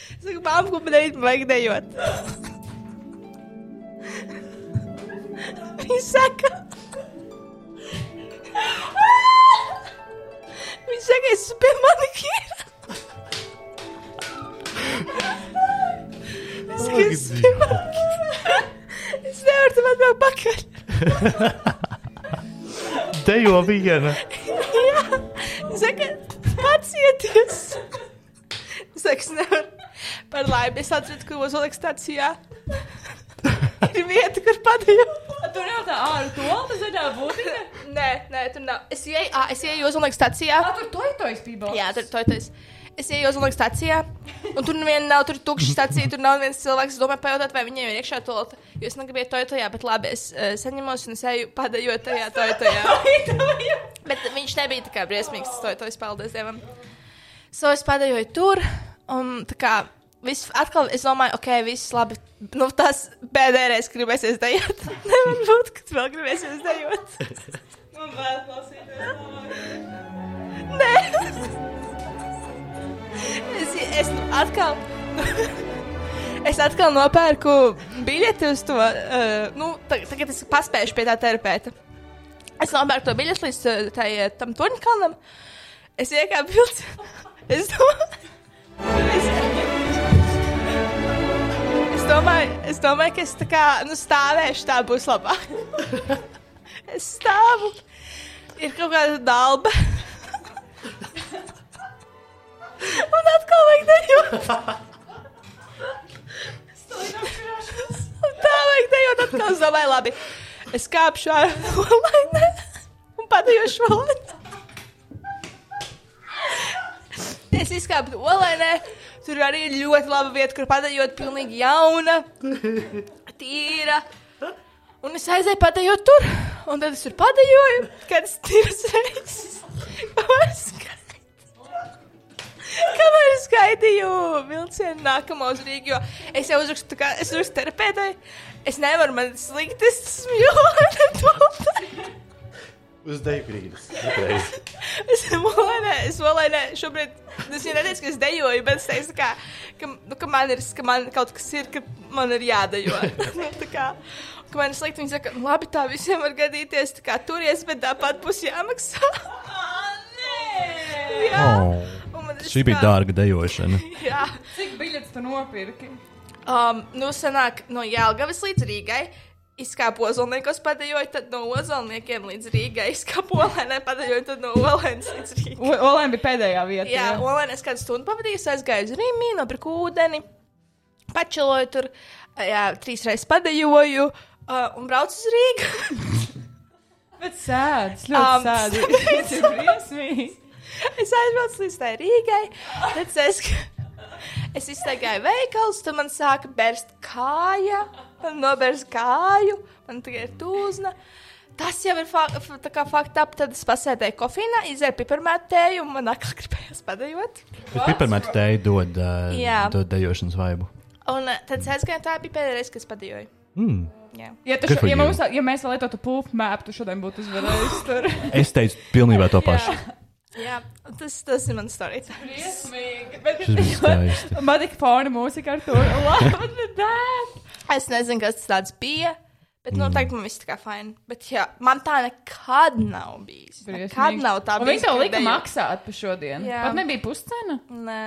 Speaker 2: Es saku, mamma, ko man darīt, man vajag dejot. Viņa saka, viņa saka, es esmu pie manikīra. Es saku, es esmu pie manikīra. Es nevaru tev atbraukt pakaļ.
Speaker 1: Dejo viena.
Speaker 2: Jā, saka, pacieties! Saka, es nevaru. Par laimi, es atradu, kur uz Olimpas stācijā ir vieta, kur padēju.
Speaker 3: Tur jau tā ārā tualeta zaļā būtība.
Speaker 2: Nē, nē, tur nav. Es ieju, ā, es ieju uz Olimpas stācijā.
Speaker 3: Tā tur to ir to izpildījis.
Speaker 2: Jā, tur to tas. Es ieju uz Olimpas stācijā, un tur neviena nav, tur ir tukša stācija, tur nav viens cilvēks. Es domāju, pajautāt, vai viņiem ir iekšā tolta. Jo es negribu iet to tajā, bet labi, es uh, saņemos un es eju padējot tajā, to tajā. Bet viņš nebija tā kā briesmīgs. To, to es paldies Dievam. So es pēdējoju tur, un tā kā viss atkal, es domāju, ok, viss labi. Nu, tas pēdējais gribēsies dejot. Nevar būt, ka tu vēl gribēsies dejot. Man vēl klausīties. Nē, es, es atkal. Es atkal nopērku biļeti uz to. Uh, nu, tag- tagad es paspēju pie tā terapeita. Es nopērku to biļeti līdz uh, tai, uh, tam turnikalam. Es iekāpu vilcienā. Es domāju, es, es domāju, es domāju, ka es tā kā nu, stāvēšu, tā būs labāk. Es stāvu. Ir kaut kāda dalba. Un atkal vajag dejot. Un tā vajag dejot atkal. Es domāju, labi. Es kāpšu ar volainē un padejošu volainē. Es izkāpu olainē. Tur arī ir ļoti laba vieta, kur padejot pilnīgi jauna, tīra. Un es aizēju padejot tur. Un tad es tur padejoju, kad es divas reizes. Kamēr skait- Kamēr es skaitīju vilcienu nākamo uz Rīgā, jo es jau uzrakstu, tā kā es uzrakstu terapeitai, es nevaru, man ir slikti, es esmu jūtas.
Speaker 5: Uz deju grīdas. Reiz.
Speaker 2: Es domāju, es domāju, šobrīd es jau neteicu, ka es dejoju, bet es teicu, ka, ka, nu, ka, man ir, ka man kaut kas ir, ka man ir jādejo. Nu, tā kā, ka man ir slikti, viņi saka, "Nu, labi, tā visiem var gadīties, tā kā turies, bet tāpat būs jāmaksā.
Speaker 3: Nē!
Speaker 2: Jā,
Speaker 1: Oh.
Speaker 2: un man
Speaker 1: Šī bija dārga dejošana.
Speaker 2: Jā.
Speaker 3: Cik biļetes tu nopirki?
Speaker 2: Um, nu, senāk no Jālgavas līdz Rīgai. Izkāpu ozolniekos padaļoju, tad no ozolniekiem līdz Rīgai. Izkāpu olēnē padaļoju, tad no olēnas līdz Rīgai.
Speaker 3: O- Olēna bija pēdējā vieta.
Speaker 2: Jā, olēnē es kādu stundu pavadīju, es aizgāju uz Rīgā, nopirku ūdeni, pačeloju tur, jā, trīs reizes padaļoju uh, un braucu uz Rīgā.
Speaker 3: Bet sēdz,
Speaker 2: Am,
Speaker 3: ļoti sēdz. Tas ir briesmīgi.
Speaker 2: es aizbraucu līdz tai Rīgai, tad es. Es izsmeļoju veikalu, tad man sāka bērst kāja, man nobērst kāju, man tikai ir tūzna. Tas jau ir fa fa- tā kā fakts, tad es pasēdēju kofīnā, izēju piparmētēju, un man atkal gribējās padējot.
Speaker 1: Bet piparmēta tēja dod, uh,
Speaker 2: Jā.
Speaker 1: dod dejošanas vaibu.
Speaker 2: Un eh, tad es aizgāju, tā bija pēdējā reize, kad es padējoju.
Speaker 1: Mm.
Speaker 2: Jā.
Speaker 3: Ja, tu
Speaker 1: Good
Speaker 3: šo,
Speaker 1: for
Speaker 3: ja,
Speaker 1: you.
Speaker 3: mums, ja mēs vēl lietotu pūpu mēpu, tu šodien būtu uzvarējis. Tur.
Speaker 1: Es teicu pilnībā to pašu.
Speaker 2: Jā, tas, tas ir mans stāsts.
Speaker 3: Briesmīgi. Bet
Speaker 1: Tas bija skaisti.
Speaker 3: Matika fona mūzika ar to. Labi, bet dēļ.
Speaker 2: Es nezinu, kas tas tāds bija. Bet
Speaker 3: Mm.
Speaker 2: noteikti man viss tā kā fini. Bet jā, man tā nekad nav bijis. Nekad nav tā
Speaker 3: Un
Speaker 2: bijis.
Speaker 3: Viņi tev
Speaker 2: ka
Speaker 3: lika
Speaker 2: dejo-
Speaker 3: maksāt par šodienu.
Speaker 2: Jā.
Speaker 3: Jā. Pat nebija puscena.
Speaker 2: Nē,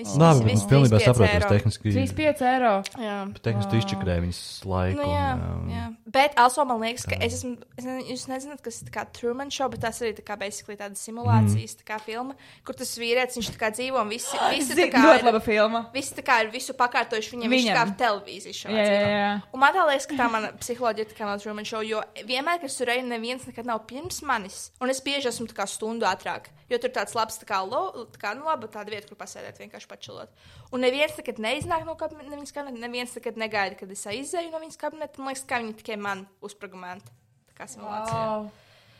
Speaker 2: viss bija.
Speaker 1: Labi, bet es nu, pilnībā saprotu, tehniski.
Speaker 3: 3,5 eiro.
Speaker 2: Jā.
Speaker 1: Tehniski izčakrēja viņas laiku.
Speaker 2: Nu, jā,
Speaker 1: un, um,
Speaker 2: jā. Bet also, man liekas, ka es esmu. Es nezinu, jūs nezināt, kas ir tā kā Truman Show, bet tas arī tā kā basically tāda simulācijas mm. tā kā filma, kur tas vīrietis viņš tā kā dzīvo un visi, visi tā
Speaker 3: Zini,
Speaker 2: kā.
Speaker 3: Ļoti
Speaker 2: ir-
Speaker 3: laba filma.
Speaker 2: Visi tā kā ir visu pakārtojuši viņam, viņš tā kā
Speaker 3: Viņam.
Speaker 2: ir televīzijas šovā.
Speaker 3: Jā, jā,
Speaker 2: dzīvo.
Speaker 3: jā.
Speaker 2: Un man tā liekas, ka tā mana psiholoģija ir tā kā no Truman Show, jo vienmēr, kad es tur eju, neviens nekad nav pirms manis. Un es bieži esmu tā kā stundu ātrāk, jo tur tāds labs, tā kā, lo, tā kā nu, laba tāda vieta, kur pasēdēt, vienkārši pačilot. Un neviens nekad neiznāk no kab- no viņas kabineta, neviens nekad negaida, kad es aizēju no viņas kabineta. Man liekas, ka viņi tikai man uzprogrammēta. Tā kā simulācija.
Speaker 3: Wow.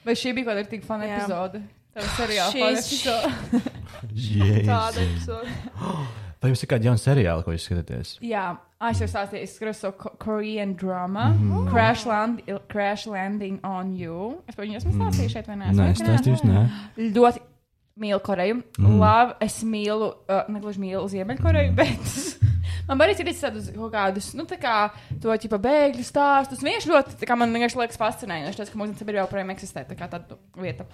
Speaker 3: Vai šī bija kaut kāda tik fana
Speaker 2: Jā.
Speaker 3: epizode? Tev seriāla
Speaker 2: Šis-
Speaker 3: fana epizode.
Speaker 1: Jēzus.
Speaker 2: Tāda epizode.
Speaker 1: Vai jums ir kāda jauna seriāla, ko jūs skatāties?
Speaker 3: Jā, ah, es jau stāstīju, es skatos to ko- Korean drama. Mm -hmm. crash, land, crash Landing on You. Es par viņu esmu stāstījis šeit, vai ne?
Speaker 1: Nē, es
Speaker 3: Vai ne?
Speaker 1: stāstīju, nē.
Speaker 3: Ļoti mīlu Koreju. Mm. Labi, es mīlu, uh, ne gluži mīlu Ziemeļkoreju, bet. Man arī ir izsmeļs kaut kādus, nu, tā kā to tipa bēgļu stāstus. Viņš ļoti, tā kā man vienkārši liekas fascinējoši, tas, ka mūsu sabiedrībā joprojām eksistē tā kā tāda vieta.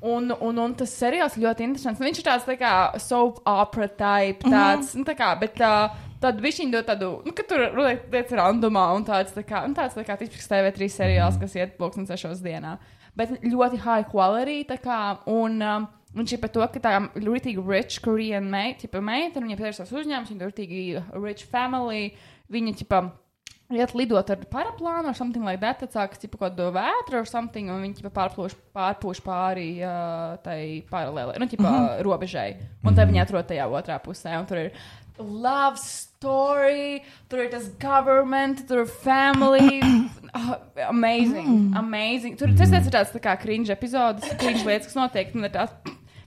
Speaker 3: Un, un, un tas seriāls ir ļoti interesants. Nu, Viņš ir tāds, tā kā soap opera type, tāds, mm -hmm. nu, tā kā, bet tā, tad viņš viņu dod tādu, nu, ka tur liek- lietas ir randumā, un tāds, tā kā, nu, tāds, tā kā tipisks TV3 seriāls, kas iet pulksten sešos dienā. Bet ļoti high quality, tā kā, un. Um, Un šī par to, ka tā ir rītīgi rich Korean mei- tipa meita, un viņa pieder savus uzņēmumus, viņa ir rītīgi rich family, viņa tipa. Iet lidot ar paraplānu, ar something like that, tad sākas tipa kaut kāda vētra or something, un viņi tipa pārplūš, pārpūš pāri uh, tai paralēlē, nu, tipa mm -hmm. robežai. Un tad viņi atrod tajā otrā pusē, un tur ir love story, tur ir tas government, tur ir family, Ah, amazing, amazing. Tur tas ir tāds tā kā cringe epizodes, cringe lietas, kas notiek, un ir tās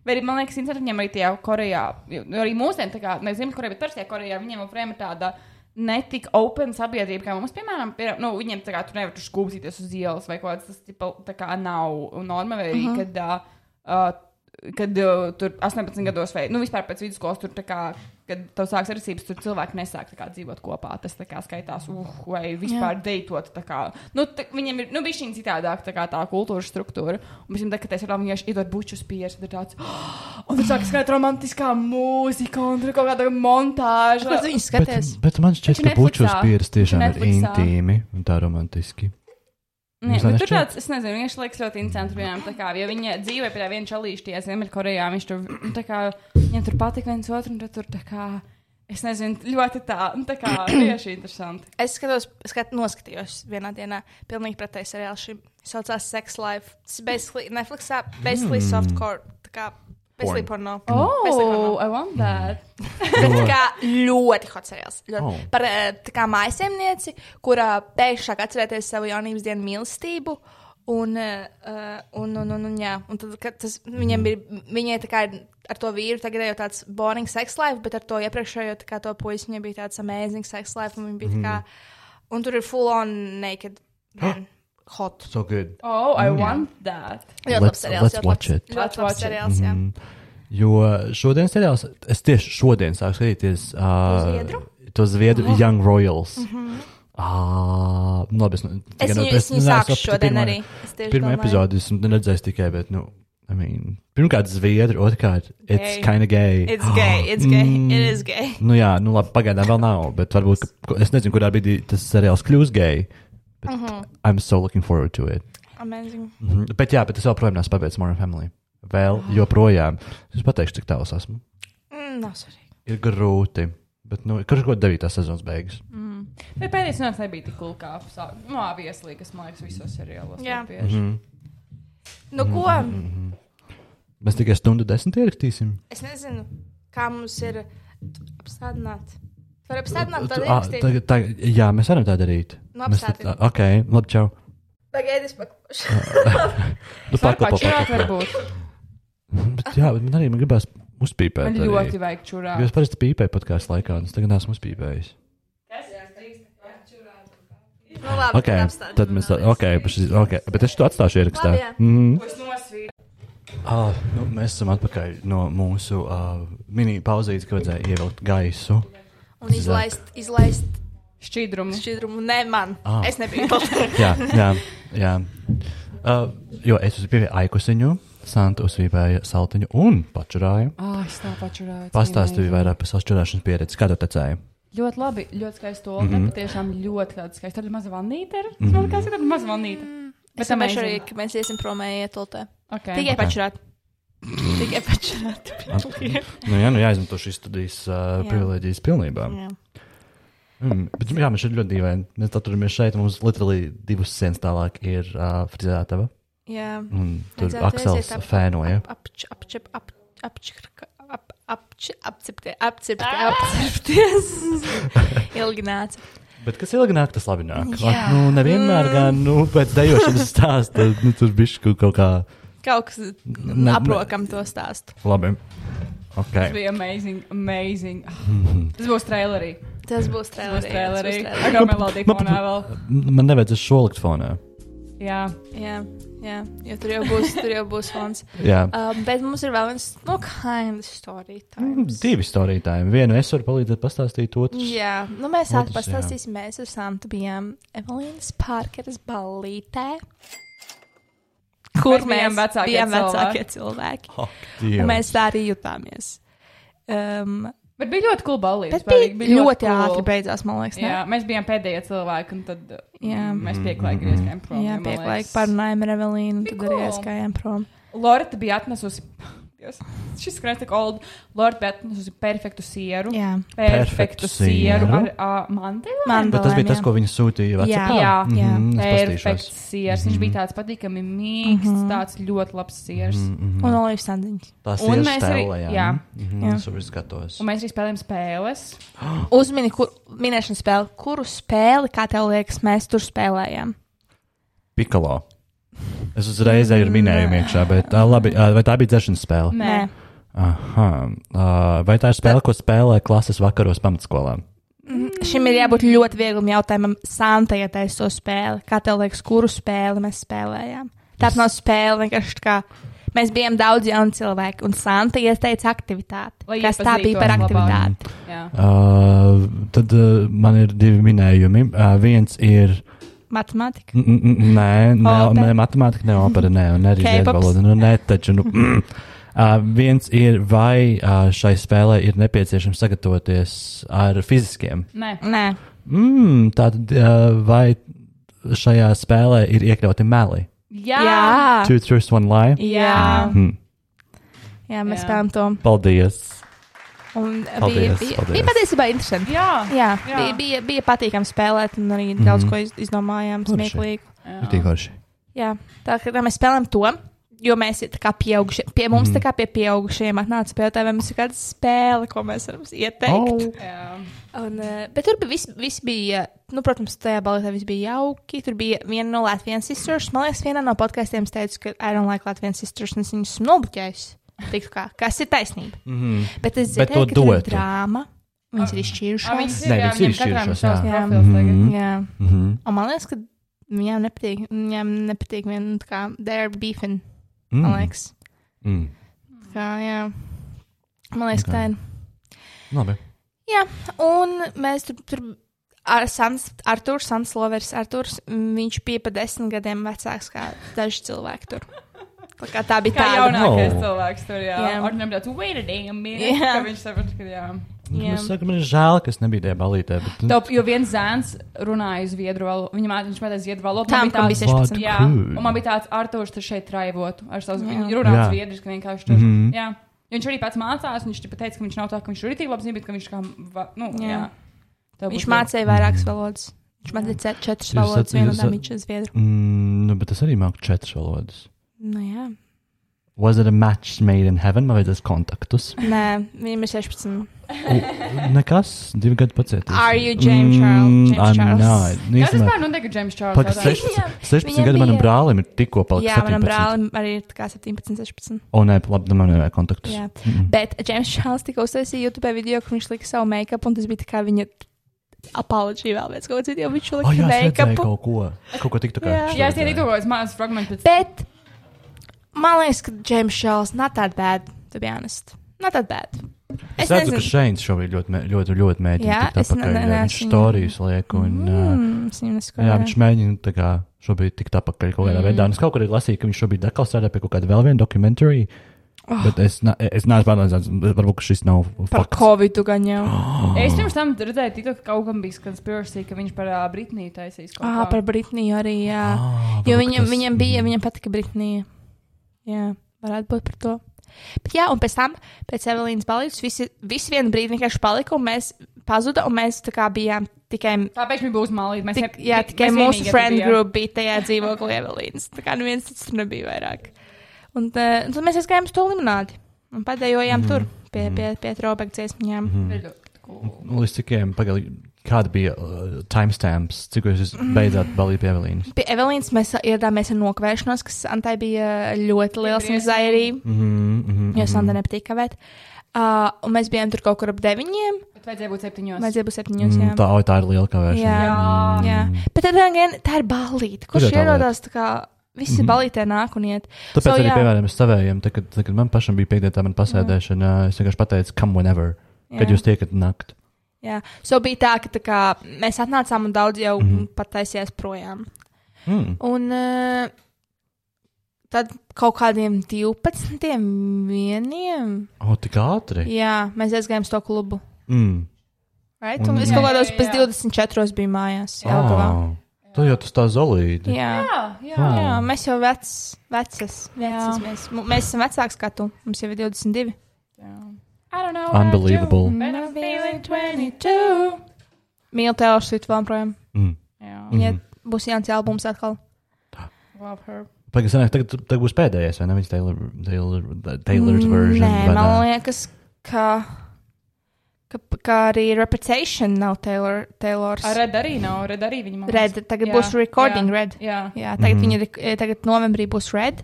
Speaker 3: Vai arī, man liekas, interesanti, viņiem arī tajā Korejā, jo jo arī mūsdienās, tā kā nezinu, Korejā, bet Persijā, Korejā, viņiem joprojām ir tāda netik open sabiedrība, kā mums, piemēram, piemēram nu, viņiem tā kā tur nevar tur skūpstīties uz ielas vai kaut kas tāds, tipa, tā kā nav norma, vai arī, uh -huh. kad, uh, kad uh, tur 18 gados vai, nu, vispār pēc vidusskolas tur tā kā. Kad tev sākas arcības, tur cilvēki nesāk tā kā, dzīvot kopā. Tas tā kā skaitās, uh, vai vispār deitot. tā kā. Nu, tā- viņiem ir nu, bijis šī citādāk tā, kā, tā kultūras struktūra. Un pēc tam, tā, kad es redzēju, ka iedod bučus pieres, tad ir tāds, "Oh!" un tur sākas kāda romantiskā mūzika, un tur ir kaut kāda montāža.
Speaker 2: Kur viņi
Speaker 1: Bet,
Speaker 2: skaties?
Speaker 1: bet man šķiet,
Speaker 3: Taču
Speaker 1: ka pučus
Speaker 3: Netflixā.
Speaker 1: pieres tiešām ir
Speaker 3: Netflixā.
Speaker 1: intīmi un tā romantiski.
Speaker 3: Nē,
Speaker 1: Jums tā
Speaker 3: nu, tur
Speaker 1: nešķiet?
Speaker 3: tāds, es nezinu, viņš liekas ļoti interesants. Piemēram, tā kā, ja viņa dzīvoja pie tā viena čalīšķie Ziemeļkorejā, viņš tur, nu, tā kā, viņiem tur patika viens otru, un tad tur tā kā, es nezinu, ļoti tā, nu, tā kā, tieši interesanti.
Speaker 2: Es skatos, skat, noskatījos vienā dienā, pilnīgi pretēji seriālu. Šī saucās Sex Life. Tas ir basically Netflix, basically mm. softcore. Tā kā basically porno.
Speaker 3: Oh, I want that.
Speaker 2: Bet tā kā ļoti hot seriāls. Ļoti.
Speaker 1: Oh.
Speaker 2: Oh. Par eh, tā kā mājasemnieci, kurā pēkšņi sāk atcerēties savu jaunības dienu mīlestību. Un, eh, eh, un, un, un, un, jā. un tad, kad tas viņam
Speaker 1: Mm.
Speaker 2: ir, viņai tā kā ir ar to vīru tagad ir jau tāds boring sex life, bet ar to iepriekšējo tā kā to puisi viņai bija tāds amazing sex life, un viņa bija tā kā,
Speaker 1: Mm-hmm.
Speaker 2: un tur ir full on naked man, hot.
Speaker 1: So good.
Speaker 3: Oh, I want that.
Speaker 2: Ļoti
Speaker 1: Let's-
Speaker 2: labs seriāls.
Speaker 1: let's
Speaker 2: ļoti labs-
Speaker 1: watch it. Mm-hmm.
Speaker 3: Let's
Speaker 2: Ļoti
Speaker 3: watch
Speaker 2: labs
Speaker 3: it.
Speaker 2: seriāls, jā.
Speaker 1: Jo šodien seriāls, es tieši šodien sāku skatīties uh,
Speaker 2: Zviedru? Mhm.
Speaker 1: to Zviedru oh. Young Royals. Mm -hmm. Ah, nu, labi, es, nu,
Speaker 2: Es
Speaker 1: tikai no-
Speaker 2: viņu, es viņu
Speaker 1: neesmu
Speaker 2: sāku
Speaker 1: pat
Speaker 2: šodien
Speaker 1: pirmo-
Speaker 2: arī. Es tieši
Speaker 1: Pirmā
Speaker 2: domāju.
Speaker 1: epizode es redzēju tikai, bet nu, I mean, pirmkārt, zviedri, otrkārt, it's
Speaker 3: Gay.
Speaker 1: kind of gay.
Speaker 2: It's gay, it's gay, it is gay.
Speaker 1: Nu, jā, nu, labi, pagaidām vēl nav, bet varbūt ka, es nezinu, kurā brīdī tas seriāls kļūs gejs. Bet mm -hmm. I'm so looking forward to it.
Speaker 2: Amazing.
Speaker 1: Mm -hmm. Bet jā, bet es joprojām neesmu pabeidzis Modern Family. Vēl joprojām. Es pateikšu, cik tālu es esmu.
Speaker 2: Mm, nav svarīgi.
Speaker 1: Ir grūti. Bet, nu, kurš kaut kādā 9. sezonas beigas?
Speaker 3: Mm. Bet pēdējais nāc nebija tik lūkā. Nu, avieslī, kas, man liekas, visos seriālos.
Speaker 2: Jā.
Speaker 3: ir bieži.
Speaker 1: Mhm.
Speaker 2: Nu, ko?
Speaker 1: Mēs tikai stundu desmit ierakstīsim.
Speaker 2: Es nezinu, kā mums ir apstādināt. Var apstādināt,
Speaker 1: Tu- ah,
Speaker 2: tad
Speaker 1: ā,
Speaker 2: ierakstīt.
Speaker 1: tagad- tagad- jā, mēs varam tā darīt.
Speaker 2: Nu,
Speaker 1: Mēs
Speaker 2: apstāties.
Speaker 1: tā- ok, labi, čau.
Speaker 2: Pagaidi, es pakošu.
Speaker 1: Nu,
Speaker 3: Var
Speaker 1: paklapo,
Speaker 3: pačurāt,
Speaker 1: paklapo.
Speaker 3: varbūt.
Speaker 1: Bet, jā, bet man arī man gribās uzpīpēt.
Speaker 3: Man
Speaker 1: arī.
Speaker 3: ļoti vajag
Speaker 1: Jo es
Speaker 3: čurāt.
Speaker 1: parasti pīpēju podkāstu laikā, un es tagad neesmu uzpīpējis.
Speaker 2: Nu, labi,
Speaker 1: Okay, tad mēs tā, okay, paši, okay, bet es to atstāšu ierakstā.
Speaker 2: Labi, jā.
Speaker 1: Mm -hmm.
Speaker 3: Es nosvītu.
Speaker 1: ah, nu, mēs esam atpakaļ no mūsu uh, mini pauzītes, ka vajadzēja ievilkt gaisu.
Speaker 2: Un izlaist, izlaist
Speaker 3: Šķīdrumu.
Speaker 2: šķidrumu. Nē, man.
Speaker 1: Ah.
Speaker 2: Ah. Es nebiju to.
Speaker 1: Jā, jā, jā. Uh, jo es uzpīpēju aikusiņu, Santa uzpīpēja saltiņu un pačurāju.
Speaker 3: Ah, es tā pačurāju.
Speaker 1: Pastāstīju vairāk par savas čurāšanas pieredzi, kāda tecēja.
Speaker 3: Ļoti labi, ļoti skaisti to. Mm -hmm. Tiešām ļoti tāda skaista. Tāda maza vanīte ir. Mm -hmm. Kas ir tāda maza vanīte?
Speaker 2: Es domāju, arī, ka mēs iesim prom ētoltē.
Speaker 3: Okay.
Speaker 2: Tikai pačurāt. Tikai pačurāt.
Speaker 1: Nu, jā, nu jāizmanto šīs studijas uh,
Speaker 2: Jā.
Speaker 1: privilēģijas pilnībā.
Speaker 2: Jā.
Speaker 1: Mm, bet, jā, mēs šeit ļoti dīvaini. Mēs tā turamies šeit, un mums literāli divas sienas tālāk ir uh, frizētava.
Speaker 2: Jā.
Speaker 1: Un tur
Speaker 2: Redzētu,
Speaker 1: Aksels
Speaker 2: aiziet ap-
Speaker 1: fēnoja.
Speaker 2: Apč- apč- ap- apčkrka- ap- apč- Apcepti, apcepti, apcepties. Ilgi nāca.
Speaker 1: Bet kas ilgi nāk, tas labi nāk.
Speaker 2: Jā.
Speaker 1: Nu, nevienmēr gan, nu, pēc dejošanas stāsta, nu, tur bišķi kaut kā
Speaker 2: Kaut kas
Speaker 1: ne-
Speaker 2: aprokam to stāstu.
Speaker 1: labi.
Speaker 3: Tas
Speaker 1: Ok.
Speaker 3: bija amazing, amazing. Ah, Tas būs trailerī.
Speaker 2: Tas būs
Speaker 3: Tas būs
Speaker 2: trailerī. tas
Speaker 3: trailerī.
Speaker 2: būs
Speaker 3: Ar
Speaker 2: trailerī.
Speaker 3: kā melodiju fonā vēl.
Speaker 1: Man nevajadzēs šo likt fonā.
Speaker 3: Jā.
Speaker 2: Jā, jā, jo tur jau būs, tur jau būs fons.
Speaker 1: Jā.
Speaker 2: Um, bet mums ir vēl viens, nu, kind story
Speaker 3: Ah,
Speaker 1: Mm,
Speaker 2: times.
Speaker 1: Divi storītāji. Vienu es varu palīdzēt pastāstīt, otrs.
Speaker 2: Jā, nu mēs
Speaker 1: Otrs,
Speaker 2: tādu pastāstīsim. Mēs ar Santu bijām Evelīnas Parkeras ballītē. Kur
Speaker 3: Mēs bijām
Speaker 2: mēs
Speaker 3: vecākie
Speaker 2: bijām
Speaker 3: cilvēki.
Speaker 2: vecākie cilvēki.
Speaker 1: Ak,
Speaker 2: Un
Speaker 1: Dievs.
Speaker 2: mēs tā arī jutāmies. Um,
Speaker 3: Bet bija ļoti cool balīti.
Speaker 2: bet bija, bija ļoti ātri beidzās, man liekas. ne?
Speaker 3: Jā, mēs bijām pēdējie cilvēki, un tad uh,
Speaker 2: Jā.
Speaker 3: mēs pieklājīgi griezām prom.
Speaker 2: Jā,
Speaker 3: man
Speaker 2: pieklājīgi
Speaker 3: liekas.
Speaker 2: parunājām ar Evelīnu,
Speaker 3: Bija
Speaker 2: tad arī
Speaker 3: cool.
Speaker 2: aizgājām prom.
Speaker 3: Lorita bija atnesusi. Dievs, Šis skanēs tik old. Lorita bija atnesusi perfektu sieru.
Speaker 2: Jā,
Speaker 1: Perfektu
Speaker 3: Perfektu sieru
Speaker 1: sieru.
Speaker 3: ar uh, manteli.
Speaker 2: man
Speaker 1: Bet tas bija tas, ko viņi sūtīja.
Speaker 2: Jā.
Speaker 1: Vecapā?
Speaker 3: Jā.
Speaker 2: Jā.
Speaker 1: Mhm, es
Speaker 3: Perfekts
Speaker 1: paskatīšos. Mhm.
Speaker 3: siers. Viņš bija tāds patīkami mīksts,
Speaker 2: Mhm.
Speaker 3: mm -hmm. tāds ļoti labs siers. Mm -hmm.
Speaker 2: Un olīvu sandiņš.
Speaker 1: mhm. Tās
Speaker 3: Un
Speaker 1: ir
Speaker 3: mēs arī-
Speaker 1: stēlējām.
Speaker 3: jā.
Speaker 1: Mhm,
Speaker 2: Jā.
Speaker 1: Tur viss gatavs.
Speaker 3: Un mēs arī spēlējām spēles.
Speaker 2: Uzmini, kur minēšana spēle, kuru spēli, kā tev liekas, mēs tur spēlējām?
Speaker 1: Pikalo. Es uzreiz eju ar
Speaker 3: Mm.
Speaker 1: minējumu iekšā, bet tā, labi, ā, vai tā bija dzēršanas spēle?
Speaker 3: Nē,
Speaker 1: Aha, ā, vai tā ir spēle, ko spēlē klases vakaros pamatskolā?
Speaker 2: Mm-hmm. Šim ir jābūt ļoti vieglam jautājumam. Santa ieteica to spēli. Kā tev liekas, kuru spēli mēs spēlējām? Tā nav spēle, vienkārši tā kā mēs bijām daudz jauni cilvēki, un Santa ieteica aktivitāti.
Speaker 3: Lai
Speaker 2: Kas tā bija
Speaker 3: iepazītos
Speaker 2: par
Speaker 3: labāk.
Speaker 2: aktivitāti?
Speaker 3: jā.
Speaker 1: Uh, tad uh, man ir divi minējumi. Uh, viens ir.
Speaker 2: Matemātika.
Speaker 1: n- n- n- Nē, ne,
Speaker 2: Opera.
Speaker 1: ne matemātika, ne opera, nē, un arī
Speaker 2: K-pops.
Speaker 1: ziedu valoda. Nu, nē, taču. Nu, mm. Uh, viens ir, vai uh, šai spēlē ir nepieciešams sagatavoties ar fiziskiem
Speaker 3: Nē.
Speaker 2: Nē,
Speaker 1: Mm, tātad, uh, vai šajā spēlē ir iekļauti meli?
Speaker 3: Jā.
Speaker 1: Two truths, one lie.
Speaker 3: Ah. Jā.
Speaker 1: Mm,
Speaker 2: jā mēs
Speaker 3: Jā.
Speaker 2: spēlējām to.
Speaker 1: paldies.
Speaker 2: Un bija,
Speaker 1: Paldies,
Speaker 2: bija,
Speaker 1: paldies.
Speaker 2: bija patiesībā interesanti.
Speaker 3: Jā.
Speaker 2: Jā, jā.
Speaker 3: Jā.
Speaker 2: Bija, bija, bija patīkami spēlēt, un arī mm -hmm. daudz ko iz, izdomājām,
Speaker 1: Mhm. Forši.
Speaker 2: smieklīgi.
Speaker 3: Ah.
Speaker 1: Tik forši.
Speaker 2: Jā, tā kā tā mēs spēlējam to, jo mēs tā kā pieaugušie, pie
Speaker 1: Mhm.
Speaker 2: mums tā kā pie pieaugušiem atnāca pietai, vai mums ir kāda spēle, ko mēs varam ieteikt.
Speaker 1: Oh.
Speaker 3: Jā.
Speaker 2: Oh. Un, eh, bet tur bija viss, vis bija, nu, protams, tajā baletā viss bija jauki. Tur bija viena no Latvijas sisters. Man liekas, vienā no podkāstiem es teicu, ka I don't like Latvijas sisters, un es viņus esmu nobloķējis. Tik kā, kas ir taisnība?
Speaker 1: Mm
Speaker 3: Mhm.
Speaker 1: -hmm.
Speaker 2: Bet es
Speaker 1: Bet
Speaker 2: dzirdēju,
Speaker 1: to
Speaker 2: ka tur ir
Speaker 1: duetu.
Speaker 2: drāma. Viņas ir
Speaker 3: Ah,
Speaker 2: izšķīrušās.
Speaker 1: Nē,
Speaker 3: viņas ir, jā,
Speaker 1: viņas ir
Speaker 3: viņiem katram ir
Speaker 1: izšķirušās,
Speaker 3: savs
Speaker 2: jā. Jā.
Speaker 3: profils tagad.
Speaker 1: Mhm.
Speaker 2: Jā.
Speaker 1: Mm -hmm.
Speaker 2: Un man liekas, ka viņām nepatīk, viņām nepatīk viena, nu, tā kā, they're beefing, man
Speaker 1: mm.
Speaker 2: liekas.
Speaker 1: mm.
Speaker 2: Kā, jā, man liekas,
Speaker 1: Ok.
Speaker 2: okay. tā ir.
Speaker 1: Labi.
Speaker 2: Un mēs tur, tur ar Sans, Artūru Sanslovers, Artūrs, mm, viņš bija pa desmit gadiem vecāks kā daži cilvēki tur. Tā, kā tā bija
Speaker 3: Kā
Speaker 2: tā
Speaker 3: jaunākais
Speaker 1: No.
Speaker 3: cilvēks tur jā.
Speaker 2: Jā.
Speaker 3: Ordinam tāds, wait a damn minute.
Speaker 2: Jā.
Speaker 3: ka Viņš saprot, ka jā.
Speaker 2: Jā.
Speaker 1: Es saku, Nu, man ir žēl, ka es nebiju tajā balītē. Bet, nu,
Speaker 3: Top, jo viens zēns runāja zviedru valodu. Viņa māte, viņš mācīja zviedru valodu.
Speaker 2: Tam,
Speaker 3: Man
Speaker 2: kam
Speaker 3: bija
Speaker 2: bija
Speaker 3: tāds-
Speaker 2: 16.
Speaker 3: Jā,
Speaker 1: Cool.
Speaker 3: un man bija tāds Artošs, kurš šeit traivotu ar savu
Speaker 2: Jā.
Speaker 3: zviedru.
Speaker 1: Jā.
Speaker 3: Runāt zviedriski vienkārši tur.
Speaker 1: Mhm.
Speaker 3: Jā. Viņš arī pats mācās, un viņš tikai teica, ka viņš nav tā, ka viņš ir rītīgi labi zina, bet ka viņš kā, va- nu,
Speaker 2: Jā.
Speaker 3: jā. Tev
Speaker 2: Viņš
Speaker 3: būtu-
Speaker 2: mācīja vairākas valodas. Viņš mācīja ce- četras
Speaker 1: Jūs
Speaker 2: valodas,
Speaker 1: sat- jūs
Speaker 2: viena no tām
Speaker 1: sat-
Speaker 2: viņš ir zviedru.
Speaker 1: mm, nu, bet es arī māku četras valodas.
Speaker 2: Nu, jā.
Speaker 1: Was it a match made in heaven vai tas kontaktus?
Speaker 2: Nē, viņam ir 16.
Speaker 1: U, nekas, divi gadi Mm, pacietīs.
Speaker 2: Are you James Charles? James Charles?
Speaker 3: Kas tas
Speaker 1: Nē,
Speaker 3: pār notiek ar James Charles?
Speaker 1: Pagaidā,
Speaker 3: jautājumu?
Speaker 1: 16,
Speaker 2: viņam
Speaker 1: 16 Nu, gadi manam
Speaker 2: bija-
Speaker 1: brālim ir tikko palicis.
Speaker 2: Jā, manam
Speaker 1: 17.
Speaker 2: brālim arī ir tā kā 17, 16.
Speaker 1: O, nē, labi, nu, man nevajag kontaktus.
Speaker 2: Jā.
Speaker 1: Mm.
Speaker 2: Bet James Čāls tikko uztaisīja YouTube video, kur viņš lika savu make-up, un tas bija tā kā viņa apoloģija vēl pēc kaut kā cita, jo viņš
Speaker 1: O, Oh, jā,
Speaker 2: lika
Speaker 1: es redzēju
Speaker 2: make-up.
Speaker 1: kaut ko. Kaut ko tiktu kā.
Speaker 2: Jā.
Speaker 1: es
Speaker 3: Jā, es
Speaker 1: redzēju.
Speaker 3: iedīju tos mazos fragmentus.
Speaker 2: Bet man liekas, ka James Čāls not that bad, to be honest. Not that bad.
Speaker 1: Es redzu, ka šeit šobrīd ļoti, mē- ļoti, ļoti mēģina.
Speaker 2: Jā,
Speaker 1: Jā,
Speaker 2: es
Speaker 1: es
Speaker 2: ne- ne-
Speaker 1: nezinu. Viņš
Speaker 2: neesmu-
Speaker 1: stāstījis liek un. Mm.
Speaker 2: Mm, es viņu nesaku.
Speaker 1: Jā, viņš mēģina tā kā šobrīd tikt apakaļ kaut kādā mm. veidā. Un Es kaut kur arī lasīju, ka viņš šobrīd atkal strādā pie kaut kāda vēl viena dokumentārija. Oh. Bet es, ne, es neesmu pārliecināts, varbūt ka šis nav
Speaker 2: Par
Speaker 1: fakts.
Speaker 2: Covid gan jau.
Speaker 3: Es
Speaker 1: Oh.
Speaker 3: pirms tam redzēju, tikko, ka kaut kam bija konspirācija, ka viņš par uh, Britniju taisīs kaut
Speaker 2: Ah,
Speaker 3: ko.
Speaker 2: par Britniju arī, jā. Ah.
Speaker 1: Ah,
Speaker 2: Jo
Speaker 1: varbūt
Speaker 2: viņam,
Speaker 1: tas- Mhm.
Speaker 2: viņam bija, viņam patika Britānija. Jā, varētu būt par to. Bet, jā, un pēc tam, pēc Evelīnas balīdzes, visi, visi vienu brīdi vienkārši palika, un mēs pazuda, un mēs tā kā bijām tikai.
Speaker 3: Tāpēc viņš bija uzmalīts. Mēs
Speaker 2: Tik,
Speaker 3: ne-
Speaker 2: jā,
Speaker 3: mēs
Speaker 2: tikai
Speaker 3: vienīgie
Speaker 2: mūsu
Speaker 3: tur
Speaker 2: friend
Speaker 3: bijām.
Speaker 2: group bija tajā dzīvoklī Evelīnas. Tā kā neviens cits tur nebija vairāk. Un, uh, un tad mēs aizgājām uz to limonādi un padējojām mm -hmm. tur pie, pie, pie trobek dziesmām. Mm -hmm.
Speaker 3: Ir ļoti cool.
Speaker 1: Mhm. Nu, Līdz cikiem, pagaidi, kāda bija uh, timestamps, cik jūs
Speaker 2: Mm.
Speaker 1: beidzāt balīt pie Evelīnas?
Speaker 2: Pie Evelīnas mēs ieradāmies ar nokavēšanos, kas Antai bija ļoti liels
Speaker 3: Iepriecinoši.
Speaker 2: mizairī.
Speaker 1: Mm -hmm.
Speaker 2: jo Sandra nepatīk kavēt. Uh, un mēs bijām tur kaut kur ap deviņiem.
Speaker 3: Bet vajadzēja būt septiņos.
Speaker 2: Vajadzēja būt septiņos.
Speaker 1: mm,
Speaker 2: Jā.
Speaker 1: tā, o, tā ir liela kavēšana. Mm.
Speaker 2: Jā.
Speaker 3: Jā.
Speaker 2: jā. Bet tad gan tā ir balīta.
Speaker 1: Kur
Speaker 2: Kurš
Speaker 1: ir tā
Speaker 2: ierodās tā kā visi
Speaker 1: Mhm.
Speaker 2: balītē nāk un iet?
Speaker 1: Tāpēc so,
Speaker 2: So,
Speaker 1: arī,
Speaker 2: jā.
Speaker 1: piemēram, es savējiem, tad, kad, tad, kad man pašam bija piekdienā man pasēdēšana, mm. es vienkārši pateicu, come whenever, jā. kad
Speaker 2: Jā.
Speaker 1: jūs tiekat nakt.
Speaker 2: Jā, so bija tā, ka tā kā, mēs atnācām un daudz jau mm
Speaker 1: Mhm.
Speaker 2: -hmm. pataisījās projām.
Speaker 1: Mm.
Speaker 2: Un uh, tad kaut kādiem 12. vieniem,
Speaker 1: O, tik ātri.
Speaker 2: jā, mēs aizgājām uz to klubu.
Speaker 1: Mm.
Speaker 2: Right?
Speaker 1: Un-
Speaker 2: Un es
Speaker 1: Jā,
Speaker 2: kaut
Speaker 3: jā,
Speaker 2: kādos pēc
Speaker 3: jā.
Speaker 2: 24. biju mājās. Jelgavā.
Speaker 1: Ā, Tā jau tas tā zolīti.
Speaker 2: Jā.
Speaker 3: Jā, Ah, jā.
Speaker 1: Ā.
Speaker 2: Jā, mēs jau vec, vecas, vecas mēs, mu- mēs esam vecāki kā tu. Mums jau ir 22.
Speaker 3: jā. I don't know.
Speaker 1: Unbelievable.
Speaker 3: about you, but I'm feeling 22.
Speaker 2: Mīlu Taylor Swift vēl projām.
Speaker 1: Mm.
Speaker 3: Jā,
Speaker 2: Viņai būs jauns albums atkal.
Speaker 3: love her.
Speaker 1: Pagaidām, sanāk, tagad, tagad būs pēdējais, vai ne? Viņš Taylor, Taylor, Taylor's
Speaker 2: Mm,
Speaker 1: version.
Speaker 2: Nē,
Speaker 1: vai
Speaker 2: man
Speaker 1: ne?
Speaker 2: liekas, ka, ka, ka arī Reputation nav Taylor, Taylors.
Speaker 3: Ar Red arī nav. Red arī viņa mācās.
Speaker 2: Red, tagad
Speaker 3: Jā,
Speaker 2: būs Recording
Speaker 3: jā.
Speaker 2: Red.
Speaker 3: Jā.
Speaker 2: Jā, tagad,
Speaker 1: Mhm.
Speaker 2: mm. viņa, rek- eh, tagad novembrī būs Red.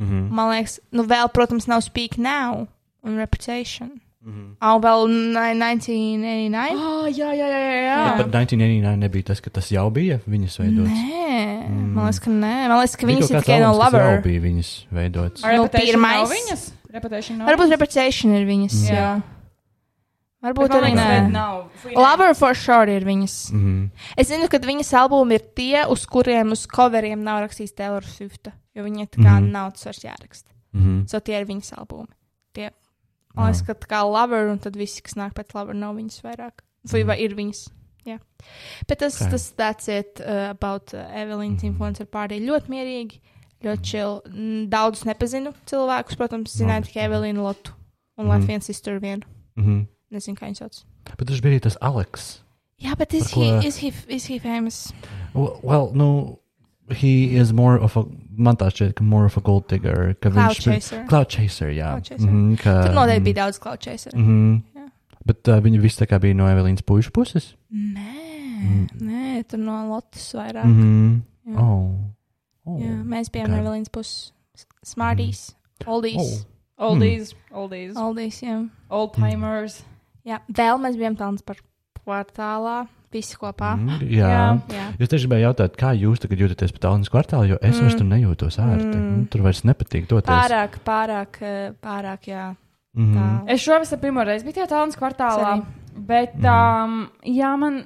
Speaker 1: Mhm.
Speaker 2: Man liekas, nu vēl, protams, nav Speak Now un Reputation.
Speaker 1: Mhm.
Speaker 2: Ah, un vēl ni- 1989.
Speaker 3: Ah, jā, jā, jā, jā, jā.
Speaker 1: Bet 1989 nebija tas, ka tas jau bija viņas veidots.
Speaker 2: Nē,
Speaker 1: Mm.
Speaker 2: man liekas, ka nē. Man liekas, ka viņas
Speaker 1: Bija
Speaker 2: ir
Speaker 1: kaut kāds
Speaker 2: tikai no
Speaker 1: albums, kas
Speaker 2: Lover.
Speaker 1: Jau bija viņas veidots.
Speaker 3: Ar
Speaker 2: Nu,
Speaker 3: Reputation
Speaker 2: pirmais.
Speaker 3: nav viņas? Reputation nav.
Speaker 2: Varbūt reputation ir viņas.
Speaker 1: Mm.
Speaker 2: Jā.
Speaker 3: Jā. Bet
Speaker 2: Varbūt
Speaker 3: man
Speaker 2: arī
Speaker 3: liekas,
Speaker 2: nē.
Speaker 3: Red nav. Free
Speaker 2: Lover for sure ir viņas.
Speaker 1: Mhm.
Speaker 2: Es zinu, ka viņas albumi ir tie, uz kuriem uz coveriem nav rakstījis Taylor Swift. Jo viņai tā kā
Speaker 1: Mhm.
Speaker 2: mm. nav tas vairs jāraksta.
Speaker 1: Mhm.
Speaker 2: So tie ir viņas albumi. Tie. Man liekas, ka tā kā Lover un tad visi, kas nāk pēc Lover, nav viņas vairāk. Vai
Speaker 1: Mm.
Speaker 2: vai ir viņas. Jā. Bet tas,
Speaker 1: Ok. Mhm.
Speaker 2: okay. tas that's it uh, about uh, Evelīnas influencer party. Ļoti mierīgi, ļoti chill. Mm, Daudzus nepazinu cilvēkus, protams, zināju
Speaker 1: Labi.
Speaker 2: tikai Evelīnu Lotu un
Speaker 1: Mhm.
Speaker 2: mm. Latvijas sister vienu.
Speaker 1: Mhm.
Speaker 2: Nezinu, kā viņš sauc.
Speaker 1: Bet tas bija arī tas Aleks.
Speaker 2: Jā, bet
Speaker 1: Par ko-
Speaker 2: is he, is he famous?
Speaker 1: Well, well, nu, he is more of a, man tā šķiet, ka more of a gold digger. Ka
Speaker 2: Cloud
Speaker 1: viņš bija-
Speaker 2: chaser.
Speaker 1: Cloud chaser, jā.
Speaker 2: Cloud chaser.
Speaker 1: Mhm, ka,
Speaker 2: Tur noteikti bija daudz cloud chaseru.
Speaker 1: Mhm.
Speaker 2: Jā.
Speaker 1: Bet uh, viņi visi tā kā bija no Evelīnas puišu puses.
Speaker 2: Nē, nē, tur no Lotus vairāk.
Speaker 1: Mhm.
Speaker 2: Jā.
Speaker 1: Oh. Oh. Mm.
Speaker 2: Jā, mēs bijām
Speaker 1: Kā-
Speaker 2: no Evelīnas puses. Smarties,
Speaker 1: Oh,
Speaker 2: oldies, Hmm.
Speaker 3: Oldies, oldies,
Speaker 2: oldies, jā.
Speaker 3: old
Speaker 2: Hmm.
Speaker 3: timers.
Speaker 2: jā. Vēl mēs bijām tālāk par kvartālā, visi kopā.
Speaker 1: Mm, jā. jā.
Speaker 2: Jā.
Speaker 1: Jūs tieši gribējāt jautāt, kā jūs tagad jūtaties pēc Tallinas kvartāla, jo es mm. vairs tur nejūtos ērti.
Speaker 2: Mm.
Speaker 1: Mm. Tur vairs nepatīk doties.
Speaker 2: Pārāk, pārāk, eh, pārāk, jā. Tā.
Speaker 1: Mhm.
Speaker 3: Es šovasar pirmo reizi biju tajā Tallinas kvartālā.
Speaker 2: Sorry.
Speaker 3: Bet,
Speaker 2: Hmm.
Speaker 3: um, jā, man,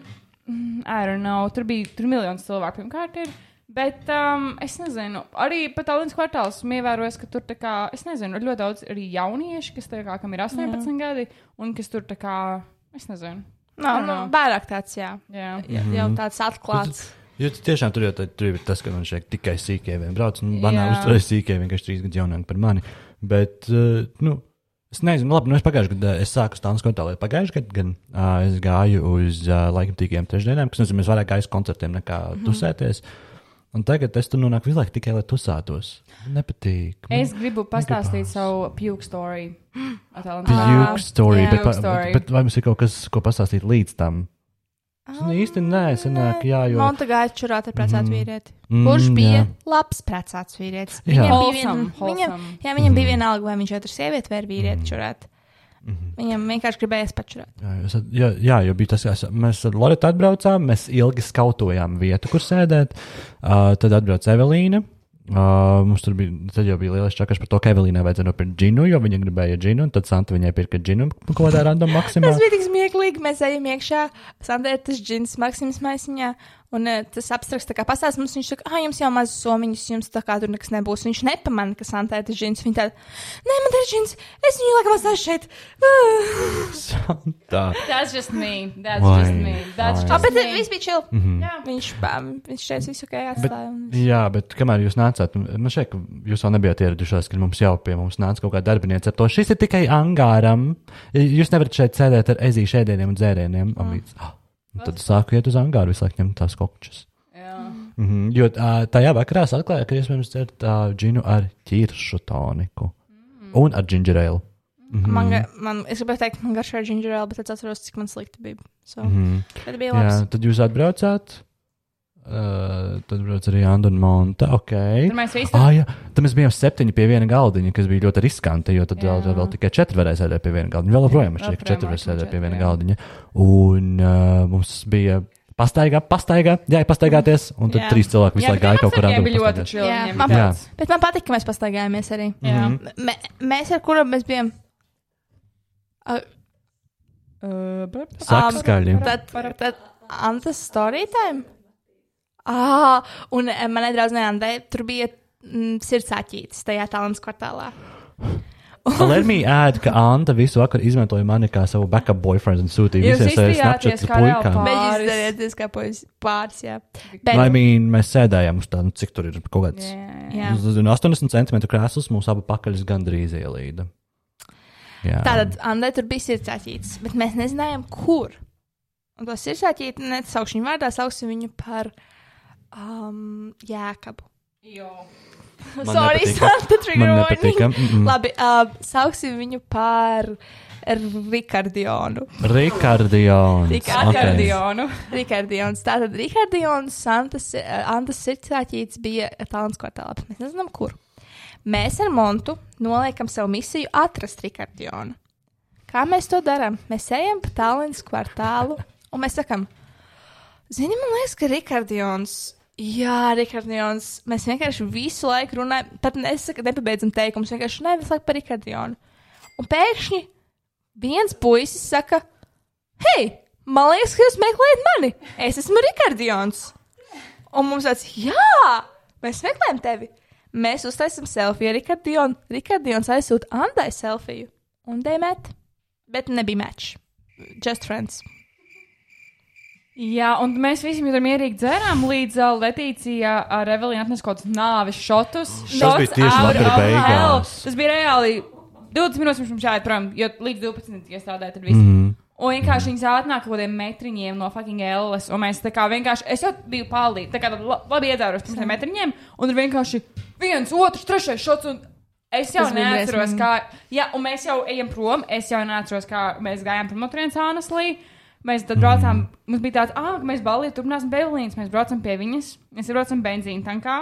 Speaker 3: mm, I don't know, tur bija tur miljonu cilvēku. Pirmkārt, ir Bet um, es nezinu, arī pat Tallinas kvartālā esmu ievērojis, ka tur tā kā, es nezinu, ir ļoti daudz arī jauniešu, kas tā kā, kam ir 18 Jā. gadi, un kas tur tā kā, es nezinu.
Speaker 2: Nā,
Speaker 3: I
Speaker 2: nu,
Speaker 3: don't know.
Speaker 2: vairāk tāds, jā.
Speaker 3: Jā.
Speaker 2: jā jau tāds atklāts.
Speaker 1: Jo Mhm. tu tiešām tur jau tā- tur ir tas, ka man šeit tikai sīkēviem brauc. Nu, banāna
Speaker 3: Jā.
Speaker 1: uzturēja sīkēvi, vienkārši trīs gadus jaunāki par mani. Bet, eh, nu, es nezinu, labi, nu es pagājušajā gadā, eh, es sāku stāstu kontaktā, lai pagājušajā gadā gan uh, es gāju uz uh, laikam tīkiem trešdienām, kas nozīmē, es vairāk gāju uz koncertiem nekā
Speaker 3: Mhm.
Speaker 1: mm -hmm. tusēties. Un tagad es tur nonāku visu laiku tikai, lai tusētos. Nepatīk.
Speaker 3: Es gribu pastāstīt
Speaker 1: Negribās.
Speaker 3: savu puke story. Ah,
Speaker 1: Jūka story,
Speaker 3: jā,
Speaker 1: bet, pa,
Speaker 3: puke story.
Speaker 1: bet, bet vai mums ir kaut kas, ko pastāstīt līdz tam? Es nu, īsti nē, senāk, jā, jo.
Speaker 2: Ah, Monta gāja čurāt ar
Speaker 1: Mm.
Speaker 2: precētu mm. vīrieti.
Speaker 1: Mm,
Speaker 2: Kurš bija
Speaker 1: jā.
Speaker 2: jā. labs precēts vīrietis?
Speaker 1: Jā. Mhm.
Speaker 2: Viņam bija, vien,
Speaker 3: Wholesome,
Speaker 2: viņam,
Speaker 3: wholesome.
Speaker 2: jā, viņam bija vienalga, vai viņš ir sieviete vai ir vīrietis čurāt.
Speaker 1: Mhm.
Speaker 2: Viņam vienkārši gribējās pačurāt.
Speaker 1: Jā, jūs at- Jā, jā, jo bija tas, ka es- mēs ar Lorētu atbraucām, mēs ilgi skautojām vietu, kur sēdēt. Uh, tad atbrauca Evelīna. Uh, mums tur bija, tad jau bija lielais čakas par to, ka Evelīnai vajadzēja nopirkt džinu, jo viņa gribēja džinu, un tad Santa viņai pirka džinu kaut kādā random maksimā.
Speaker 2: Tas bija tik smieklīgi. Mēs ejam iekšā, Sandēta, tas džins, Maksims maisiņā. Un eh, tas abstrakts tā kā pastāsta mums, viņš saka, ah, jums jau maz somiņas, jums tā kā tur nekas nebūs. Viņš nepamana, ka Sandēta ir džins. Viņa tāda, nē, man ir džins, es viņu laikam atstāju šeit.
Speaker 1: Santa.
Speaker 3: That's just me. That's
Speaker 1: Vai,
Speaker 3: just me. That's
Speaker 1: vai.
Speaker 3: just
Speaker 2: Ah, bet eh,
Speaker 3: me.
Speaker 2: viss bija čil.
Speaker 3: Jā.
Speaker 2: Viņš, pam, viņš šeit visu kā
Speaker 1: Mhm. Bet,
Speaker 2: atstāja. un-
Speaker 1: jā, bet kamēr jūs nācāt, man šeit, ka jūs vēl nebijāt ieradušies, kad mums jau pie mums nāca kaut kāda darbiniece ar to. Šis ir tikai angāram. Jūs nevarat šeit sēdēt ar ezīšu ēdieniem un dzērieniem. Un līdz, ah, un tad sāku iet uz angāru, visu laiku ņemt tās kokčas.
Speaker 3: Jā.
Speaker 1: Mm -hmm. Jo uh, tajā vakarā es atklāju, ka iespējams dzert uh, džinu ar ķiršu toniku mm. un ar Mhm. džingerēlu.
Speaker 2: Man, ga- man, es gribēju teikt, man garšā ir ginger ale, bet es atceros, cik man slikti bija. So, mm
Speaker 1: Mm.
Speaker 2: -hmm. Tad bija labi.
Speaker 1: Jā, tad jūs atbraucāt. Uh, tad brauc arī Anna un Monta. Okay.
Speaker 3: Tur mēs visi tur
Speaker 1: Ah, jā, tad mēs bijām septiņi pie viena galdiņa, kas bija ļoti riskanti. Jo tad vēl,
Speaker 3: Jā.
Speaker 1: vēl tikai četri varēja sēdēt pie viena galdiņa. Vēl joprojām ir šie
Speaker 3: Joprojām
Speaker 1: četri varēja
Speaker 3: laikam
Speaker 1: sēdēt pie viena
Speaker 3: četri, jā.
Speaker 1: galdiņa. Un uh, mums bija pastaigā, pastaigā, jā, pastaigāties. Un tad
Speaker 2: Jā.
Speaker 1: jā. trīs cilvēki visu laiku gāja kaut kur
Speaker 3: Viņiem bija ļoti
Speaker 1: pastaigāties.
Speaker 3: čili.
Speaker 2: Jā.
Speaker 3: viņiem
Speaker 2: Man
Speaker 3: bija
Speaker 1: pat-
Speaker 3: tāds-
Speaker 2: Bet man patīk, ka mēs pastaigājāmies arī.
Speaker 3: Jā.
Speaker 1: Mhm.
Speaker 2: M mēs ar kuru mēs bijām?
Speaker 3: Uh, bet-
Speaker 1: Saka
Speaker 2: Am,
Speaker 1: skaļi.
Speaker 2: Tad, tad Anta storytime. Ah, un eh, manai draudzenei Andai tur bija mm, sirds aķītis tajā talants kvartālā.
Speaker 1: Lermī ēd, ka Anta visu vakaru izmantoja mani kā savu backup boyfriend un sūtīja
Speaker 3: Jūs
Speaker 1: visiem saviem
Speaker 3: izstījāties
Speaker 1: snapchatus
Speaker 3: kā
Speaker 1: puikām. Nu,
Speaker 3: reāli
Speaker 2: Bet
Speaker 3: Pāris.
Speaker 2: jūs darījāties kā pojas pāris, jā.
Speaker 1: I
Speaker 2: Bet,
Speaker 1: mean, mēs sēdējām uz tā, nu, cik tur ir kaut kāds.
Speaker 3: Jā.
Speaker 2: jā.
Speaker 1: uz- uz- un 80 centimetru krēsls mūsu abu pakaļus gandrīz ielīda. Jā.
Speaker 2: Tātad Andai tur bija sirds aķītis, bet mēs nezinājām, kur. Un to sirds aķīti nesaukšu viņu vārdā, sauksim viņu par um, Jēkabu.
Speaker 3: Jo.
Speaker 1: Man
Speaker 2: Sorry,
Speaker 1: nepatīk.
Speaker 2: Santa Trigger
Speaker 1: Man
Speaker 2: warning.
Speaker 1: nepatīk. mm, mm.
Speaker 2: Labi, uh, sauksim viņu par Rikardionu.
Speaker 1: Rikardions.
Speaker 2: Tik
Speaker 1: Ok.
Speaker 3: Akordionu.
Speaker 2: Rikardions. Tātad Rikardions, Santas, uh, Antas sirdsāķītis bija Talants kvartālā, bet mēs nezinām, kur. Mēs ar Montu noliekam sev misiju atrast Rikardionu. Kā mēs to darām? Mēs ejam pa Talants kvartālu un mēs sakam, Zini, man liekas, ka Rikardions. Jā, Rikardions. Mēs vienkārši visu laiku runājam, pat nesaka, nepabeidzam teikumus. Vienkārši runājam visu laiku par Rikardionu. Un pēkšņi viens puisis saka, hei, man liekas, ka jūs meklējat mani. Es esmu Rikardions. Un mums tāds, jā, mēs meklējam tevi. Mēs uztaisām selfiju ar Rikardionu. Rikardions aizsūta Andai selfiju. Un dēmēt. Bet nebija match. Just friends.
Speaker 3: Jā, un mēs visi tur mierīgi dzērām līdz uh, Letīcija ar Evelīnu atnes kaut kādus nāves šotus.
Speaker 1: Tas bija tieši vakara beigās.
Speaker 3: Tas bija reāli 20 minūtes pirms mums jāiet prom, jo līdz 12 ja strādāja, tad viss.
Speaker 1: Mhm.
Speaker 3: Mm. Un vienkārši viņas atnāk kaut kādiem metriņiem no fucking Elles. Un mēs tā kā vienkārši, es jau biju paldīta, tā kā la- labi iedzēros pirms tiem metriņiem, un tur vienkārši viens, otrs, trešais šots. Un es jau
Speaker 2: Tas bija
Speaker 3: neatceros, kā. Jā, un mēs jau ejam prom, es jau neatceros, kā mēs gājām prom no turienes Āneslī. Mēs tad braucām, mums bija tāds, ah, mēs balīju, turpināsim Bevelīnas, mēs braucam pie viņas, mēs braucam benzīna tankā.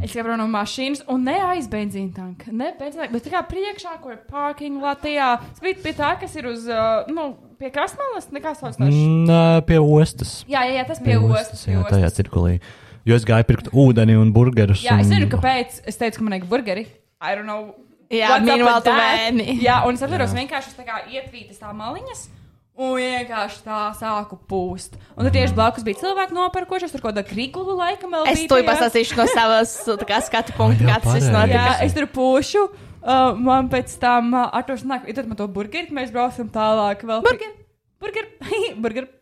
Speaker 3: Es jau runāju no mašīnas, un ne aiz benzīna tanka. Ne benzīna tanka, bet tā kā priekšā, kur ir parking Latvijā. Skriet pie tā, kas ir uz, uh, nu, pie krastmalas, nekā sauc no šīs.
Speaker 1: Mm, ā, Pie ostas.
Speaker 3: Jā, jā, jā, tas bija ostas. pie
Speaker 1: jā,
Speaker 3: ostas.
Speaker 1: tajā cirkulī. Jo es gāju pirkt ūdeni un burgerus.
Speaker 3: Jā,
Speaker 1: un...
Speaker 3: es nezinu, kāpēc. Es teicu, ka man ir burgeri. I don't know.
Speaker 2: Jā,
Speaker 3: what's up
Speaker 2: meanwhile
Speaker 3: with
Speaker 2: tu
Speaker 3: that.
Speaker 2: vēni.
Speaker 3: Jā, un es atceros, vienkārši es tā kā ietvītas tā maliņas. Un vienkārši tā sāku pūst. Un tad tieši blakus bija cilvēki nopērkošies, tur kaut kāda krikula laikam vēl
Speaker 2: Es
Speaker 3: bija
Speaker 2: to
Speaker 3: tajā.
Speaker 2: pastāstīšu no savas tā kā, skatu punkta,
Speaker 1: jā,
Speaker 2: kāds tas viss
Speaker 1: pareizi.
Speaker 2: notiek.
Speaker 3: Jā,
Speaker 1: tikai-
Speaker 3: es tur pūšu. Uh, man pēc tam uh, atrosināk, ja tad man to burgeri, mēs braucam tālāk vēl. Burgeri! Burgeri! burgeri.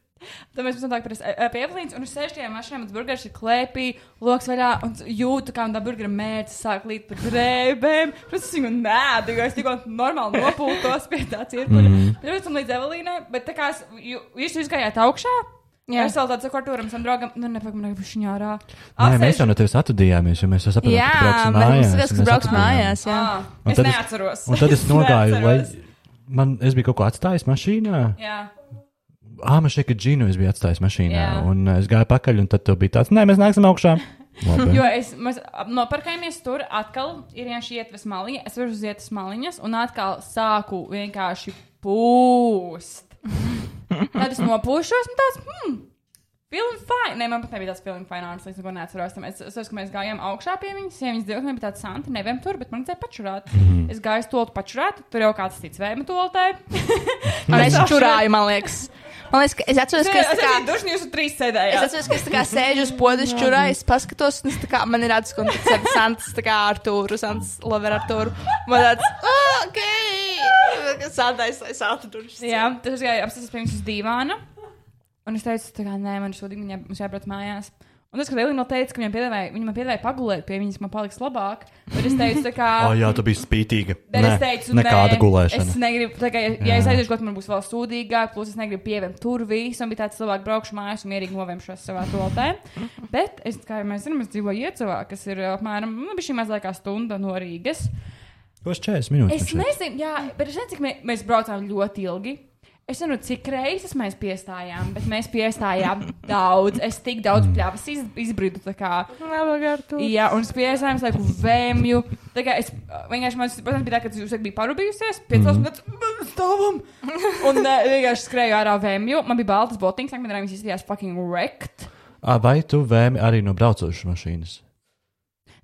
Speaker 3: Tad mēs esam tālāk pres- eh, eh, pie Evelīnas, un uz sešajām mašīnām mans burgeris ir klēpī, loks vaļā, un s- jūtu, kā man tā burgera mērķis sāk līdz pat drēbēm. Protams, es viņu nēdu, jo es tikko normāli nopūtos pie tā cirkuļa.
Speaker 1: Mhm.
Speaker 3: Mm. Pēc tam līdz Evelīnai, bet tā kā es- jū- jūs izgājāt augšā,
Speaker 2: Jā.
Speaker 3: jā. es vēl tāds ar Arturam, sam draugam, nu nepagaidām, ka viņš viņā ārā.
Speaker 1: Nē, mēs jau no tevis atradījāmies, jo mēs jau sapratām,
Speaker 2: Jā,
Speaker 1: ka tu brauksi mājās.
Speaker 2: mēs skatāmies,
Speaker 1: un mēs atradījāmies. Un
Speaker 2: kas brauks mājās. Jā.
Speaker 3: Ah, es
Speaker 1: tad es-
Speaker 3: neatceros.
Speaker 1: Un tad es nogāju, lai
Speaker 3: Neatceros.
Speaker 1: man, es biju kaut ko atstājis mašīnā.
Speaker 3: Jā,
Speaker 1: Ah, man šeit ir džinu, es biju atstājis mašīnā.
Speaker 3: Jā.
Speaker 1: Un uh, es gāju pakaļ, un tad tev bija tāds, nē, mēs nāksim augšā. Labi.
Speaker 3: jo es, mēs ap- nopērkāmies tur, atkal ir vienkārši ietves maliņa, es varu uziet uz maliņas, un atkal sāku vienkārši pūst. Tad es nopūšos, un tāds, hmm, filmu fine. Nē, man pat nebija tāds filmu finanses, es neko neatceros. tam. Es es saprotu, ka mēs gājām augšā pie viņas, ja viņas divas man bija tāds santi, nevienam tur, bet man bija pačurāt.
Speaker 1: Mhm.
Speaker 3: Es gāju uz tolu pačurāt, tur jau kāds cits vēma tolotē.
Speaker 2: Un es čurāju, man liekas. Man liekas, ka es atceros, ka
Speaker 3: Es
Speaker 2: es tā kā.
Speaker 3: esmu dušņi, jūs trīs sēdējāt.
Speaker 2: Es atceros, ka es tā kā sēžu uz podas čurā, es paskatos, un es tā kā, man ir tāds koncepts, Sants, tā kā Artūru, Sants, Lover Artūru. Man tāds, "Ah, ok, Santa, es es atradu.
Speaker 3: Jā, tad es gāju apstāties pie viņas uz dīvāna. Un es teicu, tā kā nē, man šodien viņa, mums jābrauc mājās. Un tas, ka Lielija teica, ka viņam piedāvāja, viņa man piedāvāja pagulēt pie viņas, man paliks labāk. Bet es teicu, tā kā.
Speaker 1: O, Ah, jā, tu biji spītīga.
Speaker 3: Bet es teicu,
Speaker 1: nekāda
Speaker 3: nē,
Speaker 1: gulēšana.
Speaker 3: Es negribu, tā kā, ja, ja es aiziešu, tad man būs vēl sūdīgāk, plus es negribu pievērt tur visu, un bija tāds cilvēks, braukšu mājās un mierīgi novemšos savā toltē. Bet es, kā jau mēs zinām, es dzīvoju Iecavā, kas ir apmēram, nu, bija šī mazākā stunda no Rīgas.
Speaker 1: Tos 40 minūtes.
Speaker 3: Es nezinu, jā, bet es nezinu, cik mē, mēs braucām ļoti ilgi. Es nezinu, cik reizes mēs piestājām, bet mēs piestājām daudz. Es tik
Speaker 1: Mm.
Speaker 3: daudz pļāvas iz, izbridu. tā kā. Jā, un es piestājām, es laiku vēmju. Tā kā es uh, vienkārši, man protams, bija tā, ka jūs bijat parūpījusies,
Speaker 1: Mhm.
Speaker 3: piecos minūtes mm. stāvam. Un uh, vienkārši skrēju ārā vēmju. Man bija baltas botiņas, man bija izjūtījās fucking wrecked.
Speaker 1: Ah, Vai tu vēmi arī no braucošas mašīnas?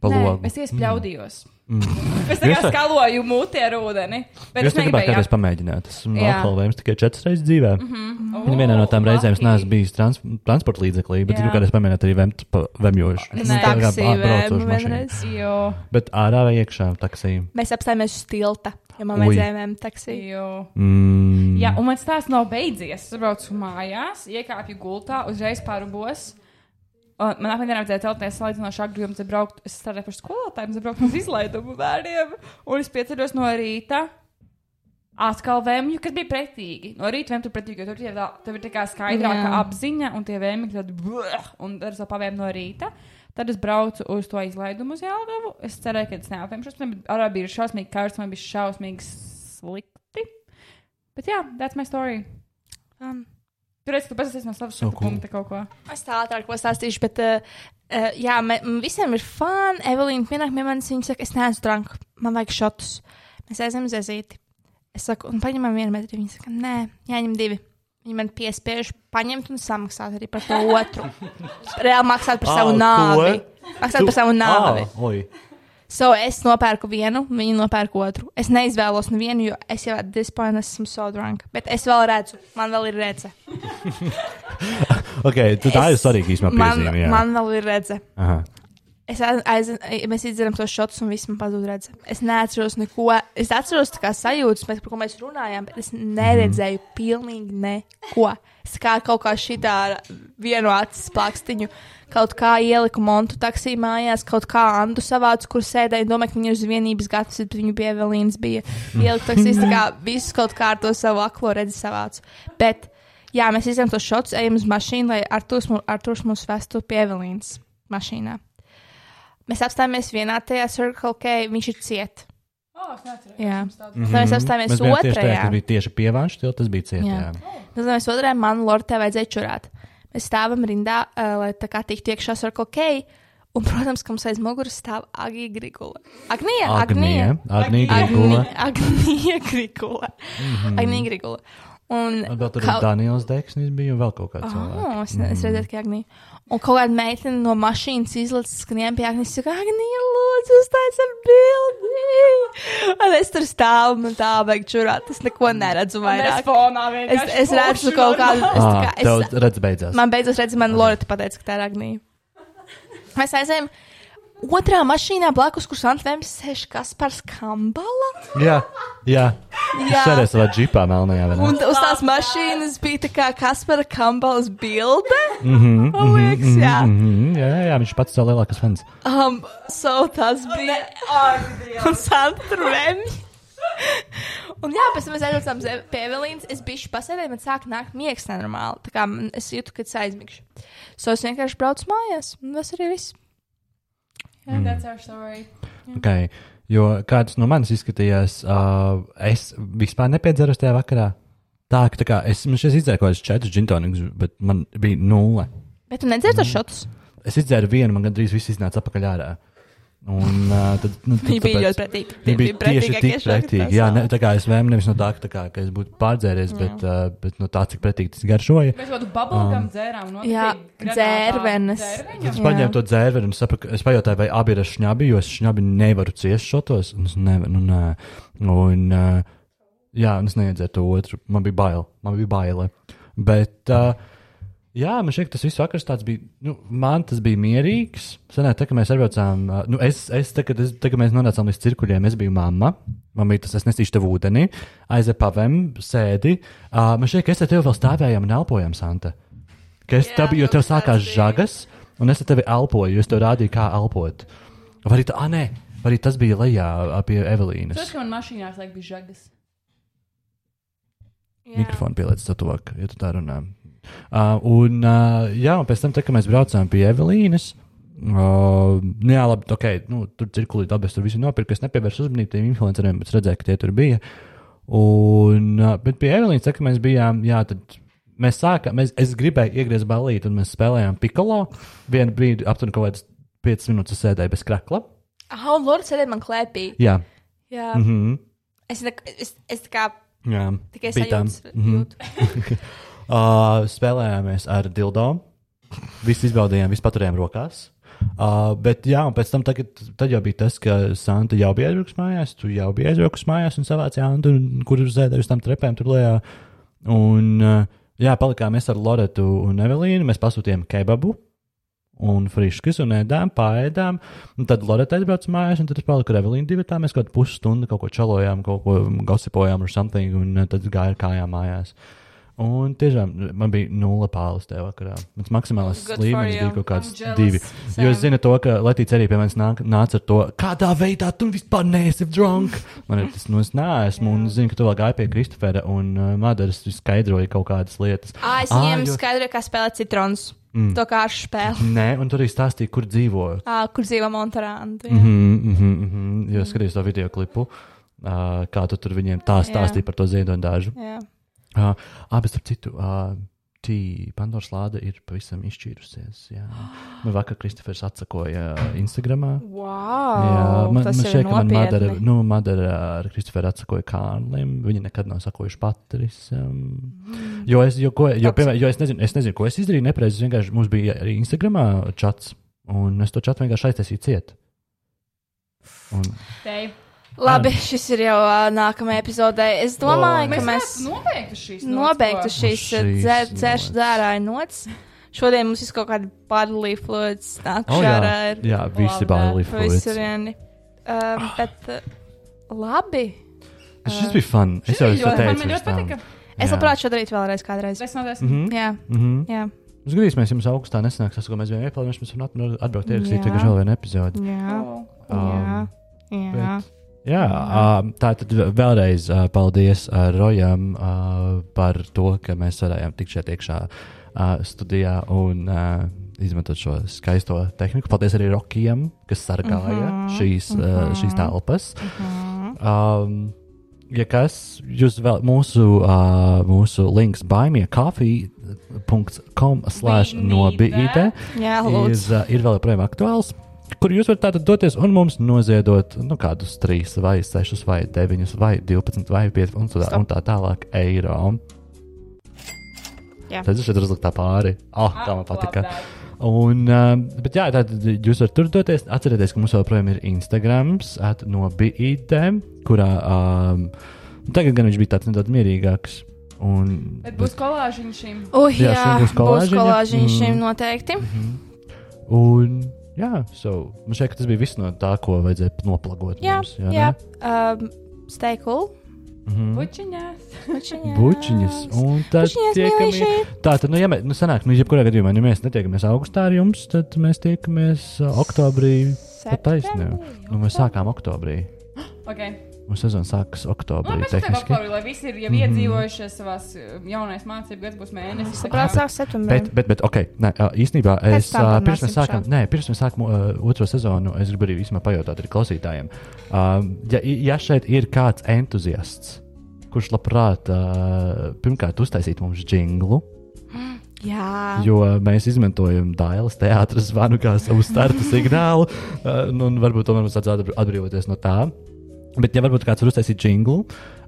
Speaker 1: Pa
Speaker 3: Nē,
Speaker 1: logu.
Speaker 3: es iespļaudījos.
Speaker 1: Mm.
Speaker 3: Es tā kā
Speaker 1: Jūs tā-
Speaker 3: skaloju muti ar ūdeni. Bet
Speaker 1: Es
Speaker 3: es
Speaker 1: gribēju
Speaker 3: negribēju.
Speaker 1: kādreiz pamēģināt. Esmu
Speaker 3: Jā.
Speaker 1: alkohola vēmis tikai četras reizes dzīvē. Mm.
Speaker 3: Viņa
Speaker 1: Vienā no
Speaker 2: Oh,
Speaker 1: tām reizēm es neesmu bijis trans transporta līdzeklī, bet es
Speaker 3: Jā.
Speaker 1: gribu kādreiz pamēģināt arī vēmt, pa- vēmjošu.
Speaker 3: Nē,
Speaker 1: Nu, tā kā
Speaker 2: taksī
Speaker 1: ā- braucošu
Speaker 2: vēmu
Speaker 1: mašīnu.
Speaker 2: vienreiz.
Speaker 3: Jo,
Speaker 1: Bet ārā vai iekšā taksī?
Speaker 2: Mēs apstājāmies uz tilta, jo man
Speaker 1: Ui.
Speaker 2: vajadzēja mēm taksiju.
Speaker 3: jo.
Speaker 1: Mm.
Speaker 3: Jā, un man stāsts nav beidzies. Es braucu mājās, iekāpu gultā, uzreiz pārubos. Un Man apmēram vajadzēja celties salīdzinoši agri, jo mums ir braukt, es strādāju par skolotājiem, es braucu uz izlaidumu bērniem. Un es pieceros no rīta. Atkal vēmju, kas bija pretīgi. No rīta vēmju tur pretīgi, jo tur ir, tā- tev ir tā kā skaidrāka
Speaker 2: Jā.
Speaker 3: apziņa, un tie vēmju ir tādi, "Bleh!" un ar savu pavēmu no rīta. Tad es braucu uz to izlaidumu uz Jālugavu. Es cerēju, ka tas neapēmšos, bet arā bija šausmīgi kārsts, man bija šausmīgi slikti. Bet jā, that's my story.
Speaker 2: Um,
Speaker 3: Tur redz, tu pasasies no savas
Speaker 1: So
Speaker 3: skatu
Speaker 1: cool.
Speaker 3: punkta kaut ko.
Speaker 2: Es tā ātrāk pastāstīšu, bet uh, uh, jā, me, m- visiem ir fani. Evelīna pienāk pie manis, viņa saka, es neesmu drunk, man vajag šotus. Mēs aizējām uz ezīti. Es saku, un paņemam vienu metru. Viņa saka, nē, jāņem divi. Viņi man piespiež paņemt un samaksāt arī par to otru. Reāli maksāt par savu
Speaker 1: Ā, ko?
Speaker 2: nāvi. Maksāt par savu nāvi.
Speaker 1: Ā, oi.
Speaker 2: So es nopērku vienu, viņa nopērku otru. Es neizvēlos nevienu, jo es jau at this point esmu so drunk. Bet es vēl redzu, man vēl ir redzes.
Speaker 1: Okay, tu- Nu, tā ir svarīga īstenībā
Speaker 2: Man,
Speaker 1: piezīme. jā.
Speaker 2: man vēl ir redzes.
Speaker 1: Aha.
Speaker 2: Es aiz, aiz, mēs izdzeram tos šotus, un viss man pazūd redzē. Es neatceros neko. Es atceros tā kā sajūtas, mēs, par ko mēs runājām, bet es neredzēju pilnīgi neko. Es kā kaut kā šitā ar vienu acis plakstiņu, kaut kā ieliku montu taksī mājās, kaut kā Andu savācu, kur sēdēju, domāju, ka viņa ir uz vienības gatavs, bet viņu bija Evelīns, bija ieliku taksīs, tā kā visus kaut kā ar to savu aklo redzi savācu. Bet, jā, mēs izdzeram tos šotus, ejam uz mašīnu, lai Arturs, mu- Arturs mūs vestu pie Evelīnas mašīnā. Mēs apstājamies vienā tajā cirklā, ka viņš ir ciet.
Speaker 3: Oh, es neatceros.
Speaker 2: Jā. Mm -hmm. Tad mēs apstājamies
Speaker 1: Mhm. Mēs bijām tieši tajā,
Speaker 2: otrajā.
Speaker 1: kur bija tieši pievāņš, jo tas bija cietā.
Speaker 2: Jā. Tad mēs otrajā man Lortē vajadzēja čurāt. Mēs stāvam rindā, eh, lai tā kā tiktu iekšā cirklā, ka un, protams, ka mums aiz muguras stāv Agija Grigula. Agnija, Agnija.
Speaker 1: Agnija, Agnija Grigula. Mhm.
Speaker 2: Agni- Agnija Grigula. Agnija Grigula. Un
Speaker 1: Un vēl tur bija
Speaker 2: kaut-
Speaker 1: Daniels Deksnis, bija un vēl kaut kāds cilvēks.
Speaker 2: Oh, es, ne-
Speaker 1: Mm.
Speaker 2: es redzēju, ka Agnija. Un kaut kāda meitene no mašīnas izlaiž skrienu pie Agnijas. Saka, Agnija, lūdzu, uztaisiet bildi. Un es tur stāvu un tā vajag čurāt. Es neko neredzu vairāk. Es,
Speaker 3: Es,
Speaker 2: es redzu kaut kādu. Es, tā
Speaker 1: Ah,
Speaker 2: kā,
Speaker 1: tev
Speaker 2: es,
Speaker 1: redz beidzās.
Speaker 2: man beidzot redz, man Lorita pateica, ka tā ir Agnija. Mēs aizējām otrā mašīnā blakus, kurš Antvēms sēž Kaspars Kambala.
Speaker 1: Jā, jā.
Speaker 2: Jā.
Speaker 1: Šādi savā džipā melnajā vienā.
Speaker 2: Un uz tās mašīnas bija tā kā Kaspara Kambalas bilde. Man liekas, jā.
Speaker 1: Mhm, jā, jā, jā, viņš pats ir lielākais fans.
Speaker 2: Um, so tas bija. un Sandra Vemja. Un jā, pēc tam mēs aizjūtām pie Evelīnas. Es biju pasēdēju, man sāk nākt miegs nenormāli. Tā kā man- es jūtu, ka es aizmigšu. So es vienkārši braucu mājās, un tas arī viss.
Speaker 1: Mm. Okay. Jo kāds no manis izskatījās, uh, es vispār nepiedzeros tajā vakarā. Tā, ka tā kā es man šeit izdzēru kaut kādus četrus džintonikus, bet man bija nulle.
Speaker 2: Bet tu nedzirdi
Speaker 1: Mm.
Speaker 2: tos šotus?
Speaker 1: Es izdzēru vienu, man gandrīz viss iznāca apakaļ ārā. Un uh, tad, nu, tad
Speaker 2: Viņi bija
Speaker 1: tāpēc-
Speaker 2: ļoti pretīgi.
Speaker 1: Viņi bija tieši tik pretīgi. Jā, ne, tā kā es vēmu nevis no tā, ka, tā kā, ka es būtu pārdzēries, bet, uh, bet no tā, cik pretīgi tas garšoja.
Speaker 3: Mēs kaut kādu
Speaker 1: Um,
Speaker 3: bubblegum dzērām. noteikti
Speaker 2: Jā,
Speaker 3: granātā.
Speaker 2: dzērvenes.
Speaker 1: Es
Speaker 3: Dzērveņu?
Speaker 2: Jā.
Speaker 1: paņēmu to dzērvenu, un sapratu, ka- es pajautāju, vai abi ir ar šņabi, jo es šņabi nevaru ciest šotos. Un es nevaru, nu, nē. Un, ā, jā, un es neiedzēru to otru. Man bija bail, man bija baile. Bet, eh, ā, jā, man šķiet, ka tas viss vakars tāds bija, nu, man tas bija mierīgs. Senāk, tā, kad mēs aizbraucām, ā, nu, es, es tā, kad, es, tā, kad mēs nonācām līdz cirkuļiem, es biju mamma. Man bija tas, es nesīšu tev ūdeni, aizēju pavēm, sēdi. Uh, man šķiet, ka es ar tevi vēl stāvējām un elpojām, Santa. Ka es tev biju, jo tev sākās žagas, un es ar tevi elpoju, jo es tev rādīju, kā elpot. Vai arī, tā, ah, nē, vai arī tas bija lejā ā, pie
Speaker 3: Tas,
Speaker 1: Evelīnas.
Speaker 3: ka man mašīnās laik bija žagas.
Speaker 1: Mikrofonu pieliec tev tuvāk, ja tu tā runā. Uh, un, uh, jā, un pēc tam, tā, kad mēs braucām pie Evelīnas, uh, nu, jā, labi, ok, nu, tur cirkulīt, labi, es tur visu nopirku, es nepievērsu uzmanību tiem influenceriem, bet es redzēju, ka tie tur bija. Un, uh, bet pie Evelīnas, tā, kad mēs bijām, jā, tad mēs sākām, mēs, es gribēju iegriezt balīti, un mēs spēlējām pikolo. Vienu brīdi aptuveni kaut kādas 5 minūtes es sēdēju bez krakla.
Speaker 2: Ah, un Lorija sēdēja man klēpī.
Speaker 1: Jā,
Speaker 2: Jā.
Speaker 1: mm -hmm.
Speaker 2: Es, tā, es, es tā kā
Speaker 1: jā.
Speaker 2: tikai
Speaker 1: bija Mhm. tā.
Speaker 2: sajūtu. jūtu.
Speaker 1: Uh, spēlējāmies ar dildo. Visi izbaudījām, visi paturējām rokās. Uh, bet, jā, un pēc tam tagad, tad jau bija tas, ka Santa jau bija aizjūgas mājās, tu jau biji aizjūgas mājās un savāc Jānu, kur uzēdēji uz tām trepēm tur lejā. Un, uh, jā, palikām mēs ar Loretu un Evelīnu, mēs pasūtījām kebabu. un friškas, un ēdām, pārēdām. Un Tad Lorita aizbrauca mājās, un tad es paliku ar Evelīnu divu. Tā mēs kaut kādu pusstundu kaut ko čalojām, kaut ko gosipojām ar something, un eh, tad gāja ar kājām mājās. Un tiešām man bija nulle pāles tajā vakarā. Mans maksimālais
Speaker 3: Good for
Speaker 1: līmenis
Speaker 3: you.
Speaker 1: bija kaut kāds
Speaker 3: I'm jealous,
Speaker 1: divi. Jo es
Speaker 3: Sam.
Speaker 1: zinu to, ka Latīts arī pie manis nāk, nāca ar to, kādā veidā tu nu vispār neesi drunk. Man ir tas, nu, es neesmu, un zinu, ka tu vēl gāji pie Kristofera un uh, Madaras, tu skaidroji kaut kādas lietas.
Speaker 2: Ah, es
Speaker 1: Ā,
Speaker 2: viņiem
Speaker 1: jo-
Speaker 2: skaidroju, kā spēlēt citronus. Mm. To kā ar spēli.
Speaker 1: Nē, un tur arī stāstīja, kur dzīvoju.
Speaker 2: Ah, kur dzīvo Monterānta.
Speaker 1: Mhm, mhm, mhm. Jo es skatījos to video klipu, uh, kā tu tur viņiem tā stāstīja par to ziedoņu dārzu.
Speaker 2: Jā.
Speaker 1: Uh, Abas, starp citu, uh, tī Pandoras lāde ir pavisam izšķīrusies. Jā, nu, vakar Kristofers atsakoja Instagramā.
Speaker 2: Wow,
Speaker 1: Jā, man, man
Speaker 2: tas
Speaker 1: šķiet,
Speaker 2: ir
Speaker 1: ka man Madara,
Speaker 2: nopietni.
Speaker 1: nu, Madara ar Kristoferu atsakoja Kārlim. Viņi nekad nav sakojuši Patrisam. Mm. Jo es, jo, ko, jo, piemēram, jo es, nezinu, es nezinu, ko es izdarīju nepareizi. Es vienkārši mums bija arī Instagramā čats, un es to čatu vienkārši aiztaisīju ciet. Un,
Speaker 3: Tei.
Speaker 2: Labi, šis ir jau ā, nākamajā epizodē. Es domāju,
Speaker 1: Mēs
Speaker 2: ka mēs
Speaker 3: varētu nobeigtu šīs
Speaker 2: nobeigtu
Speaker 3: nots,
Speaker 2: šīs ā,
Speaker 1: Šīs
Speaker 2: dzē- dzērš
Speaker 1: nots.
Speaker 2: dzērāju nots. Šodien mums ir kaut kāda bodily fluids
Speaker 1: oh,
Speaker 2: nākšā
Speaker 1: jā,
Speaker 2: ar
Speaker 1: jā, visi
Speaker 3: Labi,
Speaker 1: bailīgi fluids.
Speaker 2: visurieni. Um, bet ā, labi.
Speaker 1: Šis bija fun. Es jau
Speaker 3: bija
Speaker 1: esmu
Speaker 3: ļoti- man
Speaker 1: teicis.
Speaker 3: ļoti patika.
Speaker 2: Es labprāt šo darītu vēlreiz kādreiz.
Speaker 3: ko- Es noteikti. Mm -hmm.
Speaker 2: Jā,
Speaker 1: Mm -hmm.
Speaker 2: jā.
Speaker 1: Mums gribēsimies, ja mums augustā nesanāks tas, ko mēs bijām ieplānojuši. Mēs varam atbraukt ierakstīt
Speaker 2: Jā.
Speaker 1: tikai vēl vienu epizodi.
Speaker 2: Jā, jā.
Speaker 1: Um,
Speaker 2: jā.
Speaker 1: Jā, ā, tā tad vē- vēlreiz ā, paldies ā, Rojam ā, par to, ka mēs varējām tikt šeit iekšā ā, studijā un ā, izmantot šo skaisto tehniku. Paldies arī Rokijam, kas sargāja šīs, ā, šīs telpas.
Speaker 2: Mhm.
Speaker 1: Um, Ja kas, jūs vēl mūsu, uh, mūsu links baimiekafī.com slash nobīte
Speaker 2: Jā,
Speaker 1: ir,
Speaker 2: lūdzu.
Speaker 1: uh, ir vēl joprojām aktuāls, kur jūs varat tātad doties un mums noziedot nu, kādus 3, vai 6, vai 9, vai 12, vai 5 un, tā- un tā tālāk eiro.
Speaker 2: Jā.
Speaker 1: Tad es šeit uzliku tā pāri. Ah, oh, kā man patika.
Speaker 3: Labāk.
Speaker 1: Un, um, bet jā, tad jūs varat tur doties. Atcerieties, ka mums joprojām ir Instagram, no BIT, kurā um, tagad gan viņš bija tāds nedaudz mierīgāks. Un,
Speaker 3: Bet būs kolāžiņš šim.
Speaker 2: Uh,
Speaker 1: Jā,
Speaker 2: jā,
Speaker 1: šim būs
Speaker 2: būs
Speaker 1: kolāžiņa.
Speaker 2: kolāžiņš šim
Speaker 1: Mm.
Speaker 2: noteikti.
Speaker 1: Mhm. un, jā, so, man šķiet, ka tas bija viss no tā, ko vajadzēja noplagot.
Speaker 2: Jā,
Speaker 1: mums, jā,
Speaker 2: jā. Um, stay cool.
Speaker 1: Mhm.
Speaker 3: Bučiņās.
Speaker 2: Bučiņās.
Speaker 1: Bučiņas. Un tad
Speaker 2: Bučiņās,
Speaker 1: tiekamies-
Speaker 2: mīļīši.
Speaker 1: Tā tad, nu, ja mēs, nu, sanāk, nu, jebkurā gadījumā, ja mēs netiekamies augustā ar jums, tad mēs tiekamies uh, oktobrī. Tā taisnība. Nu, mēs sākām oktobrī.
Speaker 3: Okay.
Speaker 1: Mums sezona sākas
Speaker 3: Nu,
Speaker 1: oktobrī.
Speaker 3: mēs jau tādā
Speaker 1: tehniski. Mhm.
Speaker 3: formā, lai visi ir jau iedzīvojušies savā jaunajā mācību gadā, būs mēnesis. tā
Speaker 2: Saprāt,
Speaker 3: kā-
Speaker 2: sāk septembrī.
Speaker 1: Bet, bet, bet, ok, nē, ā, īstenībā es
Speaker 4: tam
Speaker 1: ā,
Speaker 4: runāsim
Speaker 1: pirms mēs sākām,
Speaker 4: šā.
Speaker 1: nē, pirms mēs sākām ā, otro sezonu, es gribu arī vismaz pajautāt arī klausītājiem. Ā, Ja, ja šeit ir kāds entuziasts, kurš labprāt ā, pirmkārt uztaisītu mums jinglu,
Speaker 2: Jā.
Speaker 1: Jo eh, mēs izmantojam dāļas teātras zvanu kā savu starta signālu, uh, nu, un varbūt tomēr mums vajadzētu atbr- atbrīvoties no tā. Bet, ja varbūt kāds var uztaisīt jinglu,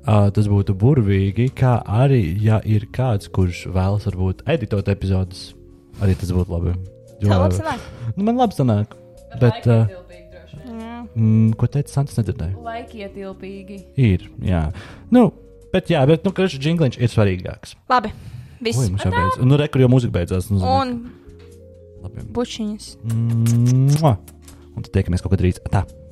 Speaker 1: uh, tas būtu burvīgi, kā arī, ja ir kāds, kurš vēlas varbūt editot epizodes, arī tas būtu labi. Jo,
Speaker 2: Tā labi sanāk.
Speaker 1: Nu, man labi sanāk. Bet,
Speaker 3: Laika
Speaker 1: uh,
Speaker 3: ietilpīgi, droši vien.
Speaker 1: mm, ko teica Sants, nedzirdēju?
Speaker 3: Laika ietilpīgi.
Speaker 1: Ir, jā. Nu, bet, jā, bet, nu, ka šis jingliņš ir svarīgāks.
Speaker 2: Labi.
Speaker 1: Ui,
Speaker 2: Viss.
Speaker 1: mums jau beidzas. Nu, rekur jau mūzika beidzās. Nu, zini,
Speaker 2: Un
Speaker 1: labi.
Speaker 2: bučiņas.
Speaker 1: Mua! Un tad tiekamies kaut kad drīz. Tā.